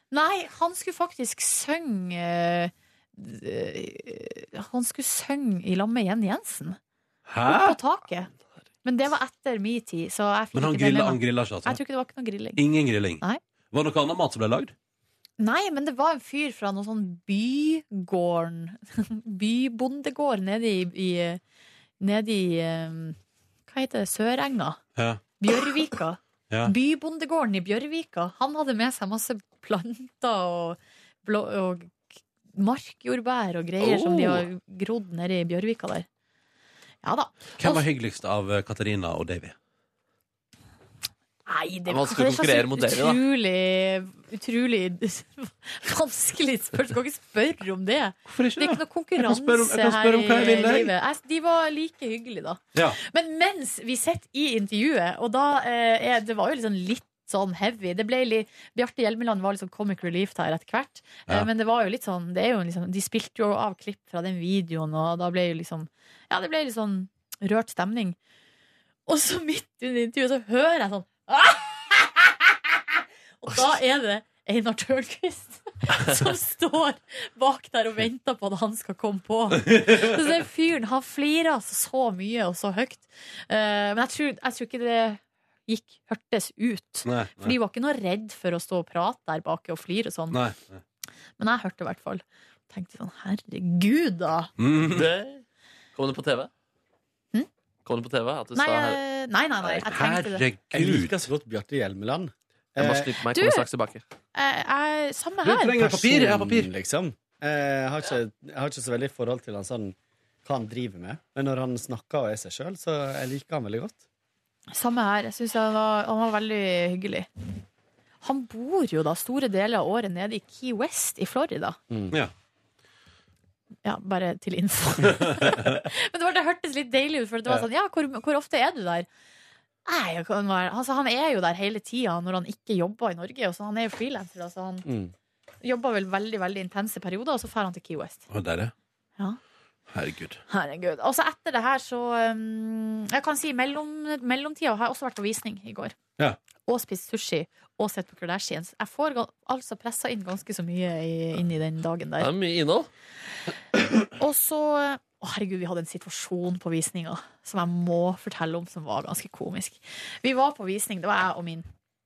S2: Nei, han skulle faktisk synge eh, eh, Han skulle synge i lag med Jenny Jensen. Opp på taket. Men det var etter min tid, så jeg fikk
S3: Men han
S2: ikke det med
S3: grilla, han
S2: meg.
S3: grilla ikke, altså?
S2: Jeg tror ikke det var ikke noe grilling.
S3: Ingen grilling?
S2: Nei.
S3: Var det noe annet mat som ble lagd?
S2: Nei, men det var en fyr fra noen sånn bygården Bybondegård nede i, i Nede i eh, Hva heter det? Sørenga?
S3: Ja.
S2: Bjørvika.
S3: Ja.
S2: Bybondegården i Bjørvika. Han hadde med seg masse planter og, blå, og markjordbær og greier som de
S3: Oh.
S2: har grodd nede i Bjørvika der. Ja da.
S3: Hvem var hyggeligst av eh, Katarina og Davy?
S2: Nei, det
S3: Det er vanskelig å
S2: kanskje
S3: konkurrere
S2: så
S3: mot dere, da.
S2: utrolig, utrolig vanskelig spørsmål. Du kan ikke spørre om det.
S3: det
S2: er ikke noe
S3: kan
S2: konkurranse
S3: spørre om- jeg kan spørre om hva jeg
S2: her i
S3: vil, jeg.
S2: livet. Jeg- De var like hyggelige, da.
S3: Ja.
S2: Men mens vi sitter i intervjuet, og da eh, er- Det var jo liksom litt sånn heavy. Det ble litt, Bjarte Hjelmeland var liksom comic relief der etter hvert. Eh,
S14: Ja.
S2: Men det var jo litt sånn, det er jo liksom De spilte jo av klipp fra den videoen, og da ble jo liksom Ja, det ble litt sånn rørt stemning. Og så midt under intervjuet så hører jeg sånn Og da er det Einar Tørnquist som står bak der og venter på at han skal komme på. Så den fyren han flirer altså så mye og så høyt. Eh, men jeg tror, jeg tror ikke det gikk, hørtes ut.
S3: Nei, nei.
S2: For de var ikke noe redd for å stå og prate der bak og flire og sånn.
S3: Nei. nei.
S2: Men jeg hørte i hvert fall. Tenkte sånn, herregud, da.
S3: Mm.
S4: Det- Kom det på TV? Kom det på TV? At du
S2: Hm? Nei,
S4: sa her...
S2: eh, nei, nei, nei, jeg tenkte det.
S13: Jeg liker så godt Bjarte Hjelmeland.
S4: Jeg må slippe meg,
S2: Du- kommer straks
S4: tilbake.
S2: Eh, jeg- samme
S13: Du
S2: her.
S13: trenger papir, jeg har papir. Liksom. Eh, Jeg har, ikke, jeg har ikke så veldig forhold til han sånn, hva han driver med, men når han snakker og er seg sjøl, så jeg liker han veldig godt.
S2: Samme her. Jeg syns han, var- han var veldig hyggelig. Han bor jo da store deler av året nede i Key West i Florida.
S3: Ja.
S2: Ja, bare til info. Men det, var, det hørtes litt deilig ut, for det var
S3: Ja.
S2: sånn Ja, hvor, hvor ofte er du der? Nei, jeg kan være altså, Han er jo der hele tida når han ikke jobber i Norge. Og så han er jo frilanser, altså. Han jobber vel veldig veldig intense perioder, og så drar han til Key West.
S3: Og der,
S2: Ja.
S3: Herregud.
S2: Herregud. Og så etter det her, så um, Jeg kan si mellom, mellomtida har jeg også vært på visning i går.
S3: Ja.
S2: Og spist sushi. Og sett på Kardashians. Jeg får ga- altså pressa inn ganske så mye i- inn i den dagen
S4: Det
S2: der.
S4: er mye innhold.
S2: Og så Å, herregud, vi hadde en situasjon på visninga som jeg må fortelle om, som var ganske komisk. Vi var på visning. Det var jeg og min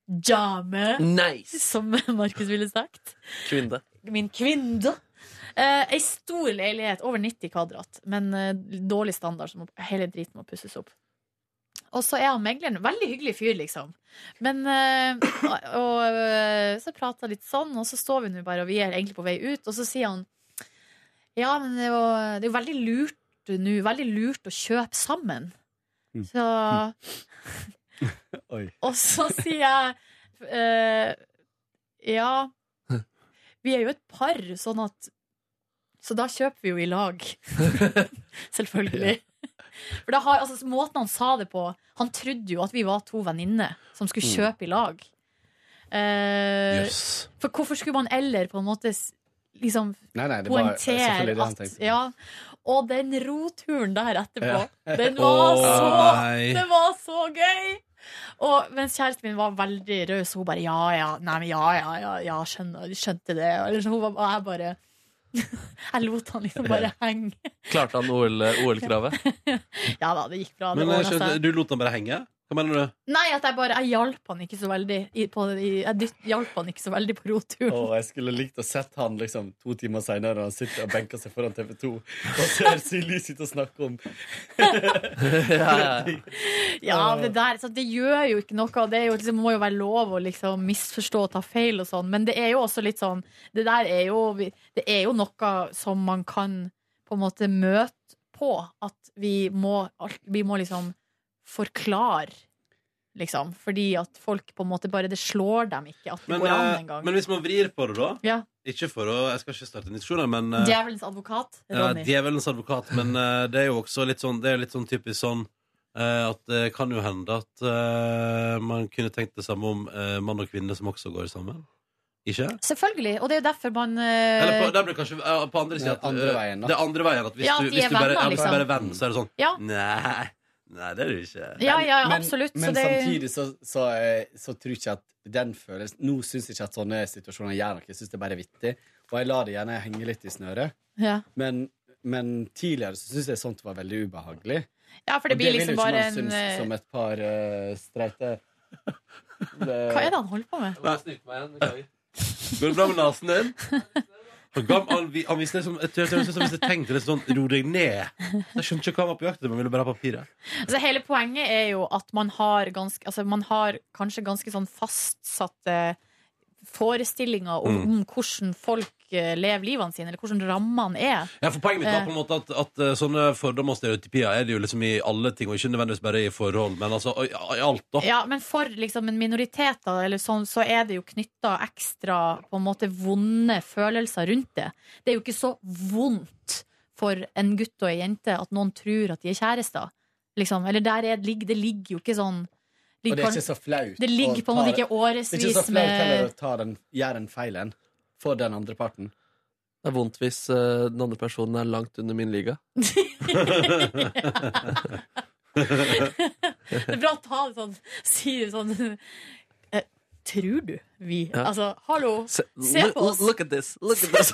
S2: jame,
S4: Nice.
S2: som Markus ville sagt.
S4: Kvinne.
S2: Min kvinne. Eh, ei stor leilighet, over 90 kvadrat, men eh, dårlig standard. Så må, hele driten må pusses opp. Og så er han megleren. Veldig hyggelig fyr, liksom. Men eh, og, og, eh, så prater jeg litt sånn, og så står vi nå bare, og vi er egentlig på vei ut, og så sier han Ja, men det er jo, det er jo veldig lurt eh, nå. Veldig lurt å kjøpe sammen. Så
S13: Oi.
S2: Og så sier jeg eh, Ja, vi er jo et par, sånn at Så da kjøper vi jo i lag. Selvfølgelig. For da har, altså, måten han sa det på Han trodde jo at vi var to venninner som skulle
S14: Mm.
S2: kjøpe i lag. Eh,
S14: Jøss.
S2: For hvorfor skulle man eller på en måte s- liksom
S14: Nei, nei, det var
S2: poengtere
S14: selvfølgelig det han
S2: at
S14: tenkte.
S2: ja, Og den roturen der etterpå,
S14: Ja.
S2: den var
S14: Å,
S2: så
S14: nei.
S2: Det var så gøy! Og mens kjæresten min var veldig raus, hun bare ja, ja, nei, men ja, ja, ja, ja skjønner, skjønte det. Eller så hun var, og jeg bare Jeg lot han liksom bare henge.
S4: Klarte han OL-kravet?
S2: Ja da, det gikk bra. Det
S3: Men
S2: ordnet
S3: jeg skjønte-
S2: seg.
S3: du lot han bare henge? Hva mener du?
S2: Nei, at jeg bare Jeg hjalp han ikke så veldig i- på, i, Jeg dytt- hjalp han ikke så veldig på roturen.
S13: Og jeg skulle likt å sett han liksom, to timer seinere når han sitter og benker seg foran TV2 og ser Silje sitte og snakke om
S2: Ja, det der, så det gjør jo ikke noe. og Det er jo, liksom, må jo være lov å liksom, misforstå og ta feil og sånn. Men det er jo også litt sånn Det der er jo, det er jo noe som man kan på en måte møte på. At vi må, alt- vi må liksom forklare, liksom. Fordi at folk på en måte bare Det slår dem ikke at det
S3: Men,
S2: går an
S3: eh,
S2: engang.
S3: men hvis man vrir på det, da
S2: Ja.
S3: Ikke for å, Jeg skal ikke starte en diskusjon, her, men eh,
S2: Djevelens advokat,
S3: Ja,
S2: Ronny.
S3: djevelens advokat, men eh, det er jo også litt sånn, det er litt sånn typisk sånn eh, at det kan jo hende at eh, man kunne tenkt det samme om eh, mann og kvinne som også går sammen. Ikke?
S2: Selvfølgelig. Og det er jo derfor man eh,
S3: Eller på, der blir det kanskje eh, på andre siden at,
S13: andre
S3: eh,
S13: veien, da.
S3: Det er andre veien. At hvis,
S2: Ja,
S3: du,
S2: de
S3: hvis,
S2: er
S3: du bare,
S2: venner,
S3: ja, hvis du
S2: liksom.
S3: bare er venn, så er det sånn
S2: Ja.
S3: Nei, nei, det er du ikke.
S2: Ja, ja,
S13: Men-
S2: absolutt.
S13: Men,
S2: så det,
S13: samtidig så, så, eh, så tror jeg ikke at den følelsen Nå syns jeg ikke at sånne situasjoner gjør noe. Jeg syns det bare er vittig. Og jeg lar det gjerne henge litt i snøret.
S2: Ja.
S13: Men, men tidligere så syns jeg sånt var veldig ubehagelig.
S2: Ja, for det
S13: Og
S2: blir liksom
S13: vil jo ikke
S2: bare
S13: man
S2: en,
S13: synes
S2: eh,
S13: Som et par eh, streite eh,
S2: Hva er det han holder på med?
S3: Går det bra med nesen din? Han, ga, han, vi- han viste det som, jeg tror- jeg tror det som hvis jeg tenkte litt sånn Ro deg ned. Jeg skjønte ikke hva han var på jakt etter, men ville bare ha papiret.
S2: Altså, hele poenget er jo at man har, ganske, altså, man har kanskje ganske sånn fastsatte forestillinger om,
S3: Mm.
S2: om hvordan folk eh, lever livene sine, eller hvordan rammene er.
S3: Ja, for Poenget mitt var på en måte at, at eh, sånne fordommer og stereotypier er det jo liksom i alle ting, og ikke nødvendigvis bare i forhold, men altså i, i alt, da.
S2: Ja, men for liksom, en minoritet da, eller sånn, så er det jo knytta ekstra på en måte vonde følelser rundt det. Det er jo ikke så vondt for en gutt og ei jente at noen tror at de er kjærester. Liksom. Eller der er, ligger- det ligger jo ikke sånn
S12: Og det er
S2: kanskje-
S12: ikke så flaut.
S2: Det ligger
S12: å
S2: på en måte
S12: ta-
S2: ikke årevis
S12: Det er ikke så flaut heller
S2: med
S12: å ta den, gjøre den feilen for den andre parten.
S4: Det er vondt hvis eh, den andre personen er langt under min liga.
S2: Det er bra å ta det sånn, si det sånn eh, Tror du vi
S13: Ja.
S2: Altså, hallo, se, på oss.
S4: at this. Look at
S13: this.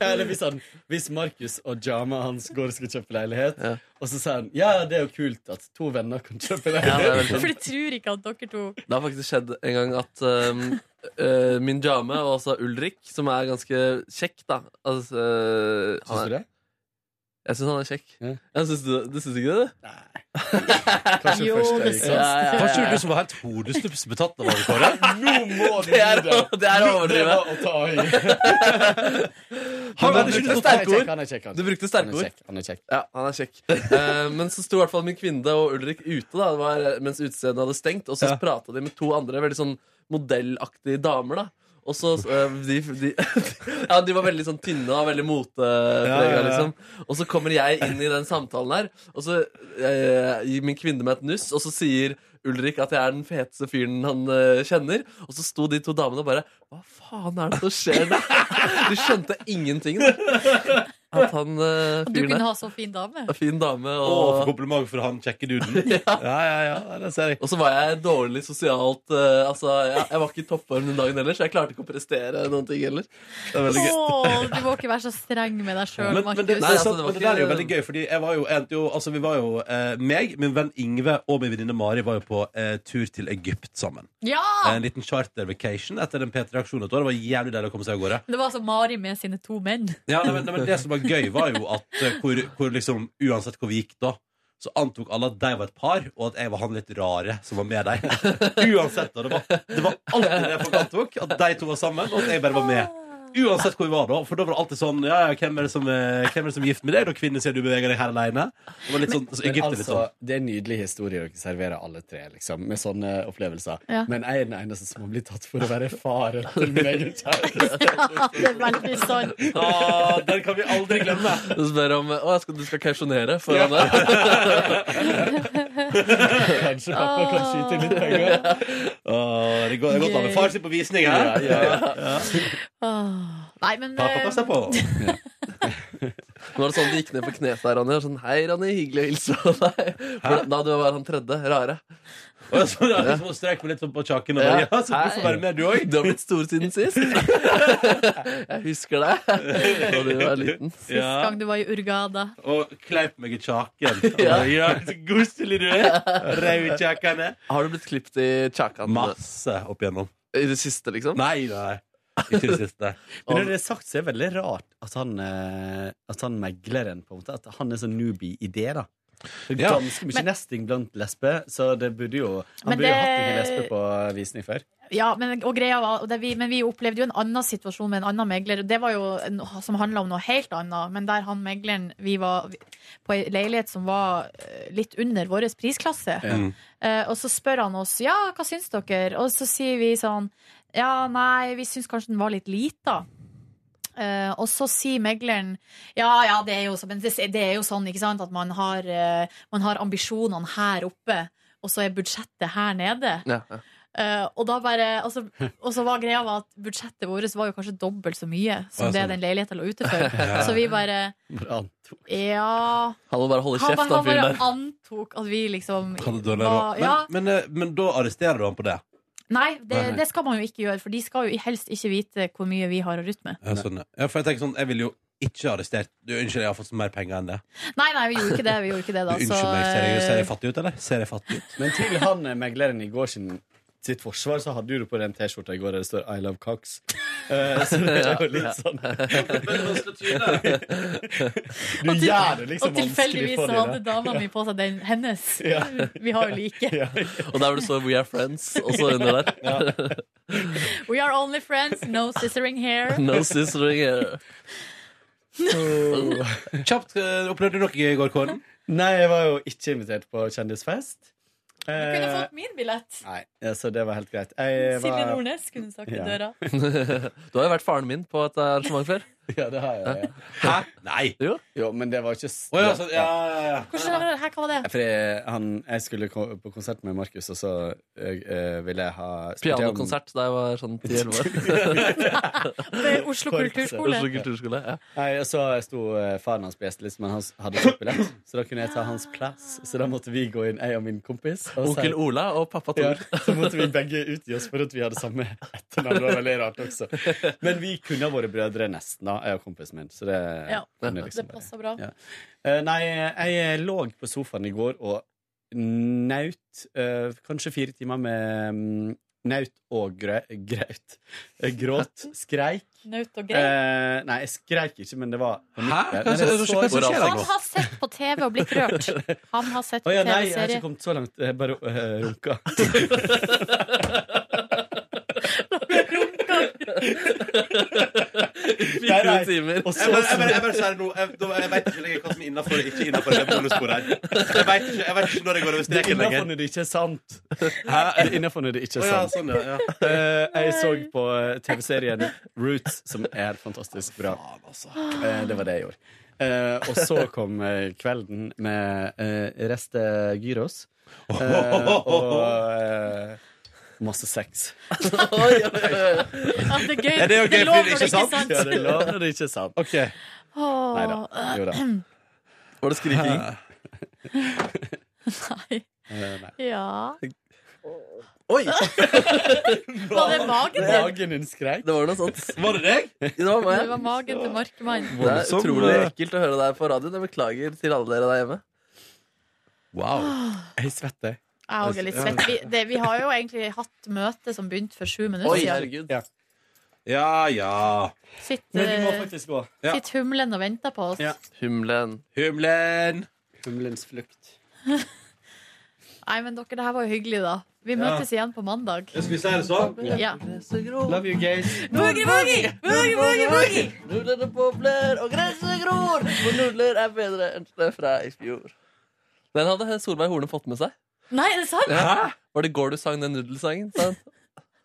S13: Eller hvis, han, hvis Markus og Jama hans går og skal kjøpe leilighet, og så sier han ja, det er jo kult at to venner kan kjøpe
S4: Ja, det er
S13: leilighet.
S4: veldig
S2: For jeg tror ikke at dere to
S4: Det har faktisk skjedd en gang at um, eh, min jame, og også Ulrik, som er ganske kjekk, da altså, Syns
S13: du det?
S4: Jeg syns han er kjekk. Jeg synes du, du syns ikke det, du?
S3: Kanskje Jo, første det øyekast. syns
S2: sånn.
S3: jeg. Kanskje det var du som var helt hodestups betatt av han, Kåre?
S13: Nå må du
S4: Det er,
S13: gi deg.
S4: det er å
S13: Det
S4: overdrive.
S13: var å ta i.
S4: Han, du
S13: Men han
S4: brukte
S13: brukte
S4: sterke
S13: sterke
S4: ord.
S13: han er kjekk, han er kjekk.
S4: Du brukte sterke
S13: Han er
S4: ord.
S13: kjekk, han er kjekk.
S4: Ja, han er kjekk. Eh, men så sto i hvert fall min kvinne og Ulrik ute da, det var, mens utestedene hadde stengt, og så pratet prata de med to andre veldig sånn modellaktige damer. da og så eh, de, de, Ja, de var veldig sånn tynne og veldig
S13: Ja,
S4: moteprega,
S13: ja, ja.
S4: liksom. Og så kommer jeg inn i den samtalen her, og så eh, gir min kvinne meg et nuss, og så sier Ulrik at jeg er den feteste fyren han eh, kjenner. Og så sto de to damene og bare Hva faen er det som skjer nå? De skjønte ingenting. Da. At han eh,
S2: At du
S4: fyren
S2: kunne
S4: der
S2: ha så fin dame.
S4: en Fin dame. Og,
S3: Å, for kompliment for han kjekke duden.
S4: ja.
S3: ja, ja, det ser jeg.
S4: Og så var jeg dårlig sosialt eh, Altså, jeg, jeg var ikke i toppform den dagen heller, så jeg klarte ikke å prestere noen ting heller. Det
S2: Å, du må ikke være så streng med deg sjøl,
S3: Men, men, det,
S2: Markus.
S3: det, er sant, men det der er jo veldig gøy, Fordi jeg var jo, endte jo altså vi var jo eh, meg, min venn Ingve og min venninne Mari var jo på eh, tur til Egypt sammen.
S2: Ja!
S3: Eh, En liten charter vacation etter den P3-aksjonen et år. Det var jævlig deilig å komme seg av gårde.
S2: Det var altså Mari med sine to menn.
S3: Ja, nei, men, nei, men Det som var gøy, var jo at eh, hvor, hvor liksom, uansett hvor vi gikk da, så antok alle at de var et par, og at jeg var han litt rare som var med dem. Uansett. Da, det, var, det var alltid det folk antok, at de to var sammen, og at jeg bare var med. Uansett hvor vi var, da. For da var det alltid sånn Ja, ja, hvem er det som, eh, hvem er, det som er gift med deg? Da kvinne sier du beveger deg her alene Det var litt sånn så
S12: Men
S3: Egypt er litt
S12: altså,
S3: sånn.
S12: det er nydelige historier dere serverer alle tre, liksom, med sånne opplevelser.
S2: Ja.
S12: Men jeg er den eneste som har blitt tatt for å være faren til min egen kjæreste.
S2: det er veldig sånn. sant.
S3: Ah, den kan vi aldri glemme.
S4: Du spør om Å, jeg skal, du skal kausjonere for han der?
S12: Kanskje pappa kan skyte inn litt penger.
S3: Åh, det går det er godt å ha med far sin på visning her.
S12: Ja, ja, ja.
S2: Åh. Nei, men
S4: Pappa kan se
S2: eh,
S4: på. Nå var det sånn du gikk ned på kne til deg, Ronny. og Sånn, Hei, Ronny, hyggelig å hilse på deg. For Da du var han tredje. Rare.
S3: Og så da, liksom, strek meg litt sånn på kjaken og bare, ja, så du får være med, du òg.
S4: Du har blitt stor siden sist. Jeg husker deg da du var liten.
S2: Sist eh, gang du var i Urgada.
S3: Og kleip meg i kjaken.
S4: Ja.
S3: Ja. Ja, så koselig du er. Rød i kjakene.
S4: Har du blitt klippet i kjakan?
S3: Masse opp igjennom.
S4: I det siste, liksom?
S3: Nei, nei. Ikke det siste.
S13: Men når det er sagt, så er det veldig rart at han, eh, at han megleren, på en måte, at han er så newbie i det, da. Det er
S12: Ja.
S13: Ganske mye nesting blant lesber, så det burde jo Han
S2: Men
S13: burde jo hatt noen
S2: det-
S13: lesber på visning før.
S2: Ja, men, og greia var, og det, vi, men vi opplevde jo en annen situasjon med en annen megler. og Det var jo noe som handla om noe helt annet. Men der han megleren Vi var på ei leilighet som var eh, litt under vår prisklasse.
S14: Mm.
S2: Eh, og så spør han oss ja, hva syns dere? Og så sier vi sånn ja, nei, vi syns kanskje den var litt lita. Eh, og så sier megleren Ja, ja, det er jo, så, men det, det er jo sånn ikke sant, at man har, eh, man har ambisjonene her oppe, og så er budsjettet her nede.
S4: Ja, ja.
S2: Eh, og da bare altså, Og så var greia var at budsjettet vårt var jo kanskje dobbelt så mye som
S4: Ja,
S2: det
S4: sånn.
S2: den leiligheten lå ute for.
S4: Ja.
S2: Så vi bare
S13: Bra.
S2: Ja.
S4: Han må bare holde
S2: Han,
S4: kjeft,
S2: bare-
S4: han
S2: han bare
S4: fyren der.
S2: antok at vi liksom
S3: Kan det dårligere
S2: var-
S3: også.
S2: ja.
S3: Men, men, eh, men da arresterer du han på det?
S2: Nei,
S3: Nei,
S2: det,
S3: nei.
S2: det skal man jo ikke gjøre, for de skal jo helst ikke vite hvor mye vi har å rutte med.
S3: Ja, sånn, ja. ja, for jeg tenker sånn, jeg ville jo ikke arrestert du, Unnskyld, jeg har fått mer penger enn det.
S2: Nei, nei, vi gjorde ikke det. Vi gjorde ikke det
S3: Du,
S2: da så, eh,
S3: unnskyld meg, ser jeg, ser jeg fattig ut, eller? Ser jeg fattig ut?
S13: Men til han eh, megleren i går sin, sitt forsvar, så hadde jo du på den T-skjorta i går der det står 'I love cocks'.
S9: Eh, så det er jo litt sånn Du
S2: Og til-
S9: gjør det liksom
S2: Og tilfeldigvis så hadde
S9: vanskelig for
S2: dama mi
S9: dem.
S2: på seg den hennes.
S9: Ja.
S2: Vi har jo like.
S4: Og der hvor det står 'We are friends' også under der.
S2: We are only friends, no sistering here.
S4: No sistering here.
S3: Kjapt, eh, opplevde du noe gøy i går, Kåren?
S9: Nei, jeg var jo ikke invitert på kjendisfest.
S2: Du kunne
S9: Eh,
S2: fått min billett.
S9: nei,
S13: eh,
S9: ja, så det var helt greit. Jeg
S2: Silje
S9: var-
S2: Nordnes kunne sagt i
S9: Ja.
S2: døra.
S4: Du har jo vært faren min på et arrangement før.
S9: Ja, det har jeg.
S3: Hæ? Nei!
S4: Jo,
S9: men det var ikke
S3: Å ja, så- ja, ja, ja.
S2: Hvordan er det her? Hva var det?
S9: For jeg, han, jeg skulle ko- på konsert med Markus, og så jeg, eh, ville jeg ha spurte jeg om-
S4: Pianokonsert da jeg var sånn 10-11 år.
S2: Ved Oslo Kulturskole.
S4: Oslo Kulturskole, ja.
S9: Nei, og så sto eh, faren hans på gjestelisten, men han s- hadde kjøpt billett, så da kunne jeg ta hans plass. Så da måtte vi gå inn, jeg og min kompis. Og
S4: Onkel Ola og pappa Tor.
S9: Ja, så måtte vi begge utgi oss for at vi hadde samme etternavn. Det var veldig rart også. Men vi kunne ha vært brødre nesten, da, jeg og kompisen min. Så det,
S2: Ja,
S9: kunne
S2: det passer bra.
S9: Ja. Eh, nei, jeg lå på sofaen i går og naut eh, kanskje fire timer med mm, naut og grø graut. Eh, Gråt, skreik.
S2: Naut og grei.
S9: Eh, nei, jeg skreik ikke, men det var
S3: Hæ? Hva-
S9: Nei, det
S3: hva-
S9: så-
S3: hva- hva- hva-
S2: Han har sett på TV og blitt rørt. Han har sett
S9: Å
S2: på
S9: ja, nei, jeg har ikke
S2: TV-serie.
S9: kommet så langt. Jeg bare uh, runka.
S3: Nei, nei.
S4: timer.
S3: Jeg bare, jeg bare, jeg bare sier det nå. Jeg, da- jeg vet ikke lenger hva som er innafor og ikke innafor det bonussporet her. Jeg vet, ikke, jeg vet ikke når jeg går over
S9: Det er
S3: streken
S9: innenfor
S3: lenger.
S9: når det ikke er sant. Det er innenfor når det ikke
S3: Å
S9: er
S3: ja,
S9: sant.
S3: sånn, ja, ja.
S9: Eh, jeg så på eh, TV-serien Roots, som er fantastisk bra. Eh, det var det jeg gjorde. Eh, og så kom eh, kvelden med eh, reste gyros. Eh, og eh, masse sex.
S2: Ja, det er gøy.
S9: Ja, det er jo
S2: Det
S9: gøy,
S2: er lov når
S9: fordi det
S2: det ikke er sant.
S9: Ja, det er lov når det ikke er sant.
S2: Åh. eh,
S9: Nei da. Jo da.
S4: Var det skriking?
S9: Eh, nei.
S2: Ja.
S4: Oi!
S2: Var det magen din?
S9: Magen din skreik.
S4: Det var noe sånt.
S3: Var det deg?
S4: Det
S2: Det
S4: var meg.
S2: var magen til Markmann.
S4: Det er utrolig ekkelt å høre deg på radioen. Jeg beklager til alle dere der hjemme.
S3: Wow.
S9: Jeg svetter.
S2: Jeg òg er litt svett. Vi, det, vi har jo egentlig hatt møte som begynte for sju minutter
S3: Oi,
S2: siden.
S4: herregud.
S9: Ja.
S3: Ja, ja.
S2: Sitt,
S9: Men vi må
S2: eh,
S9: faktisk gå.
S3: ja.
S2: sitt humlen og venter på oss.
S9: Ja.
S4: Humlen.
S3: Humlen.
S9: Humlens flukt.
S2: Nei, men dere, det her var jo hyggelig, da. Vi møtes igjen på mandag.
S3: Jeg skulle si det sånn.
S2: Ja.
S9: Love you, guys.
S2: Boogie, boogie! Boogie, boogie, boogie!
S4: Nudlene bobler, og gresset gror! For nudler er bedre enn snø fra i fjor. Den hadde Solveig Horne fått med seg.
S2: Nei, er det sant?
S4: Ja. Var det i går du sang den nudelsangen? Sa han.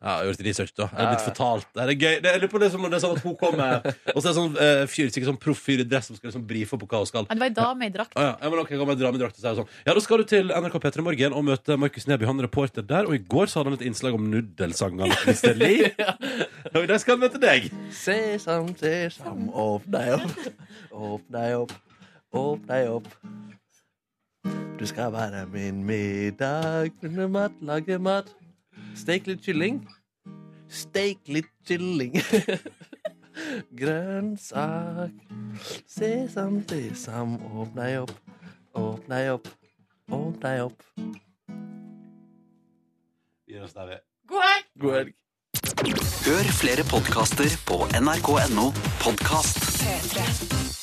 S3: Ja, jeg har gjort research da Jeg har blitt fortalt Det er gøy det, Jeg lurer på det er som når det er sånn at hun kommer Og så er det sånn eh, fyr Sikkert sånn proff fyr i dress Som skal liksom brife opp på hva hun skal
S2: Ja, Det var ei dame i drakt.
S3: Ah, ja. ja, men ok, jeg kommer med dramedrakt og sier sånn Ja, da skal du til NRK P3 Morgen Og møte Markus Neby Han er reporter der Og i går så hadde han et innslag om nuddelsangene til Mr. Lee Og der skal han møte deg
S4: Sesam, sesam, åpne deg opp. Åpne deg opp, åpne deg opp. Du skal være min middag. Kunne mat, lage mat. Steik litt kylling. Steik litt kylling. Grønnsak. Sesam, sesam, åpne deg opp. Åpne deg opp, åpne deg opp.
S3: Gi oss der vi
S2: God helg!
S4: God helg.
S15: Hør flere podkaster på nrk.no podkast.